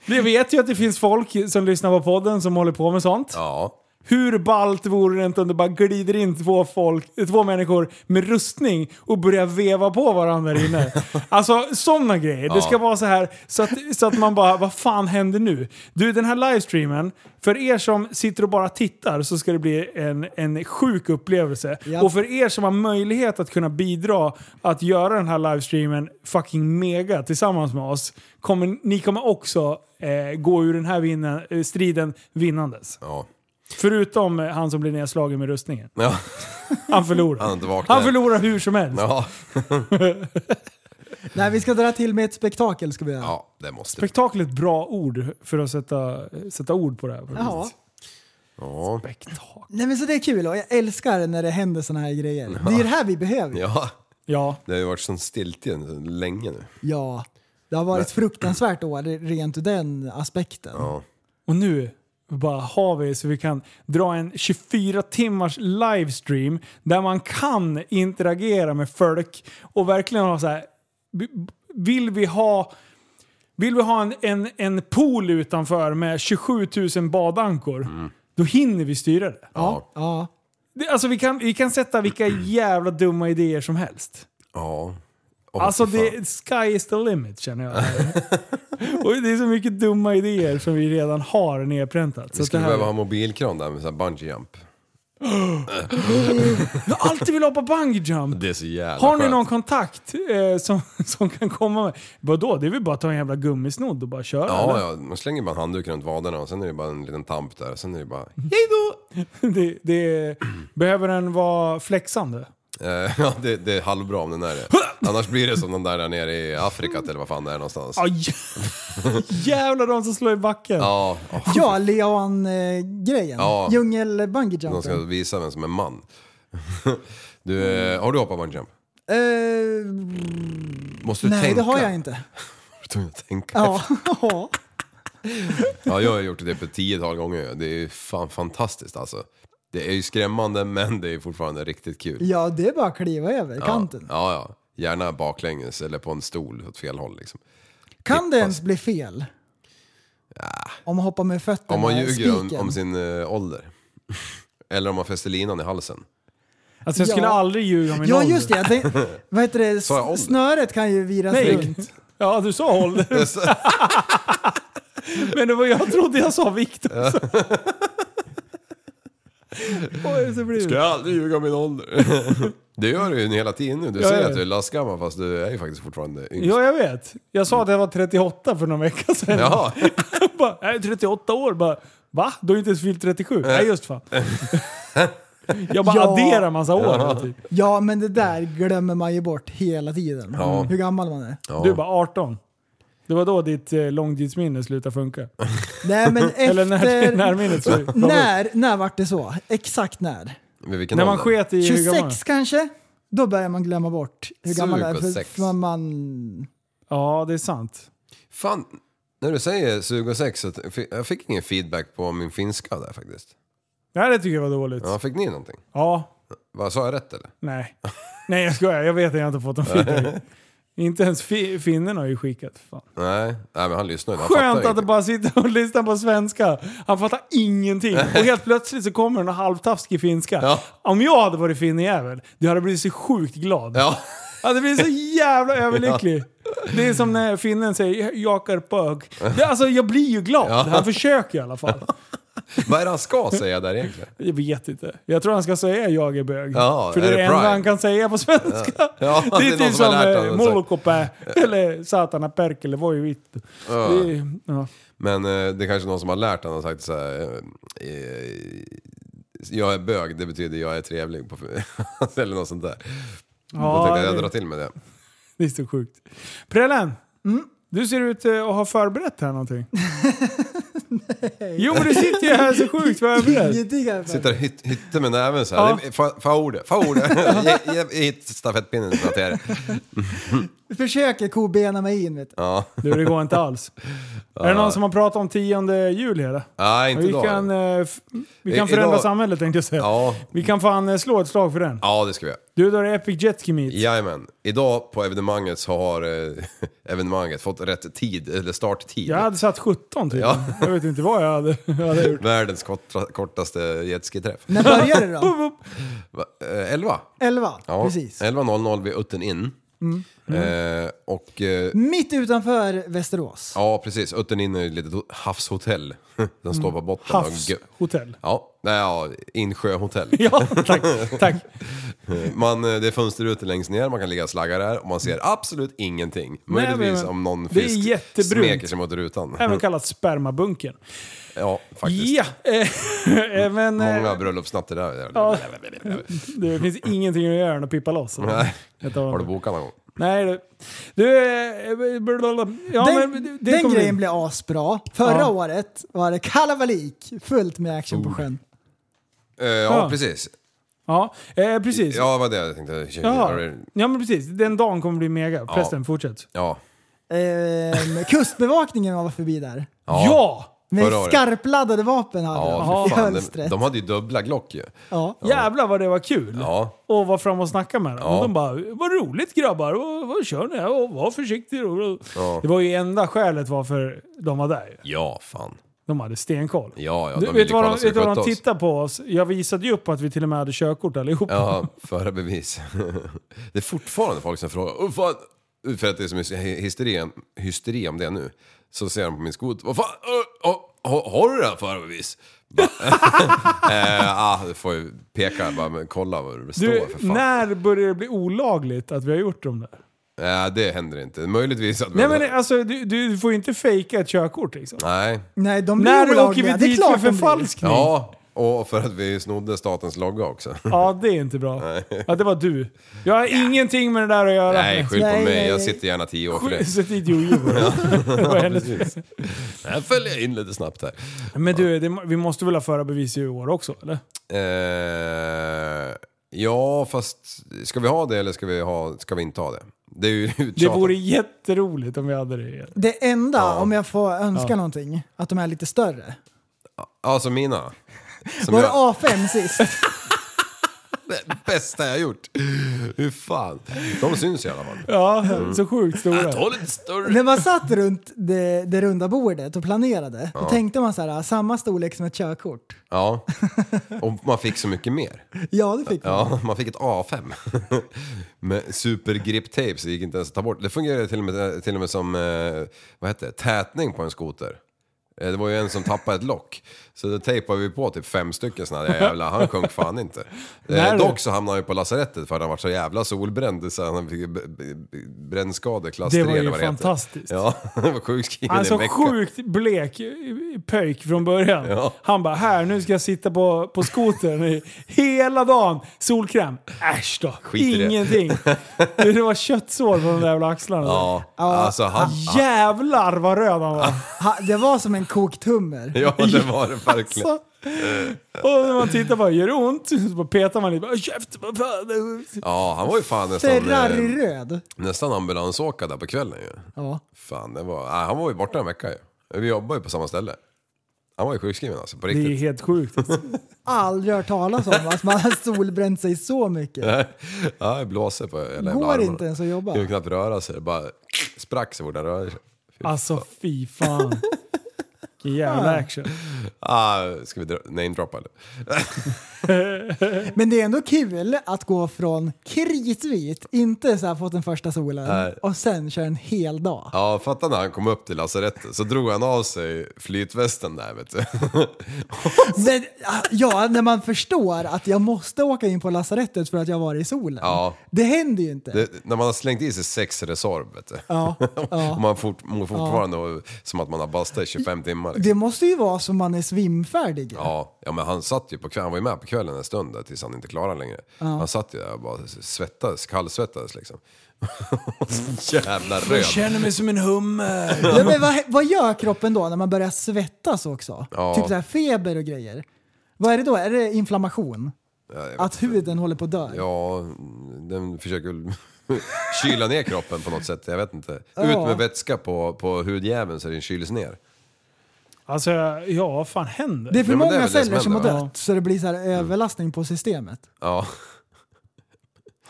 S2: Vi vet ju att det finns folk som lyssnar på podden som håller på med sånt.
S4: Ja.
S2: Hur ballt vore det inte om det bara glider in två, folk, två människor med rustning och börjar veva på varandra där inne? Alltså sådana grejer. Det ska vara så här så att, så att man bara, vad fan händer nu? Du, den här livestreamen, för er som sitter och bara tittar så ska det bli en, en sjuk upplevelse.
S3: Ja.
S2: Och för er som har möjlighet att kunna bidra att göra den här livestreamen fucking mega tillsammans med oss, kommer, ni kommer också eh, gå ur den här vinna, eh, striden vinnandes.
S4: Ja.
S2: Förutom eh, han som blir nedslagen med rustningen.
S4: Ja.
S2: Han förlorar.
S4: Han har inte vaknat
S2: Han
S4: än.
S2: förlorar hur som helst.
S4: Ja.
S3: Nej, vi ska dra till med ett spektakel ska vi göra.
S4: ja, det måste vi.
S2: Spektakel är ett bra ord för att sätta, sätta ord på det här.
S3: Ja.
S4: Ja.
S2: Spektakel.
S3: Nej men så det är kul och jag älskar när det händer såna här grejer. Det är det här vi behöver. Ja.
S4: ja,
S2: Ja.
S4: det har ju varit sån stiltje länge nu.
S3: Det har varit ett fruktansvärt år rent ur den aspekten.
S4: Ja.
S2: Och nu bara har vi så vi kan dra en 24 timmars livestream där man kan interagera med folk och verkligen ha så här. b- b- Vill vi ha Vill vi ha en, en, en pool utanför med 27 000 badankor, då hinner vi styra det.
S4: Ja.
S3: Ja.
S2: Det- Alltså vi kan, vi kan sätta vilka jävla dumma idéer som helst.
S4: ja.
S2: Alltså
S4: fy fan.
S2: det, sky is the limit känner jag. och det är så mycket dumma idéer som vi redan har nedpräntat. Så
S4: Vi
S2: att det
S4: skulle
S2: här,
S4: behöva ha mobilkran där med sån här bungee jump.
S2: jag har alltid velat hoppa bungee jump.
S4: Det är så jävla
S2: Har ni
S4: skönt.
S2: någon kontakt eh, som, som kan komma med? Vadå? Det är väl bara att ta en jävla gummisnodd och bara köra?
S4: Ja, ja, man slänger bara en handduk runt vaderna och sen är det bara en liten tamp där. Sen är det bara...
S2: eller? Det, det, behöver den vara flexande?
S4: Eh, Ja, det, det är halvbra om den är det. Annars blir det som den där där nere i Afrika eller vad fan det är någonstans.
S2: Aj! Jävlar de som slår i backen.
S4: Ja, åh.
S3: Ja, eh, Leon-grejen.
S4: Ja.
S3: Djungel bungee
S4: De ska
S3: jumpen.
S4: visa vem som är man. Du, eh, har du hoppat bungee jump?
S3: Eh,
S4: Måste du
S3: nej,
S4: tänka?
S3: det har jag inte.
S4: Du måste tänka.
S3: Ja. Ja.
S4: Ja, jag har gjort det på ett tiotal gånger. Det är ju fan fantastiskt alltså. Det är ju skrämmande men det är fortfarande riktigt kul.
S3: ja, det är bara att kliva över kanten.
S4: Ja, ja. Gärna baklänges eller på en stol åt fel håll liksom.
S3: Kan det ens bli fel? Om man hoppar med fötterna
S4: Om man
S3: i
S4: ljuger om,
S3: spiken.
S4: om sin eh, ålder. Eller om man fäster linan i halsen.
S2: Alltså jag skulle
S3: Ja.
S2: aldrig ljuga om min
S3: Ja
S2: ålder.
S3: just det, jag tänkte, vad heter det?
S4: Sa jag ålder?
S3: snöret kan ju viras
S2: Nej.
S3: runt.
S2: Ja, du sa ålder. Men det var, jag trodde jag sa vikt också. Oj, så blir det.
S4: jag aldrig ljuga om min ålder? det gör du ju hela tiden nu. Du
S2: Ja,
S4: säger
S2: ja.
S4: att du är lastgammal fast du är ju faktiskt fortfarande yngst.
S2: Ja, jag vet. Jag sa att jag var 38 för någon vecka sedan.
S4: Jaha.
S2: Bara, jag är 38 år. Bara, va? Du har inte ens fyllt 37? Nej, just fan. Jag bara
S3: Ja.
S2: adderar massa år. Typ.
S3: Ja men det där glömmer man ju bort hela tiden.
S4: Ja.
S3: Hur gammal man är.
S4: Ja.
S2: Du bara 18. Det var då ditt eh, långtidsminne slutade funka.
S3: Nej men efter...
S2: Eller när, när minnet slutade.
S3: när, när vart det så? Exakt när?
S4: Men vilken
S2: När man
S4: ålder?
S2: sket i hur gammal man
S3: 26 kanske? Då börjar man glömma bort hur gammal man är. För,
S4: 26.
S3: för man...
S2: Ja, det är sant.
S4: Fan, när du säger sug och sex, så fi- jag fick ingen feedback på min finska där faktiskt.
S2: Nej, det tycker jag var dåligt.
S4: Ja, fick ni någonting?
S2: ja
S4: Vad, sa jag rätt eller?
S2: Nej. Nej jag skojar, jag vet att jag inte har fått någon feedback. inte ens fi- finnen har ju skickat. Fan.
S4: Nej, Nej men han lyssnade ju. Han fattar
S2: Skönt
S4: ju
S2: att det
S4: inte.
S2: bara sitter och lyssnar på svenska. Han fattar ingenting. Och helt plötsligt så kommer en halvtaskig finska.
S4: Ja.
S2: Om jag hade varit finnjävel, du hade blivit så sjukt glad.
S4: Ja,
S2: Jag hade blivit så jävla överlycklig. Det är som när finnen säger “jakar pög”. Det- Alltså jag blir ju glad. Han försöker i alla fall.
S4: vad är det han ska säga där egentligen?
S2: Jag vet inte. Jag tror han ska säga “jag är bög”.
S4: Ja,
S2: För det
S4: är
S2: är det
S4: det
S2: enda
S4: Pride?
S2: han kan säga på svenska.
S4: Ja,
S2: det, är
S4: någon
S2: typ som
S4: har lärt honom
S2: eh,
S4: att
S2: Molokopä eller Satana Perkele var ju vitt. Det är- Ja.
S4: säga. Men eh, det är kanske någon som har lärt honom och sagt så här. eh, eh, Jag är bög, det betyder jag är trevlig. På, eller något sånt där. Då
S2: Ja,
S4: tänkte jag, jag
S2: det-
S4: drar till med det.
S2: Det är så sjukt. Prellen! mm, Du ser ut eh, att ha förberett här någonting. Jo men du sitter ju här så sjukt förberedd.
S3: Ingenting här.
S4: Sitter och hytt- hytter med näven så här. Det är- fa- Fa ordet, fa ordet. Ge- ge- Hit stafettpinnen till er.
S3: Försöker kobena mig in vet du.
S2: Du det går inte alls. Är det någon som har pratat om 10 juli eller?
S4: Nej, inte
S2: vi
S4: då.
S2: kan, eh, f- vi
S4: I-
S2: kan förändra
S4: idag-
S2: samhället tänkte jag säga.
S4: Ja.
S2: Vi kan fan eh, slå ett slag för den.
S4: Ja, det ska vi göra.
S2: Du, då är det Epic Jet Ski Meet.
S4: Jajamän. Idag på evenemanget så har eh, evenemanget fått rätt tid, eller starttid.
S2: Jag hade satt 17 typ.
S4: Ja.
S2: Jag vet inte vad jag hade, jag hade gjort.
S4: Världens korta, kortaste jetskiträff.
S3: När börjar det då?
S4: Va- eh, 11?
S3: 11?
S4: Ja, Eh.
S3: Precis.
S4: 11.00 vid Utten in.
S2: Mm.
S4: Eh, och... Eh,
S3: Mitt utanför Västerås.
S4: Ja, precis. Utten in är ju ett litet havshotell. Den står på botten. av en gö-
S2: Havshotell.
S4: Ja, nej, ja, insjöhotell.
S2: Ja, tack. tack.
S4: Man, eh, det är fönsterrutor längst ner, man kan ligga och slagga där och man ser absolut ingenting.
S2: men-
S4: Möjligtvis om någon
S2: Det är
S4: fisk
S2: jättebrunt.
S4: smeker sig mot rutan.
S2: Även kallat spermabunken.
S4: Ja, faktiskt.
S2: Ja! eh, eh, men, eh,
S4: Många bröllopsnätter där.
S2: Ja. Det finns ingenting att göra än att pippa loss.
S4: Nej.
S2: Ett av
S4: Har du
S2: dem.
S4: bokat någon gång?
S2: Nej du. Du... eh, blablabla. Ja,
S3: den
S2: men det- det
S3: den
S2: kommer-
S3: grejen blev asbra. Förra
S2: Ja.
S3: året var det kalabalik, fullt med action
S4: Oh.
S3: på sjön.
S4: Eh, ja, precis.
S2: Ja, eh, precis. Ja.
S4: Ja, vad det jag tänkte.
S2: Ja. men precis. Den dagen kommer bli mega. Prästen, fortsätt.
S4: Ja.
S3: Ehm, kustbevakningen var förbi där.
S2: Ja!
S3: Med
S4: Förra året.
S3: skarpladdade vapen hade
S4: Ja,
S3: de
S4: för
S3: i
S4: fan. De,
S3: hölstret.
S4: de hade ju dubbla Glock ju.
S3: Ja.
S2: Jävlar vad det var kul!
S4: Ja.
S2: Och var fram och snacka med dem.
S4: Ja.
S2: Och de bara “Vad roligt grabbar, och, vad kör ni? Och, var försiktig!” och,
S4: Ja.
S2: Det var ju enda skälet varför de var där.
S4: Ja, fan.
S2: De hade stenkoll.
S4: Ja, ja,
S2: du,
S4: de ville
S2: vet vad de,
S4: kolla så vi
S2: vet du vad de
S4: skötte oss.
S2: tittade på oss? Jag visade ju upp att vi till och med hade körkort allihopa.
S4: Ja, förarbevis. Det är fortfarande folk som frågar "Åh, fan. För att det är som hysteri, hysteri om det nu. Så ser de på min skoter. Vad fan, åh, åh, har, har du det här förarbevis? Bara, eh, ah, du får ju peka bara, men kolla vad det står
S2: du,
S4: för fan.
S2: när börjar det bli olagligt att vi har gjort dem där?
S4: Nej, Eh, det händer inte. Möjligtvis att...
S2: Nej men alltså, du, du får ju inte fejka ett körkort liksom.
S4: Nej.
S3: Nej, de blir
S2: När åker
S3: olagliga.
S2: vi
S3: Det är
S2: dit
S3: klart
S2: för
S3: de blir.
S2: förfalskning? Ja.
S4: Ja, och för att vi snodde statens logga också.
S2: det är inte bra. Ja, det var du. Jag har ingenting med det där att göra.
S4: Nej, skyll på
S3: Nej, nej,
S4: mig. Jag
S3: nej.
S4: sitter gärna tio år för det.
S2: Sätt dit jojo bara. Det var hennes fel.
S4: Jag följer in lite snabbt här.
S2: Men du, det, vi måste väl ha förarbevis i år också eller?
S4: Eh, ja, fast ska vi ha det eller ska vi, ha, ska vi inte ha det? Det är ju
S2: Det
S4: uttjatat.
S2: vore jätteroligt om vi hade det i år.
S3: Det enda, om jag får önska någonting, att de är lite större.
S4: Alltså mina. Som
S3: Var det
S4: jag,
S3: A5 sist?
S4: det bästa jag gjort. Hur fan. De syns i alla fall.
S2: Ja,
S4: Mm.
S2: så sjukt stora.
S4: Ta lite större.
S3: När man satt runt det, det runda bordet och planerade, då tänkte man så här, "Ah, samma storlek som ett körkort.
S4: Ja, och man fick så mycket mer.
S3: Ja, det fick man.
S4: Ja, man fick ett A5. med supergrip-tape så det gick inte ens att ta bort. Det fungerade till och med, till och med som eh, vad heter det? tätning på en skoter. Eh, Det var ju en som tappade ett lock. Så då tejpade vi på typ fem stycken sådana där jävla. Han sjönk fan inte.
S2: Nej,
S4: Eh,
S2: du.
S4: dock så hamnade han ju på lasarettet för att han var så jävla solbränd. Så han fick b- b- brännskador klass
S2: Det
S4: 3
S2: var ju
S4: eller vad det heter.
S2: fantastiskt.
S4: Ja, han var sjukskriven
S2: Han
S4: i en
S2: så
S4: vecka.
S2: sjukt blek eh, pöjk från början.
S4: Ja.
S2: Han bara “Här, nu ska jag sitta på, på skotern i hela dagen. Solkräm. Äsch då.
S4: Skit i det."
S2: Ingenting. Det. det var köttsår på de där jävla axlarna.
S4: Ja, alltså han...
S2: Jävlar vad röd han var.
S3: Ha, det var som en kokt hummer.
S4: Ja, det var det verkligen.
S2: Så. Och när man tittar bara, gör det ont? Så bara petar man lite. bara, Käft, vad fan.
S4: Ja, han var ju fan nästan... eh,
S3: Ferrari-röd.
S4: Nästan ambulansåka där på kvällen ju.
S3: Ja.
S4: Fan, det var, nej, han var ju borta en vecka ju. Vi jobbar ju på samma ställe. Han var ju sjukskriven alltså, på
S2: Det är
S4: riktigt.
S2: helt sjukt.
S3: Aldrig hört talas om att man har solbränt sig så mycket.
S4: Ja, jag blåser på hela jävla
S3: Går
S4: armarna.
S3: inte ens att jobba.
S4: Kunde knappt röra sig, det bara sprack så fort han rörde sig.
S2: Alltså fy fan. Vilken jävla action.
S4: Ah, ska vi dra- namedroppa eller?
S3: Men det är ändå kul att gå från kritvit, inte så här fått den första solen,
S4: Nej.
S3: och sen köra en hel dag.
S4: Ja, fatta när han kom upp till lasarettet så drog han av sig flytvästen där vet du.
S3: Men, ah, ja, när man förstår att jag måste åka in på lasarettet för att jag var i solen.
S4: Ja.
S3: Det händer ju inte.
S4: Det, när man har slängt i sig sex Resorb vet du.
S3: Ja, ja.
S4: Och man fort, mår fortfarande som att man har bastat i 25 timmar. liksom.
S3: Det måste ju vara som man är svimfärdig.
S4: Ja, ja, men han satt ju på kvällen, han var ju med på kvällen en stund där, tills han inte klarade längre. Han satt ju där och bara svettades, kallsvettades liksom. Jävla röd.
S2: känner mig som en hummer.
S3: Ja, men vad, vad gör kroppen då när man börjar svettas också?
S4: Ja.
S3: Typ så här feber och grejer. Vad är det då? Är det inflammation? att huden håller på att dö?
S4: Ja, den försöker väl kyla ner kroppen på något sätt, jag vet inte. Ut
S3: Ja.
S4: med vätska på, på hudjäveln så den kyls ner.
S2: Alltså, ja vad fan händer?
S3: Det är för
S4: Ja, men det är
S3: många
S4: väl det som
S3: celler som har
S4: händer,
S3: dött
S2: va?
S3: så det blir så här överlastning på systemet.
S4: Ja.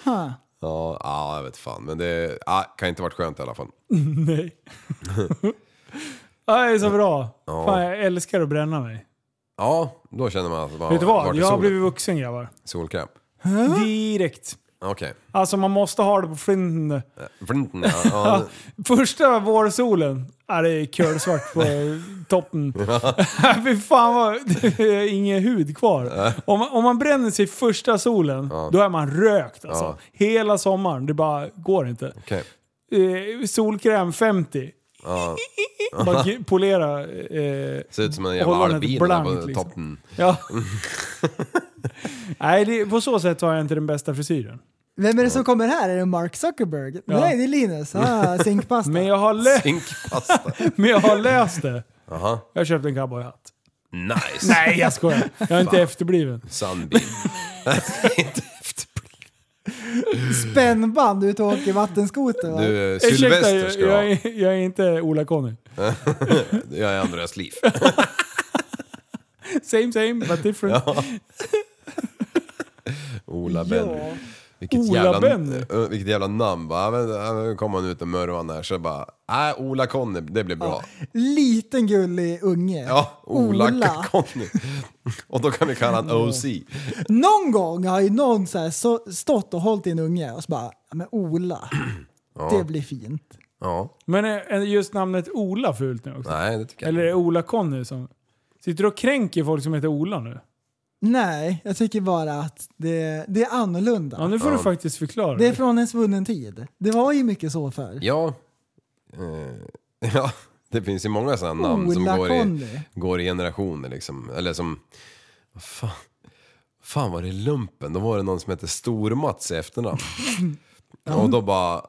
S3: Ha.
S4: Ja, ja, jag vet fan. Men det ja, kan inte varit skönt i alla fall.
S2: Nej. Ja, det är så bra. Fan, jag älskar att bränna mig.
S4: Ja, då känner man att man
S2: Vet du
S4: har
S2: vad?
S4: varit i
S2: Jag har
S4: solen. Äh?
S2: blivit vuxen grabbar.
S4: Solkräm.
S2: Direkt.
S4: Okej.
S2: Alltså man måste ha det på flinten.
S4: Flinten, ja, ja.
S2: Första vårsolen. Ja, det är kölsvart på toppen. Fy fan vad... Det är ingen hud
S4: Äh.
S2: kvar. Om man, om man bränner sig i första solen, då är man rökt alltså.
S4: Ja.
S2: Hela sommaren. Det bara går inte.
S4: Okej.
S2: Eh, solkräm 50. Bara g- polera... Eh,
S4: Ser ut som en jävla
S2: Håller den
S4: albin där
S2: blank,
S4: på
S2: liksom.
S4: toppen.
S2: ja. Nej, det, på så sätt har jag inte den bästa frisyren.
S3: Vem är det som kommer här? Är det Mark Zuckerberg?
S2: Ja.
S3: Nej, det är Linus. Ah, zinkpasta.
S2: Men jag har, lä-
S4: Zinkpasta.
S2: men jag har löst det. Jag har köpt en cowboyhatt.
S4: Nice.
S2: Nej, jag skojar. Jag är inte efterbliven.
S4: Sandbil. Inte efter-
S3: Spännband ute och åker vattenskoter va?
S4: du, eh,
S2: Ursäkta,
S4: Sylvester
S2: jag,
S4: ska du ha.
S2: jag, är- jag är inte Ola-Conny.
S4: Jag är Andreas liv.
S2: Same same, but different.
S4: Ola
S3: ja.
S4: Benny. Vilket,
S2: Ola
S4: jävla,
S2: Benny.
S4: eh, vilket jävla namn. Bara, men, eh, nu kommer han ut och mörvan här så bara, nej Ola Conny, det blir bra.
S3: Liten gullig unge.
S4: Ja, Ola,
S3: Ola.
S4: Conny. Och då kan vi kalla han OC.
S3: Någon gång har ju någon så här så, stått och hållit i en unge och så bara, "Ja, men Ola, det blir fint.
S4: Ja,
S2: Men är är just namnet Ola fult nu också?
S4: nej det tycker jag
S2: Eller
S4: inte.
S2: är det Ola-Conny som... Sitter du och kränker folk som heter Ola nu?
S3: Nej, jag tycker bara att det, det är annorlunda.
S2: Ja, nu får du faktiskt förklara.
S3: Det är från en svunnen tid. Det var ju mycket så förr.
S4: Ja. Eh, ja, det finns ju många sådana namn som
S3: Ola
S4: går i,
S3: Conny.
S4: går i generationer liksom. Eller som, vad fan, fan var det i lumpen? Då var det någon som hette Stor-Mats i efternamn. Och då bara,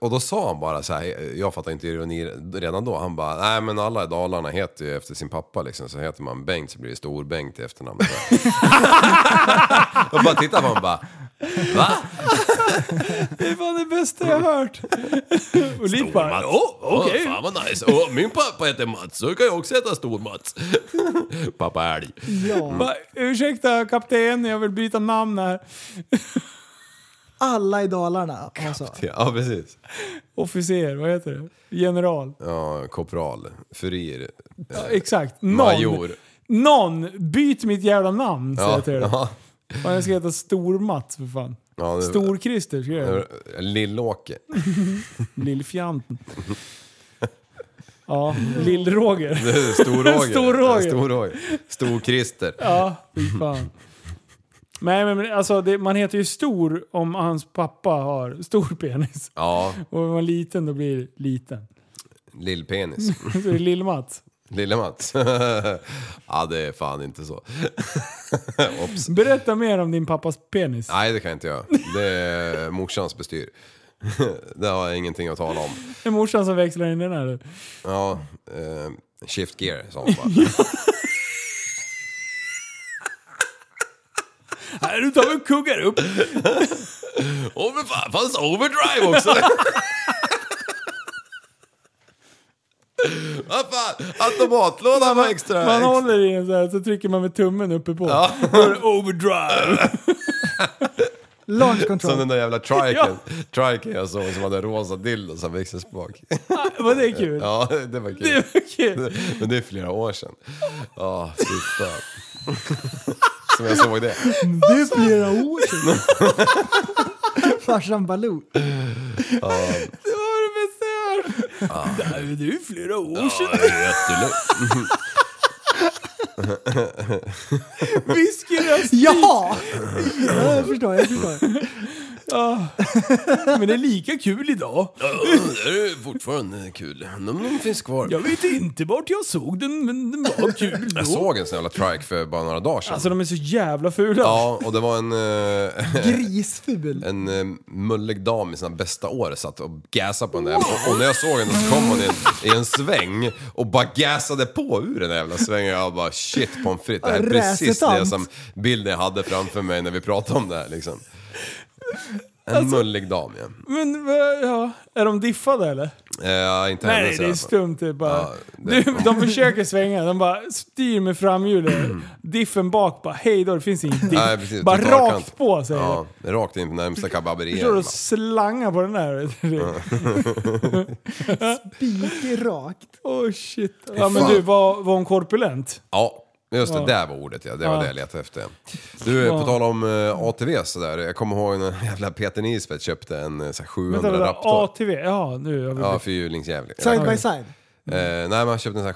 S4: och då sa han bara så här, jag fattar inte ironi redan då. Han bara, nej men alla i Dalarna heter ju efter sin pappa liksom. Så heter man Bengt så blir det Stor-Bengt i efternamn. jag bara tittar på honom och bara, va?
S2: Det var det bästa jag hört. och Liv bara...
S4: Åh, oh, okej. Fan vad nice. Åh, min pappa heter Mats, så kan jag också heta Stor-Mats. pappa älg.
S3: Ja,
S2: Bara, ursäkta kapten, jag vill byta namn här.
S3: alla i Dalarna. Alltså.
S4: Ja, precis.
S2: Officer, vad heter det? General.
S4: Ja, korpral, furir,
S2: Ja, exakt. Någon.
S4: major.
S2: Någon! Byt mitt jävla namn, säger
S4: Ja,
S2: jag till dig.
S4: ja.
S2: Fan, jag ska heta Stor-Mats för fan.
S4: Ja, det-
S2: Stor-Christer ska jag heta.
S4: Lill-Åke.
S2: Lill-Fjanten. Ja, Lill-Roger.
S4: Stor-Roger.
S2: Stor-Roger.
S4: Stor-Roger. Stor-Christer.
S2: Ja, fy fan. Nej men men alltså, det, man heter ju Stor om hans pappa har stor penis.
S4: Ja,
S2: Och om man är liten då blir det liten.
S4: Lill-Penis.
S2: Så det är Lill-Mats.
S4: Lille-Mats. ja, det är fan inte så. Ops.
S2: Berätta mer om din pappas penis.
S4: Nej, det kan jag inte göra. Det är morsans bestyr. det har jag ingenting att tala om.
S2: Det är morsan som växlar in den här.
S4: Ja, eh, shift gear sa hon bara.
S2: Nej, du tar väl kuggar upp.
S4: Åh men fan, fanns overdrive också? Vad fan, automatlådan var extra.
S2: Man håller i den så här, så trycker man med tummen uppe på.
S4: Ja.
S2: Overdrive!
S3: Launch
S4: Som den
S3: control.
S4: där jävla triken, triken jag såg som hade rosa dildo som växelspak.
S2: Vad det är kul.
S4: Ja, det var kul.
S2: Det var kul.
S4: Men det är flera år sedan. Ja, fy fan. Som jag såg det.
S3: Det är flera år sedan. Farsan Baloo.
S2: Det var det bästa jag hört. Det här är ju flera år sedan.
S4: Ja, det är jättelugnt.
S2: Whisky i röst.
S3: Ja! ja! Jag förstår, jag förstår.
S2: Men det är lika kul idag.
S4: Det är fortfarande kul. De finns kvar.
S2: Jag vet inte vart jag såg den, men den var kul
S4: Jag
S2: då.
S4: såg en sån jävla trike för bara några dagar sedan.
S2: Alltså de är så jävla fula.
S4: Ja, och det var en, eh,
S3: Grisful.
S4: en eh, mullig dam i sina bästa år satt och gasade på den där jävla- och, och när jag såg henne så kom hon i en, i en sväng och bara gasade på ur den där jävla svängen. Jag bara shit pommes frites, det här är precis det
S3: Räsetant.
S4: som bilden jag hade framför mig när vi pratade om det här liksom. En
S2: Alltså-
S4: mullig dam ja.
S2: Men va- ja, är de diffade eller?
S4: Eh, inte
S2: Nej,
S4: hennes i
S2: det är
S4: alla fall.
S2: stumt. Det är bara,
S4: Ja, det-
S2: du, de försöker svänga, de bara styr med framhjulet. Diffen bak bara, hej då, det finns ingen diff.
S4: Nej, precis,
S2: bara
S4: totalkant.
S2: rakt på säger de.
S4: Ja, rakt in på närmsta
S2: Förstår du?
S4: kababeria.
S2: Slanga på den där.
S3: Spikrakt.
S2: Åh shit. Ja men du, var, var hon korpulent?
S4: Ja, just det.
S2: Ja.
S4: Där var ordet ja. Det var
S2: Ja.
S4: det jag letade efter. Du, på tal om eh, ATV sådär. Jag kommer ihåg när jävla Peter Nisbet köpte en eh, så här
S2: Vänta,
S4: 700
S2: vänta,
S4: Raptor.
S2: ATV? Ja, nu har vi
S4: Ja,
S2: ja.
S4: fyrhjulingsjävling.
S3: Side
S4: Eh,
S3: by side.
S4: nej, men han köpte en sån här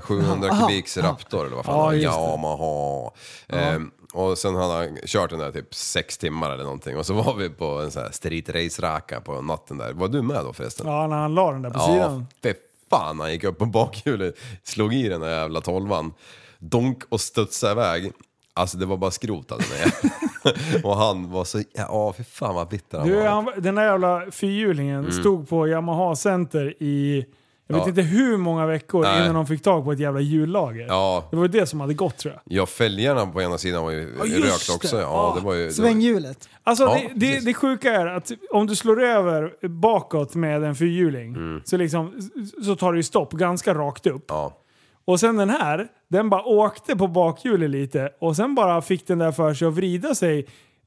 S4: 700, 700
S3: Aha,
S4: kubiks
S3: aha.
S4: Raptor eller vad fan
S2: Ja,
S4: ja,
S2: just det.
S4: Yamaha. Eh, och sen hade han kört den där typ sex timmar eller någonting. Och så var vi på en sån här street race-raka på natten där. Var du med då förresten?
S2: ja, när han la den där på sidan.
S4: fy fan han gick upp på bakhjulet, slog i den där jävla tolvan. Donk och studsade iväg. Alltså det var bara skrot av den där jäveln. Och han var så, ja åh, fy fan vad bitter han
S2: Du,
S4: var.
S2: han, den där jävla fyrhjulingen stod på Yamaha Center i jag vet inte
S4: Ja.
S2: hur många veckor
S4: Nej.
S2: innan de fick tag på ett jävla hjullager.
S4: Ja.
S2: Det var ju det som hade gått tror jag.
S4: Ja fälgarna på ena sidan var ju
S2: Ja, just
S4: rökt också.
S2: det.
S4: Ja,
S2: Ah.
S4: det var ju, det var,
S3: Svänghjulet.
S2: Alltså
S4: Ja,
S2: det, det,
S4: precis.
S2: det sjuka är att om du slår över bakåt med en fyrhjuling så, liksom, så tar det ju stopp ganska rakt upp.
S4: Mm. ja.
S2: Och sen den här, den bara åkte på bakhjulet lite och sen bara fick den där för sig att vrida sig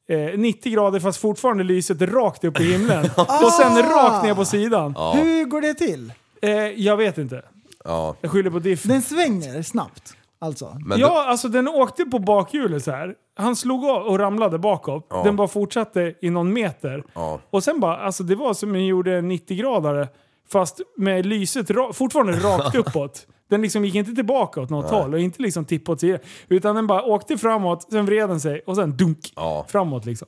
S2: eh, 90 grader fast fortfarande lyset rakt upp i himlen. och sen rakt ner
S4: Ah.
S2: på sidan.
S3: Hur går det till?
S2: Eh, jag vet inte.
S4: ja.
S2: Jag skyller på diff.
S3: Den svänger snabbt. Alltså.
S4: Men
S2: ja, alltså den åkte på bakhjulet så här. Han slog av och ramlade bakåt. Den bara fortsatte i någon meter.
S4: Ja.
S2: Och sen bara, alltså det var som en gjorde en 90-gradare. Fast med lyset ra- fortfarande rakt uppåt. Den liksom gick inte tillbaka åt något håll och inte liksom tippade åt sidan. Utan den bara åkte framåt, sen vred den sig och sen dunk!
S4: Ja.
S2: Framåt liksom.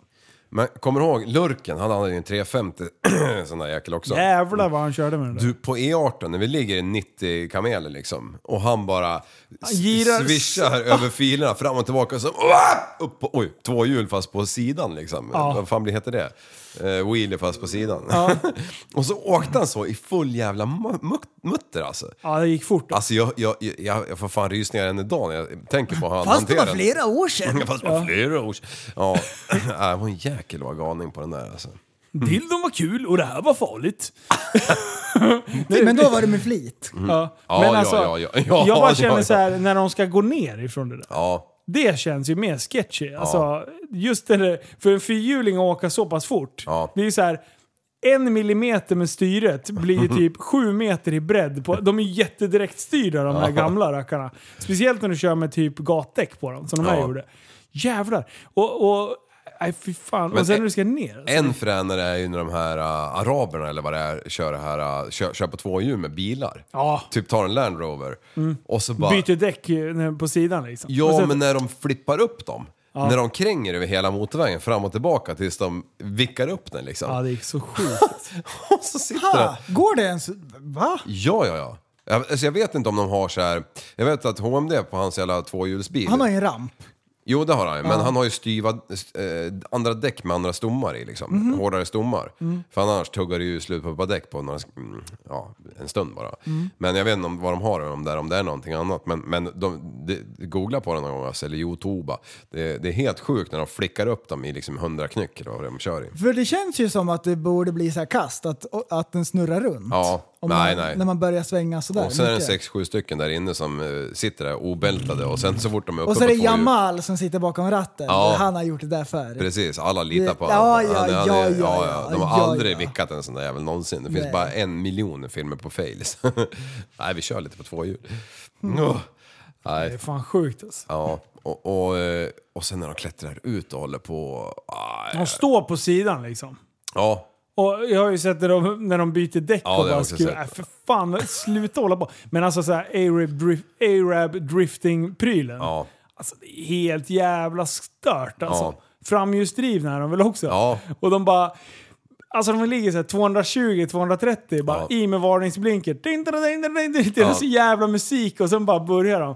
S4: Men kommer du ihåg Lurken? Han hade ju en 350 sån där jäkel också.
S2: Jävlar vad han körde med den där.
S4: Du, på E18, när vi ligger i 90 kameler liksom, och han bara s-
S2: girar-
S4: swishar
S3: Ah.
S4: över filerna fram och tillbaka och så Oah! upp på, oj, två hjul fast på sidan liksom.
S3: Ah.
S4: Vad fan blir- heter det? Eh, wheelie fast på sidan. och så åkte han så i full jävla mu- mu- mutter alltså.
S2: Ja, det gick fort.
S4: Alltså jag, jag, jag, jag får fan rysningar än idag när jag tänker på hur han
S3: Fast det var
S4: hanterar den.
S3: flera år sedan.
S4: Fast det var flera år sedan. Ja, det var en jäkel vad galning på den där alltså.
S2: Dildon var kul och det här var farligt.
S3: Men då var det med flit.
S2: Ja.
S4: Ja,
S2: Men
S4: ja,
S2: alltså,
S4: ja, ja. Ja,
S2: jag bara
S4: ja,
S2: känner
S4: ja.
S2: så här när de ska gå ner ifrån det där.
S4: Ja,
S2: Det känns ju mer sketchy. Alltså, just det där, för en fyrhjuling att åka så pass fort.
S4: Ja.
S2: Det är ju så här, en millimeter med styret blir ju typ sju meter i bredd. På, de är ju jättedirektstyrda de här gamla rackarna. Speciellt när du kör med typ gatdäck på dem, som de här
S4: Ja.
S2: gjorde. Jävlar! Och, och nej fy fan.
S4: Men
S2: och sen
S4: en-
S2: när du ska ner. alltså.
S4: En fränare är ju när de här äh, araberna eller vad det är kör, det här, äh, kör, kör på två hjul med bilar.
S2: Ja. Mm.
S4: Typ tar en Land Rover och så bara...
S2: Byter däck eh, på sidan liksom.
S4: Ja,
S2: Och sen-
S4: men när de flippar upp dem. När de kränger över hela motorvägen fram och tillbaka tills de vickar upp den liksom.
S2: Ja, det gick så sjukt.
S4: Och så sitter den.
S3: Ha, går det ens? Va?
S4: Ja, ja, ja. Jag, alltså jag vet inte om de har så här. Jag vet att HMD på hans jävla tvåhjulsbil.
S3: Han har ju en ramp.
S4: Jo, det har han ju. Men han har ju styva, eh, andra däck med andra stommar i liksom.
S3: Mhm.
S4: Hårdare stommar.
S3: Mm.
S4: För annars tuggar det ju slut på ett par däck på några, mm, ja, en stund bara.
S3: Mm.
S4: Men jag vet inte om, vad de har, om det, är- om det är någonting annat. Men, men de, de, googla på den någon gång, alltså, eller Youtube. Det, det är helt sjukt när de flickar upp dem i liksom 100 knyck eller vad de kör i.
S3: För det känns ju som att det borde bli så här kast, att, att den snurrar runt.
S4: Ja,
S3: Om
S4: nej,
S3: man,
S4: nej.
S3: När man börjar svänga sådär.
S4: Och sen är det
S3: mycket.
S4: sex, sju stycken där inne som eh, sitter där obältade och sen så fort de är uppe
S3: Och så är det
S4: på två hjul-
S3: Jamal som sitter bakom ratten.
S4: Ja.
S3: Han har gjort det där förr.
S4: Precis, alla litar på
S3: Ja,
S4: honom.
S3: ja,
S4: Han är- han är-
S3: ja, ja,
S4: De har
S3: ja,
S4: aldrig
S3: ja.
S4: vickat en sån där jävel någonsin. Det finns
S3: Nej.
S4: bara en miljon filmer på fails. Nej, vi kör lite på två hjul.
S3: Mm.
S4: Åh, Nej,
S2: Det är fan sjukt alltså.
S4: ja. Och, och, eh, och sen när de klättrar ut och håller på... Aj,
S2: De står på sidan liksom.
S4: ja,
S2: Och jag har ju sett när de, när de byter däck
S4: Ja, det
S2: och
S4: har jag
S2: bara
S4: också
S2: skruvar.
S4: sett.
S2: Äh, för fan, sluta hålla på. Men alltså så här Arab, drif, Arab drifting-prylen.
S4: ja.
S2: Alltså det är helt jävla stört alltså.
S4: Ja.
S2: framhjulsdrivna är de väl också?
S4: Ja.
S2: Och de bara... Alltså de ligger såhär 220-230 bara
S4: Ja.
S2: i med varningsblinkert. Ding, ding, ding, ding, ding, ding. Det är
S4: Ja.
S2: så jävla musik och sen bara börjar de.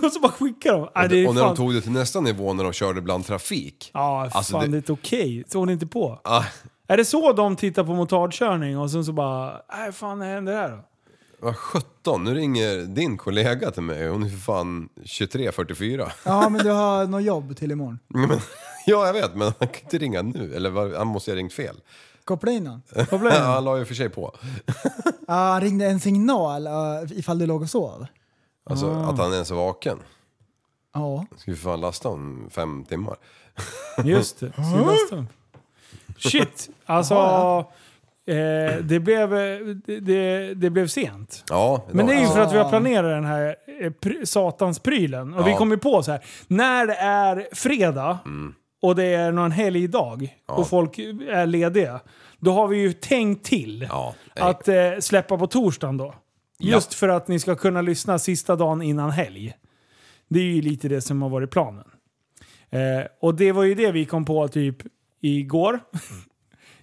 S2: Och så bara skickar de. Äh, det är
S4: Och när de
S2: fan-
S4: tog det till nästa nivå när de körde bland trafik.
S2: Ja,
S4: Alltså,
S2: fan det
S4: det-
S2: är inte okej. Såg ni inte på?
S4: Ah,
S2: Är det så de tittar på motardkörning och sen så bara... Nej, fan vad händer här då?
S4: vad 17, nu ringer din kollega till mig. Hon är för fan 23-44.
S3: Ja, men du har något jobb till imorgon.
S4: ja, jag vet, men han kan inte ringa nu. Eller var- han måste ha ringt fel.
S3: Koppla in honom.
S2: Vad blev
S4: Ja,
S2: det?
S4: han la ju för sig på.
S3: Ja, han ringde en signal uh, ifall du låg och sov.
S4: Alltså
S2: Ah.
S4: att han ens är vaken.
S3: Ja.
S4: Ska vi för fan lasta om fem timmar.
S2: Just det. Sydvästen. Shit! Alltså... Eh, det, blev, eh, det- det, det blev sent.
S4: Ja,
S2: Men det är ju
S4: idag.
S2: för att vi har planerat den här eh, pr- satans prylen. Och vi
S4: Ja. Mm.
S2: kom ju på så här. när det är fredag och det är någon helgdag och folk är lediga. Då har vi ju tänkt till
S4: Ja, nej.
S2: att eh, släppa på torsdagen då. Just för att ni ska kunna lyssna sista dagen innan helg. Det är ju lite det som har varit planen. Eh, och det var ju det vi kom på typ igår.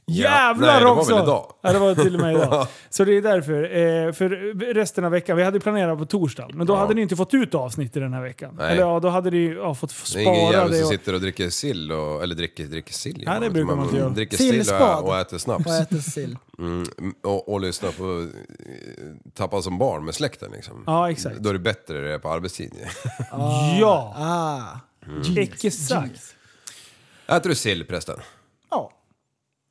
S2: Jävlar
S4: Mm. Nej, det var
S2: också!
S4: väl idag.
S2: Ja, det var till och med idag. Så det är därför. Eh, för resten av veckan, vi hade ju planerat på torsdag, men då hade ni inte fått ut avsnitt i den här veckan.
S4: Nej.
S2: Eller ja, då hade ni ju, ja, fått
S4: Det är ingen
S2: spara
S4: jävel
S2: det.
S4: som
S2: Och,
S4: sitter och dricker sill och, eller dricker, dricker sill. gör
S2: Nej, det
S4: inte.
S2: brukar man inte göra.
S4: Dricker sill
S3: Sillspad.
S4: och, och äter snaps.
S3: Och äter sill.
S4: Mm, och, och lyssnar på eh, Tappa som barn med släkten liksom.
S2: Ja, exakt.
S4: Då är det bättre det är på arbetstid.
S2: ja,
S3: Ah.
S4: Mm.
S2: exakt.
S4: Äter du sill prästen?
S3: Ja.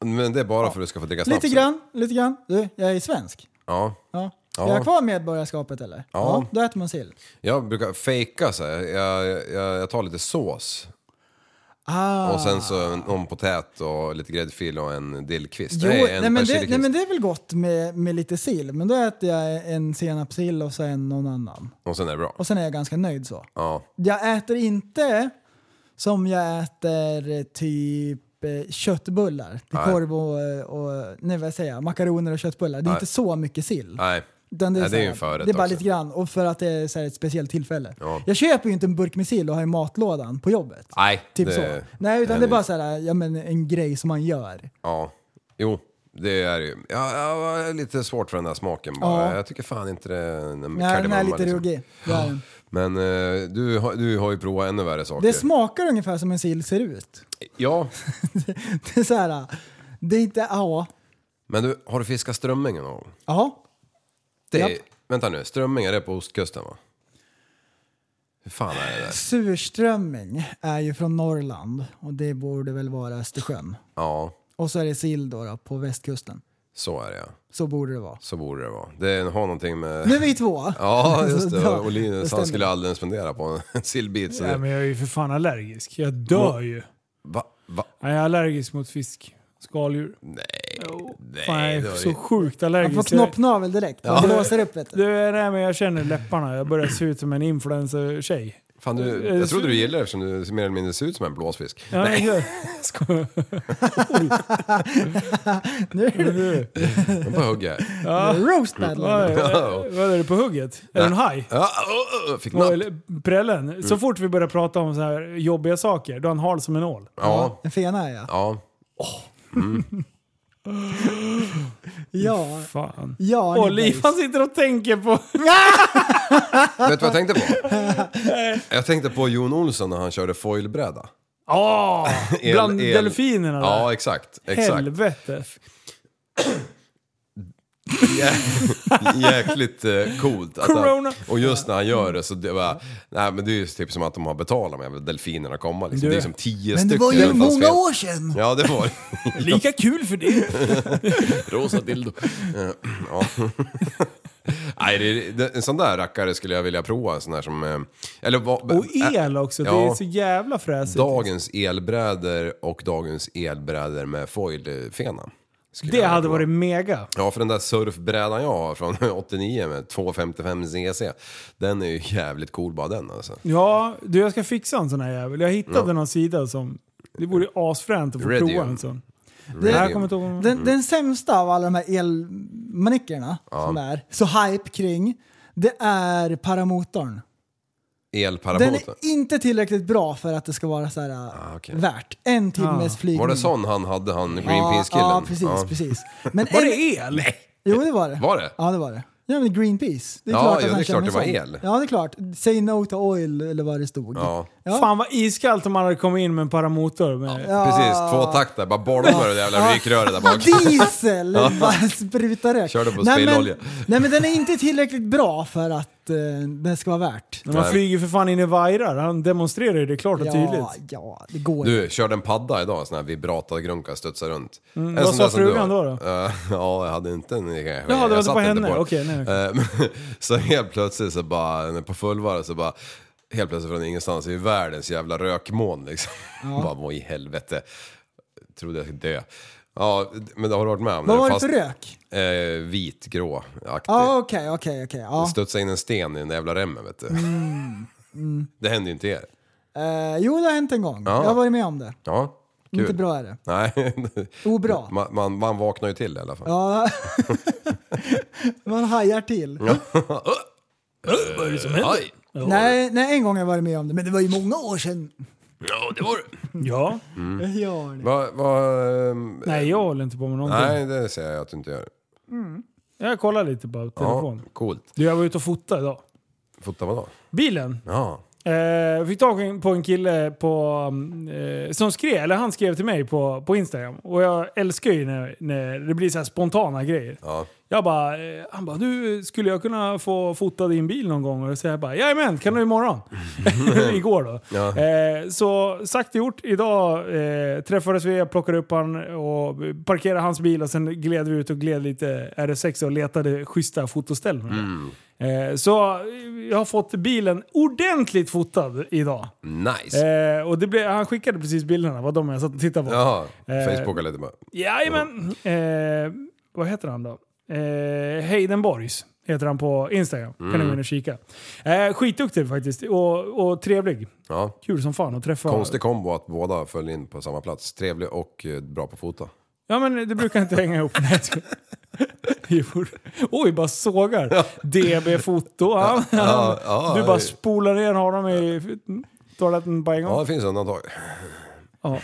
S4: Men det är bara för att du ska få dricka snaps?
S3: Lite grann, lite grann. Du, jag är svensk.
S4: Ja.
S3: Ja.
S4: Ja.
S3: Jag har kvar medborgarskapet eller?
S4: Ja.
S3: Då äter man sill.
S4: Jag brukar fejka så här. Jag, jag, jag tar lite sås.
S3: Ah.
S4: Och sen så en, en potät och lite gräddfil och en dillkvist.
S3: Jo,
S4: nej,
S3: nej,
S4: en
S3: men det,
S4: persiljekvist.
S3: nej men det är väl gott med, med lite sill, men då äter jag en senapssill och sen någon annan.
S4: Och sen är det bra.
S3: Och sen är jag ganska nöjd så.
S4: Ja.
S3: Jag äter inte som jag äter eh, typ eh, köttbullar till
S4: Nej.
S3: korv och, och nej, vad säger jag, makaroner och köttbullar. Det är
S4: Nej.
S3: inte så mycket sill.
S4: Nej.
S3: Utan
S4: Nej, det är
S3: så
S4: ju
S3: här-
S4: en förrätt
S3: Det är bara
S4: också.
S3: lite grann, och för att det är så här ett speciellt tillfälle.
S4: Ja.
S3: Jag köper ju inte en burk med sill och har i matlådan på jobbet.
S4: Nej.
S3: Typ
S4: det-
S3: så. Nej, utan
S4: nej,
S3: det är
S4: det-
S3: bara så här, ja, men en grej som man gör.
S4: Ja. Jo. Det är ju... Ja, ja, det är lite svårt för den där smaken bara.
S3: Ja.
S4: Jag tycker fan inte det är en
S3: Nej, den
S4: kardemumma,
S3: är lite
S4: liksom.
S3: ruggig. Det, är den.
S4: Men eh, du, har- du har ju provat ännu värre saker.
S3: det smakar ungefär som en sill ser ut.
S4: Ja.
S3: Det är så här, det är inte, ja.
S4: Men du, har du fiskat strömming någon gång?
S3: Ja,
S4: Det är,
S3: Japp.
S4: Vänta nu, strömming är det på ostkusten va? Hur fan är det där?
S3: surströmming är ju från Norrland och det borde väl vara Östersjön.
S4: Ja,
S3: Och så är det sill då, då på västkusten.
S4: så är det ja.
S3: Så borde det vara.
S4: Så borde det vara. Det har någonting med...
S3: Nu är vi två.
S4: Ja, just det.
S3: Ja,
S4: Och Linus, han
S3: stämmer.
S4: skulle aldrig ens fundera på en sillbit. Så
S2: Nej,
S4: det...
S2: men jag är ju för fan allergisk. Jag
S4: Mm.
S2: dör ju.
S4: Va? Va?
S2: Nej, jag är allergisk mot fisk. Skaldjur.
S4: Nej.
S2: Jo.
S4: Nej,
S2: Fan, jag
S4: det
S2: är
S4: var
S2: så
S4: ju-
S2: sjukt
S3: Jag får
S2: allergisk. Jag-
S3: knoppnavel direkt. Jag blåser upp vet du.
S2: Du, nej, men jag känner läpparna. Jag börjar se ut som en influencer-tjej.
S4: Fan, du, jag trodde du gillade det eftersom du mer eller mindre ser ut som en blåsfisk.
S2: Ja,
S4: Nej,
S2: jag-
S4: jag bara hugger.
S3: Roast
S2: Vad
S3: battle.
S2: är- vad är det på hugget? Är det en haj?
S4: Ja, oh, oh, fick
S2: Och-
S4: napp.
S2: eller Prällen.
S4: Mm.
S2: Så fort vi börjar prata om så här jobbiga saker, då är han hal som en ål.
S4: Ja,
S3: En fena är jag.
S4: ja.
S3: Ja.
S2: Fan.
S3: Ja,
S2: Och
S3: ni
S2: Liv,
S3: boys.
S2: han sitter och tänker på...
S4: Vet du vad jag tänkte på? Jag tänkte på Jon Olsson när han körde foilbräda.
S2: Ah,
S4: El-
S2: bland
S4: el-
S2: delfinerna där.
S4: Ja, exakt. exakt.
S2: Helvete.
S4: Jä- Jäkligt eh, coolt. att
S2: Corona.
S4: Han, och just när han gör det så det bara, nej men det är ju typ som att de har betalat med delfinerna komma liksom.
S2: Du.
S4: Det är som tio
S3: Men det
S4: stycken.
S3: var ju
S4: även fast
S3: många
S4: fel.
S3: år sedan.
S4: Ja det var det.
S2: Lika kul för det.
S4: Rosa dildo. Eh, ja. Nej, det, det, en sån där rackare skulle jag vilja prova. En sån där som... eh, Eller, vad-
S2: Och
S4: eh,
S2: el också. Det
S4: Ja.
S2: är så jävla fräsigt.
S4: Dagens elbrädor och dagens elbrädor med foilfena. Skulle
S2: Det
S4: jag vilja
S2: hade
S4: prova.
S2: varit mega.
S4: Ja, för den där surfbrädan jag har från 89 med 255 cc, den är ju jävligt cool bara den alltså.
S2: Ja, du jag ska fixa en sån här jävel. Jag hittade någon sida som... Det vore asfränt att få
S4: Radium.
S2: prova en sån. Det här
S4: Radium.
S2: kommer inte ihåg...
S3: Den, den sämsta av alla de här elmanickerna som är så hype kring, det är paramotorn. Den är
S4: elparamotorn?
S3: inte tillräckligt bra för att det ska vara så här, äh,
S4: Ah, okej.
S3: värt. En timmes flygning.
S4: Var det sån han hade, han Greenpeace-killen?
S3: Ja, ja, precis. precis. Men
S2: Var
S3: en-
S2: det el? Nej.
S3: Jo, det var det.
S4: Var det?
S3: Ja, det var det. Ja, men Greenpeace. Det är
S4: Ja,
S3: klart att
S4: jo,
S3: han
S4: det är klart
S3: känner
S4: det var
S3: sån.
S4: el.
S3: Ja, det är klart. Say no to oil, eller vad det stod.
S4: Ja.
S2: Fan vad iskallt om man hade kommit in med en paramotor. Med,
S4: Precis, två takter. Bara bollar med det jävla rykröret där bak.
S3: Diesel! Bara sprutar rök.
S4: Körde på
S3: nej, men,
S4: spillolja.
S3: nej, men den är inte tillräckligt bra för att eh, den ska vara värt.
S2: När man
S4: Nej.
S2: flyger för fan in i vajrar. Han demonstrerar ju det klart och
S3: Ja,
S2: tydligt.
S3: ja, det går inte.
S4: Du, körde en padda idag, sån här vibratorgrunka, studsar runt. Mm,
S2: vad sa frugan då då?
S4: Eh, ja, jag hade inte en kanske.
S2: det var
S4: Jag
S2: inte
S4: satt
S2: på henne.
S4: den.
S2: Okej, nej, okej.
S4: Eh, men- så helt plötsligt så bara, när på fullvarv så bara, helt plötsligt från ingenstans är ju världens jävla rökmoln liksom. bara, vad i helvete. Trodde jag skulle dö. Ja, men det har du varit med om
S3: Vad
S4: det?
S3: var det
S4: Fast-
S3: för rök?
S4: Eh, vit, grå, aktig.
S2: Ah.
S3: Ja, okej, okej, okej. ja.
S4: Studsa in en sten i den där jävla remmen vet du.
S2: Mm.
S4: Det händer ju inte er.
S3: Eh, Jo, det har hänt en gång.
S4: Ja.
S3: Jag har varit med om det.
S4: Ja, kul.
S3: Inte bra är det.
S4: Nej.
S3: Obra.
S4: Man, man, man vaknar ju till i alla fall.
S3: Ja. Man hajar till.
S2: Vad är det som händer?
S4: Aj!
S3: Nej, nej, en gång har jag varit med om det, men det var ju många år sedan.
S4: Ja, det var det.
S2: Ja.
S3: Ja, det-
S4: Va, va, ehm,
S2: Nej, jag håller inte på med någonting.
S4: nej, det säger jag att du inte gör.
S2: Jag kollar lite på
S4: Ja,
S2: telefon.
S4: coolt.
S2: Du, jag var ute och fotade idag.
S4: Fota vadå?
S2: Bilen.
S4: Ja.
S2: Eh, fick tag på en kille på, mm, eh, som skrev, eller han skrev till mig på, på Instagram. Och jag älskar ju när, när det blir så här spontana grejer.
S4: Ja.
S2: Jag bara, eh, han bara, du skulle jag kunna få fota din bil någon gång? Och så jag bara, jajamän, kan du imorgon? Igår då.
S4: Ja.
S2: Eh, så sagt och gjort, idag eh, träffades vi, jag plockade upp han och parkerade hans bil och sen gled vi ut och gled lite RS6 och letade schyssta fotoställen. Eh, så eh, jag har fått bilen ordentligt fotad idag.
S4: Nice.
S2: Eh, och det blev, han skickade precis bilderna, vad de jag satt och tittade på.
S4: Jaha,
S2: eh,
S4: Facebooka lite bara.
S2: Jajamän. Eh, vad heter han då? Eh, Heidenborgs heter han på Instagram.
S4: Mm.
S2: Kan ni gå in och kika. Eh, skitduktig faktiskt och, och trevlig.
S4: Ja.
S2: Kul som fan att träffa.
S4: Konstig kombo att båda föll in på samma plats. Trevlig och eh, bra på att fota.
S2: Ja men det brukar inte hänga ihop. Nej, jag skojar. Jo. Oj, bara sågar. DB-foto. Ja,
S4: Ja, ja,
S2: du bara
S4: det-
S2: spolar ner honom i toaletten på en
S4: Ja,
S2: gång.
S4: det finns undantag.
S2: Ja.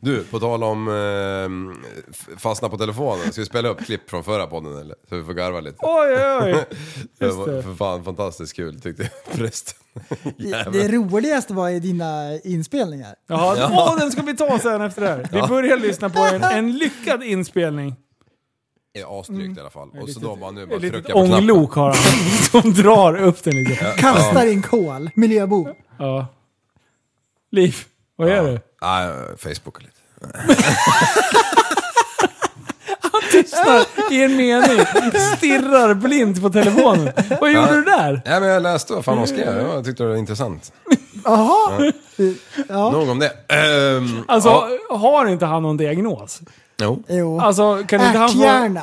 S4: Du, på tal om eh, f- fastna på telefonen. Ska vi spela upp klipp från förra podden eller? Så vi får garva lite.
S2: Oj, oj, oj.
S4: det
S2: just
S4: var
S2: det.
S4: för fan fantastiskt kul tyckte prästen.
S3: Det, det roligaste var ju dina inspelningar.
S2: Jaha, Åh, den ska vi ta sen efter det här. Vi börjar lyssna på en, en lyckad inspelning.
S4: Är asdrygt i alla fall. Och så då bara nu bara
S2: Ett litet
S4: trycker jag på knappen.
S2: ånglok har han som drar upp den lite.
S3: Kastar in kol, miljöbov.
S2: Ja. Liv, vad gör du?
S4: Nej, Facebooka lite.
S2: I en mening. Stirrar blint på telefonen. Vad gjorde du där?
S4: Nej men jag läste vad fan de skrev. Jag tyckte det var intressant.
S3: Jaha!
S4: Nog om det. Ehm,
S2: Alltså,
S4: ja.
S2: har inte han någon diagnos?
S4: Jo.
S3: Jo.
S2: Alltså, kan inte han få...
S3: Ärthjärna.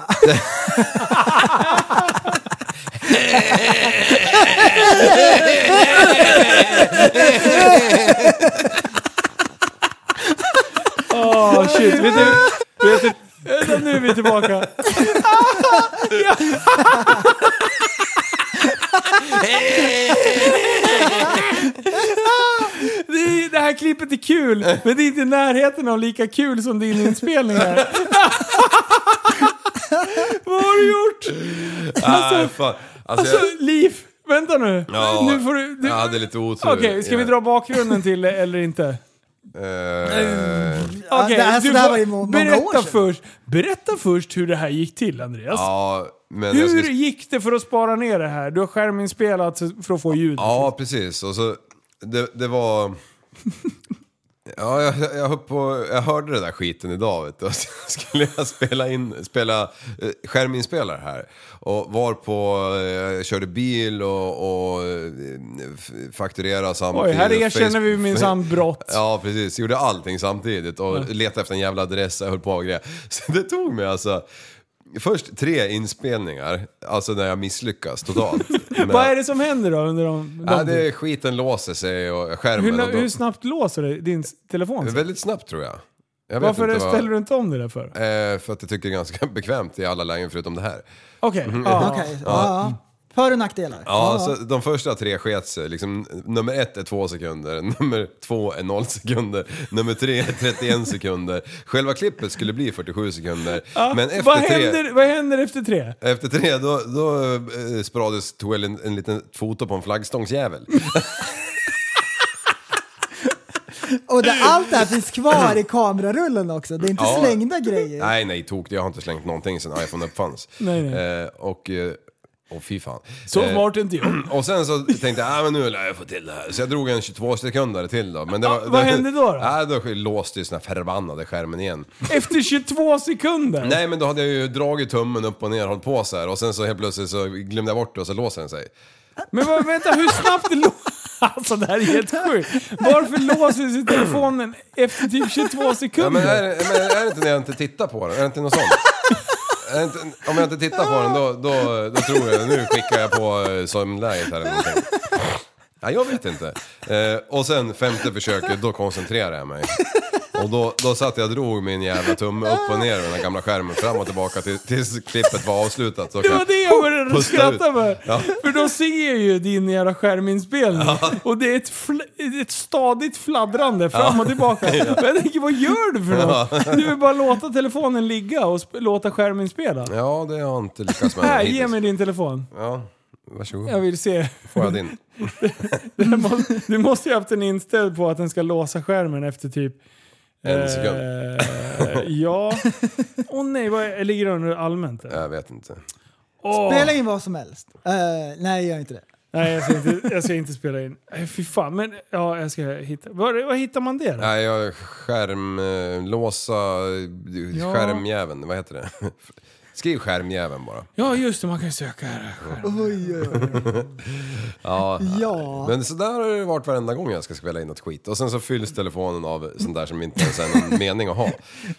S2: Åh, shit. Vet du, vet du, vänta, nu är vi tillbaka. Det, är- det här klippet är kul, men det är inte i närheten av lika kul som din inspelning här. Vad har du gjort?
S4: Nej, fan. Alltså,
S2: Alltså,
S4: jag,
S2: Liv, vänta nu.
S4: Ja,
S2: Alltså, nu får du... du
S4: jag hade lite otur.
S2: Okej, ska vi dra bakgrunden till det eller inte?
S4: Eh,
S3: Ja,
S2: Okej,
S3: det- alltså,
S2: du
S3: det här
S2: får-
S3: var ju må- många
S2: berätta
S3: år sedan.
S2: först. Berätta först hur det här gick till, Andreas.
S4: ja, men
S2: Hur
S4: jag skulle...
S2: gick det för att spara ner det här? Du har skärminspelat för att få ljud.
S4: Ja, precis. Och så, det, det var... Ja, jag, jag, höll på, jag hörde den där skiten idag vet du. Och så skulle jag spela, in, spela eh, skärminspelare här. Och var på, eh, jag körde bil och, och eh, f- fakturerade
S2: Oj,
S4: samtidigt.
S2: här erkänner
S4: Facebook-
S2: vi minsann brott.
S4: Ja, precis. Gjorde allting samtidigt och letade efter en jävla adress och höll på och grejer. Så det tog mig alltså... Först tre inspelningar, alltså när jag misslyckas totalt.
S2: Vad är det som händer då under de...
S4: Ja,
S2: de
S4: det är skiten låser sig och skärmen.
S2: hur,
S4: och
S2: na-
S4: då,
S2: hur snabbt låser det din s- telefon? sig?
S4: väldigt snabbt tror jag. jag vet
S2: Varför
S4: inte vad-
S2: ställer du inte om det där för?
S4: Eh, för att jag tycker det är ganska bekvämt i alla lägen förutom det här.
S2: Okej. ja.
S3: Okej, ja. ja. För och nackdelar.
S4: Ja, alltså- så de första tre sket sig. Liksom, nummer ett är två sekunder, nummer två är noll sekunder, nummer tre är 31 sekunder. Själva klippet skulle bli 47 sekunder, men efter
S2: vad,
S4: tre... Eh.
S2: händer, vad händer efter tre?
S4: Efter tre, då, då eh, sprades Toel en, en liten foto på en flaggstångsjävel.
S3: Och det, allt det här finns kvar i kamerarullen också. Det är inte
S4: Ja.
S3: slängda grejer.
S4: nej, nej, tok Jag har inte slängt någonting sedan iPhone uppfanns.
S2: Nej, nej.
S4: Eh, och, eh, och fy fan.
S2: Så
S4: Eh,
S2: smart är inte jag.
S4: Och sen så tänkte jag, ah, men nu lär jag få till det här. Så jag drog en 22 sekunder till då. Men det
S2: Ja,
S4: var,
S2: Ah, vad hände då då?
S4: Nej, då låste ju sån här förbannade skärmen igen.
S2: Efter 22 sekunder?
S4: Nej men då hade jag ju dragit tummen upp och ner, hållit på så här och sen så helt plötsligt så glömde jag bort det och så låser den sig.
S2: Men vad, vänta, hur snabbt det lå- Alltså det här är helt sjukt. Varför låser sig telefonen efter typ 22
S4: Ja, men,
S2: sekunder?
S4: är, men är det inte när jag inte tittar på den? Är det inte något sånt? Är det inte, om jag inte tittar på den då, då, då tror jag, nu skickar jag på eh, sömnläget här eller någonting. Ja, jag vet inte. Eh, och sen femte försöket, då koncentrerade jag mig. Och då, då satt jag och drog min jävla tumme upp och ner i den här gamla skärmen fram och tillbaka till, tills klippet var avslutat. Så
S2: Det
S4: kan-
S2: var det jag började
S4: Pusta
S2: skratta
S4: ut.
S2: med.
S4: Ja.
S2: För då ser jag ju din jävla skärminspelning. Och det är ett, fl- ett stadigt fladdrande fram och tillbaka. Och jag tänker, vad gör du för något? Du vill bara låta telefonen ligga och sp- låta skärmen spela.
S4: ja, det har jag inte lyckats med
S2: Här, ge
S4: hittills.
S2: mig din telefon.
S4: Ja,
S2: Jag
S4: varsågod.
S2: vill se.
S4: Får jag din?
S2: Du måste, du måste ju ha haft den inställd på att den ska låsa skärmen efter typ...
S4: En sekund.
S2: Eh, ja. Åh nej, vad är, ligger den under allmänt? eller?
S4: Jag vet inte.
S2: Åh.
S3: Spela in vad som helst. Eh, nej, gör inte det.
S2: Nej, jag ska, inte, jag ska inte spela in. Eh, Fy fan, men ja, jag ska hitta. Var, var hittar man det då?
S4: Nej, jag skärmlåsa
S2: Ja.
S4: skärmjäveln, vad heter det? Skriv skärmjäveln bara.
S2: Ja, just det, man kan ju söka här.
S3: Oj, oj, oj.
S4: Ja.
S3: Ja.
S4: Men sådär har det varit varenda gång jag ska spela in något skit. Och sen så fylls telefonen av sånt där som inte ens är någon mening att ha.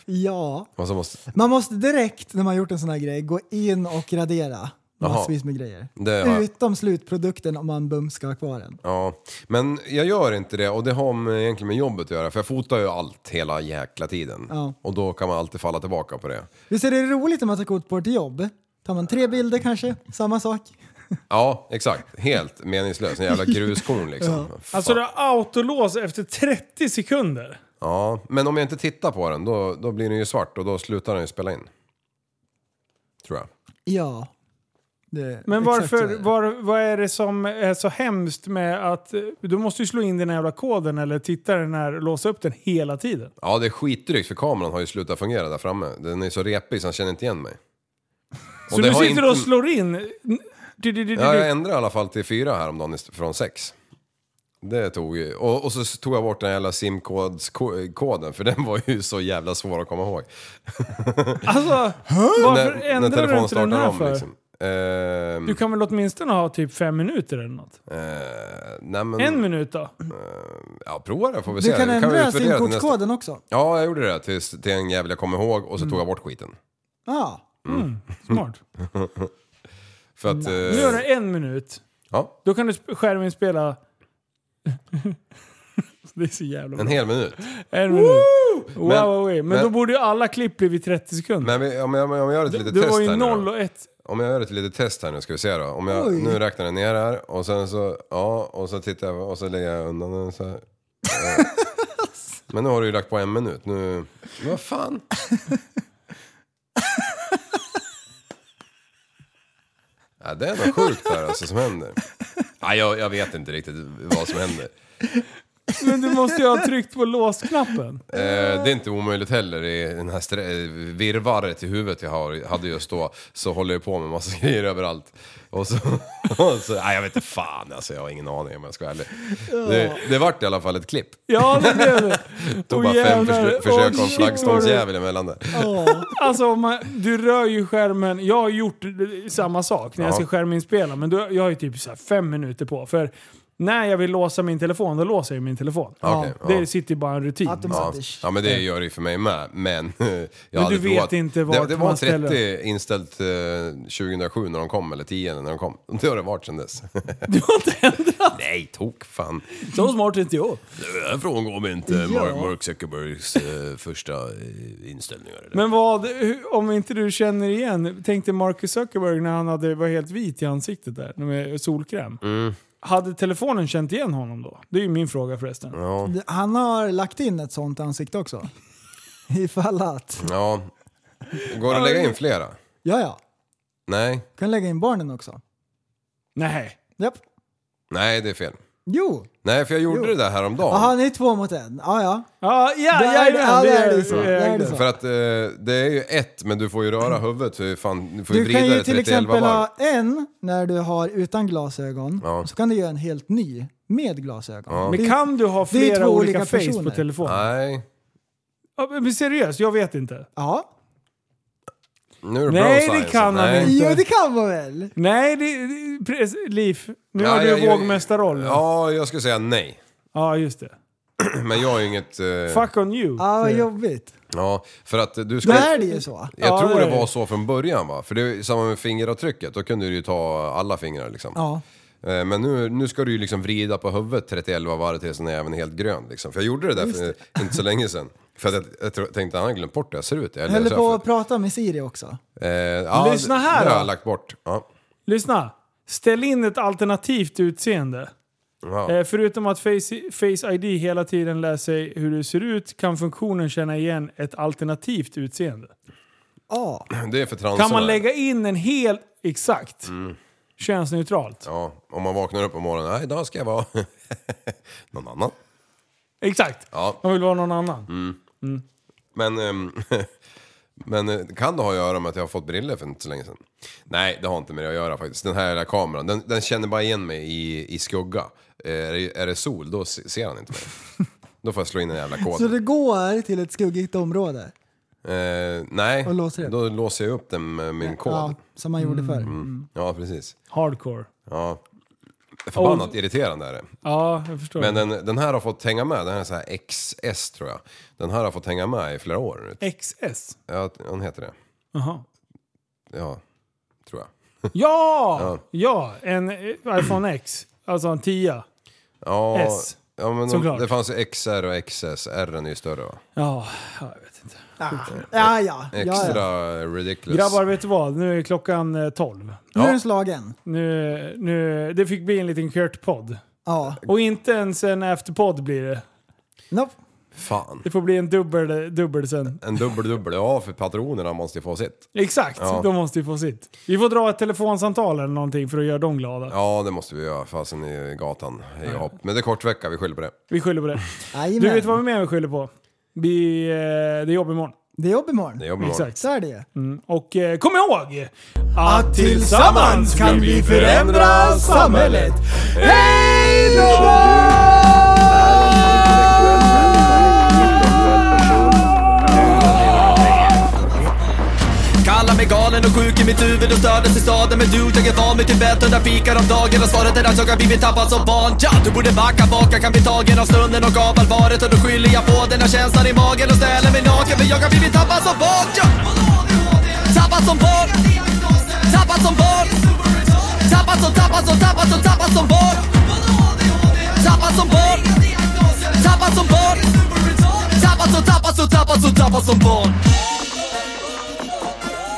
S3: Ja.
S4: Och så måste...
S3: Man måste direkt när man gjort en sån här grej gå in och radera
S4: Jaha.
S3: massvis med grejer.
S4: Det har jag.
S3: Utom slutprodukten om man bums ska ha kvar den.
S4: Ja, men jag gör inte det och det har med, egentligen med jobbet att göra för jag fotar ju allt hela jäkla tiden.
S3: Ja.
S4: Och då kan man alltid falla tillbaka på det.
S3: Visst är det roligt när man tar kort på ett jobb? Tar man tre bilder kanske, samma sak.
S4: Ja, exakt. Helt meningslöst. En jävla gruskorn liksom.
S2: Alltså,
S4: Fan.
S2: du har autolås efter 30 sekunder.
S4: Ja, men om jag inte tittar på den då, då blir den ju svart och då slutar den ju spela in. Tror jag.
S3: Ja. Det,
S2: Men
S3: exakt så är
S2: varför,
S3: det.
S2: var, vad är det som är så hemskt med att... eh, Du måste ju slå in den här jävla koden eller titta den här, låsa upp den hela tiden.
S4: Ja, det är skitdrygt för kameran har ju slutat fungera där framme. Den är så repig så han känner inte igen mig.
S2: Så
S4: det
S2: du
S4: har
S2: sitter
S4: inte-
S2: och slår in... Du, du, du, du.
S4: Ja, jag ändrade i alla fall till fyra häromdagen ist- från sex. Det tog ju... Och, och så tog jag bort den här jävla simkodskoden för den var ju så jävla svår att komma ihåg.
S2: Alltså, varför ändrar du
S4: telefonen
S2: inte den
S4: startar liksom.
S2: här för?
S4: Ehm,
S2: Du kan väl åtminstone ha typ fem minuter eller något?
S4: eh, nej men... eh,
S2: En minut då?
S4: Ja, prova det får vi se.
S3: Du kan
S4: Vi väl
S3: ändra
S4: utvärdera det nästa-
S3: simkortskoden också.
S4: Ja, jag gjorde det tills, till en jävel jag kom ihåg och så tog jag bort skiten.
S3: Ja.
S2: Smart.
S4: För att... eh,
S2: Mm. Nu är det en minut.
S4: ja,
S2: Då kan du sp- skärmen spela... det är så jävla
S4: en
S2: bra.
S4: hel minut.
S2: En minut. Wow,
S4: Men-
S2: wow, wow. Men,
S4: men-
S2: då borde ju alla klipp bli vid 30 sekunder.
S4: Men vi, om, jag, om jag gör ett litet
S2: Det
S4: test
S2: var
S4: här
S2: ju
S4: nu
S2: 0
S4: då.
S2: och 1.
S4: Om jag gör ett litet test här nu ska vi se då. Om jag,
S3: Oj.
S4: nu räknar jag ner här och sen så, ja, och så tittar jag och så lägger jag undan den så här. Ja. Men nu har du ju lagt på en minut. Nu, vad fan? Ja, det är något sjukt här alltså som händer. Ja, jag, jag vet inte riktigt vad som händer.
S2: Men du måste ju ha tryckt på låsknappen.
S4: Eh, det är inte omöjligt heller i den här stre- eh, virrvarret i huvudet jag har, hade just då. Så håller jag på med massa grejer överallt. Och så... Och så nej, jag vet inte fan alltså, jag har ingen aning om jag ska vara ärlig. Det, det vart i alla fall ett klipp.
S2: Ja, det blev det.
S4: Tog
S2: Åh,
S4: bara fem
S2: jävlar.
S4: förs- försök
S2: Åh,
S4: av
S2: shit, vad
S4: flaggstångsjävel emellan där.
S2: Alltså om man, du rör ju skärmen. Jag har gjort eh, samma sak när jag
S4: Ja.
S2: ska skärminspela. Men då, jag har ju typ så här fem minuter på. För när jag vill låsa min telefon, då låser jag min telefon.
S4: Ja, okej, ja.
S2: Det sitter ju bara en rutin.
S4: Ja.
S3: Automatiskt.
S4: ja, men det gör det ju för mig med. Men, jag
S2: Men
S4: hade
S2: du vet
S4: provat.
S2: inte
S4: det,
S2: vart
S4: det var
S2: man
S4: 30
S2: ställer
S4: inställt eh, 2007 när de kom, eller 10 när de kom. Det har det varit sedan dess.
S2: Du har inte ändrat?
S4: Nej, tok fan.
S2: Så smart är inte jag.
S4: Det här Eh, frångår mig inte Mark- Mark Zuckerbergs eh, första eh, inställningar. eller?
S2: Men vad, hur- om inte du känner igen, tänkte Marcus Zuckerberg när han hade, var helt vit i ansiktet där, med solkräm.
S4: Mm.
S2: Hade telefonen känt igen honom då? Det är ju min fråga förresten.
S3: Han har lagt in ett sånt ansikte också. Ifall att...
S4: Ja. Går det att lägga in flera?
S3: Ja, ja.
S4: Nej.
S3: Kan lägga in barnen också.
S2: Nej.
S3: Japp.
S4: Nej, det är fel.
S3: Jo.
S4: Nej, för jag gjorde
S3: Jo.
S4: det där häromdagen.
S3: Jaha, ni är två mot en. Ja, ja.
S2: Ja, ja,
S3: Det är-
S2: ja,
S3: ja, det är det så.
S2: ja,
S3: Det är det
S2: ja.
S3: så.
S4: För att eh, det är ju ett, men du får ju röra huvudet. Så fan, du får ju
S3: Du
S4: vrida
S3: kan ju
S4: det
S3: till
S4: 31
S3: exempel
S4: varv.
S3: ha en när du har utan glasögon.
S4: Ja.
S3: Så kan du göra en helt ny med glasögon.
S2: Men kan du ha
S3: Det är
S2: flera
S3: två
S2: olika,
S3: olika
S2: face
S3: personer.
S2: på telefonen?
S4: Nej,
S2: Ja, men seriöst, jag vet inte.
S3: Ja.
S4: nu är det
S2: Nej,
S4: bro science.
S2: det kan han
S4: Nej.
S2: inte.
S3: Jo, det kan man väl?
S2: Nej, det, det, pres- Liv, nu
S4: Ja,
S2: har
S4: jag-
S2: du
S4: jag-
S2: vågmästarrollen. Ja.
S4: Ja, jag skulle säga nej.
S2: ja, just det.
S4: Men jag har ju inget... Eh,
S2: Fuck on you.
S3: Ja, vad
S2: säger jag.
S3: jobbigt.
S4: ja, för att du
S3: Då
S4: skulle...
S3: är det ju så.
S4: Jag
S2: Ja,
S4: tror
S2: det
S4: det
S2: är det.
S4: var så från början va? För det är ju samma med fingeravtrycket, då kunde du ju ta alla fingrar liksom.
S3: Ja.
S4: Eh, Men nu, nu ska du ju liksom vrida på huvudet 31 varv tills den är även helt grön liksom. För jag gjorde det där för, inte så länge sedan. För att jag, jag tror- tänkte, han har glömt bort hur jag ser ut. Jag
S3: Jag höll
S4: så
S3: på
S4: här
S3: att prata med Siri också.
S4: för- eh, ja,
S2: Lyssna här
S4: Det har jag
S2: då.
S4: lagt bort. Ja.
S2: Lyssna. Ställ in ett alternativt utseende.
S4: Ja.
S2: Eh, förutom att face, face ID hela tiden lär sig hur du ser ut kan funktionen känna igen ett alternativt utseende.
S3: Ja.
S4: Det är för transorna.
S2: Kan man lägga in en hel... Exakt. Könsneutralt.
S4: Mm. Ja, om man vaknar upp på morgonen, nej idag ska jag vara någon annan.
S2: Exakt.
S4: Ja. Mm.
S2: Man vill vara någon annan.
S4: Men, ehm, men eh, kan det ha att göra med att jag har fått briller för inte så länge sedan? Nej, det har inte med det att göra faktiskt. Den här jävla kameran, den, den känner bara igen mig i, i skugga. Eh, Är det, är det sol, då se- ser han inte mig. Då får jag slå in en jävla kod.
S3: Så du går till ett skuggigt område
S4: Eh, nej,
S3: Och låser det.
S4: då låser jag upp den med min kod.
S3: ja,
S4: Ja,
S3: som man gjorde förr.
S4: Mm. precis.
S2: Hardcore.
S4: Ja. Förbannat irriterande är det.
S2: Ja, jag förstår.
S4: Men den, den här har fått hänga med, den här är så här XS tror jag. Den här har fått hänga med i flera år nu.
S2: XS.
S4: Ja, hon heter det.
S2: Jaha.
S4: Ja, tror jag.
S2: Ja! ja! en eh, iPhone X. Alltså en 10.
S4: Ja,
S2: S.
S4: Ja, men de,
S2: Såklart.
S4: det fanns ju XR och XS. R är ju större va?
S2: Ja, jag vet inte.
S3: Ah. Ja, ja. ja,
S4: Extra
S3: ja.
S4: ridiculous.
S2: Grabbar, vet du vad? Nu är klockan eh, 12.
S3: Nu är den slagen.
S2: Nu, nu, det fick bli en liten Kurt-podd.
S3: Ja.
S2: Och inte ens en afterpodd blir det.
S3: Nope.
S4: Fan.
S2: Det får bli en dubbel, dubbel sen.
S4: En dubbel dubbel. Ja, för patronerna måste ju få sitt.
S2: Exakt, de måste ju få sitt. Vi får dra ett telefonsamtal eller någonting för att göra dem glada.
S4: Ja, det måste vi göra. Fasen i gatan. Hej och hopp. Men det är kort vecka, vi skyller på det.
S2: Vi skyller på det.
S3: Jajamän.
S2: Du vet vad vi mer vi skyller på? Vi, eh, det är jobb imorgon.
S3: Det är jobb imorgon.
S4: Det är jobb imorgon.
S2: Exakt.
S3: Så är det ju.
S2: Och eh, kom ihåg! Att
S3: tillsammans kan vi förändra samhället.
S4: Hej
S5: Intellektuell människa, intellektuell person.
S6: Kallar mig galen och sjuk i mitt huvud och stördes i staden Men du, jag är van vid Tibet och där fikar om dagen Och svaret är att jag har blivit tappad som barn ja, Du borde backa bak, jag kan bli tagen av stunden och av allvaret Och då skyller jag på den här känslan i magen och ställer mig naken För jag har blivit tappad som barn ja. Tappad som barn Tappad som barn Tappad som, tappad som, tappad som, tappad som barn Tappad som barn Tappad som barn Tappad som, tappad som, tappad som, tappad som barn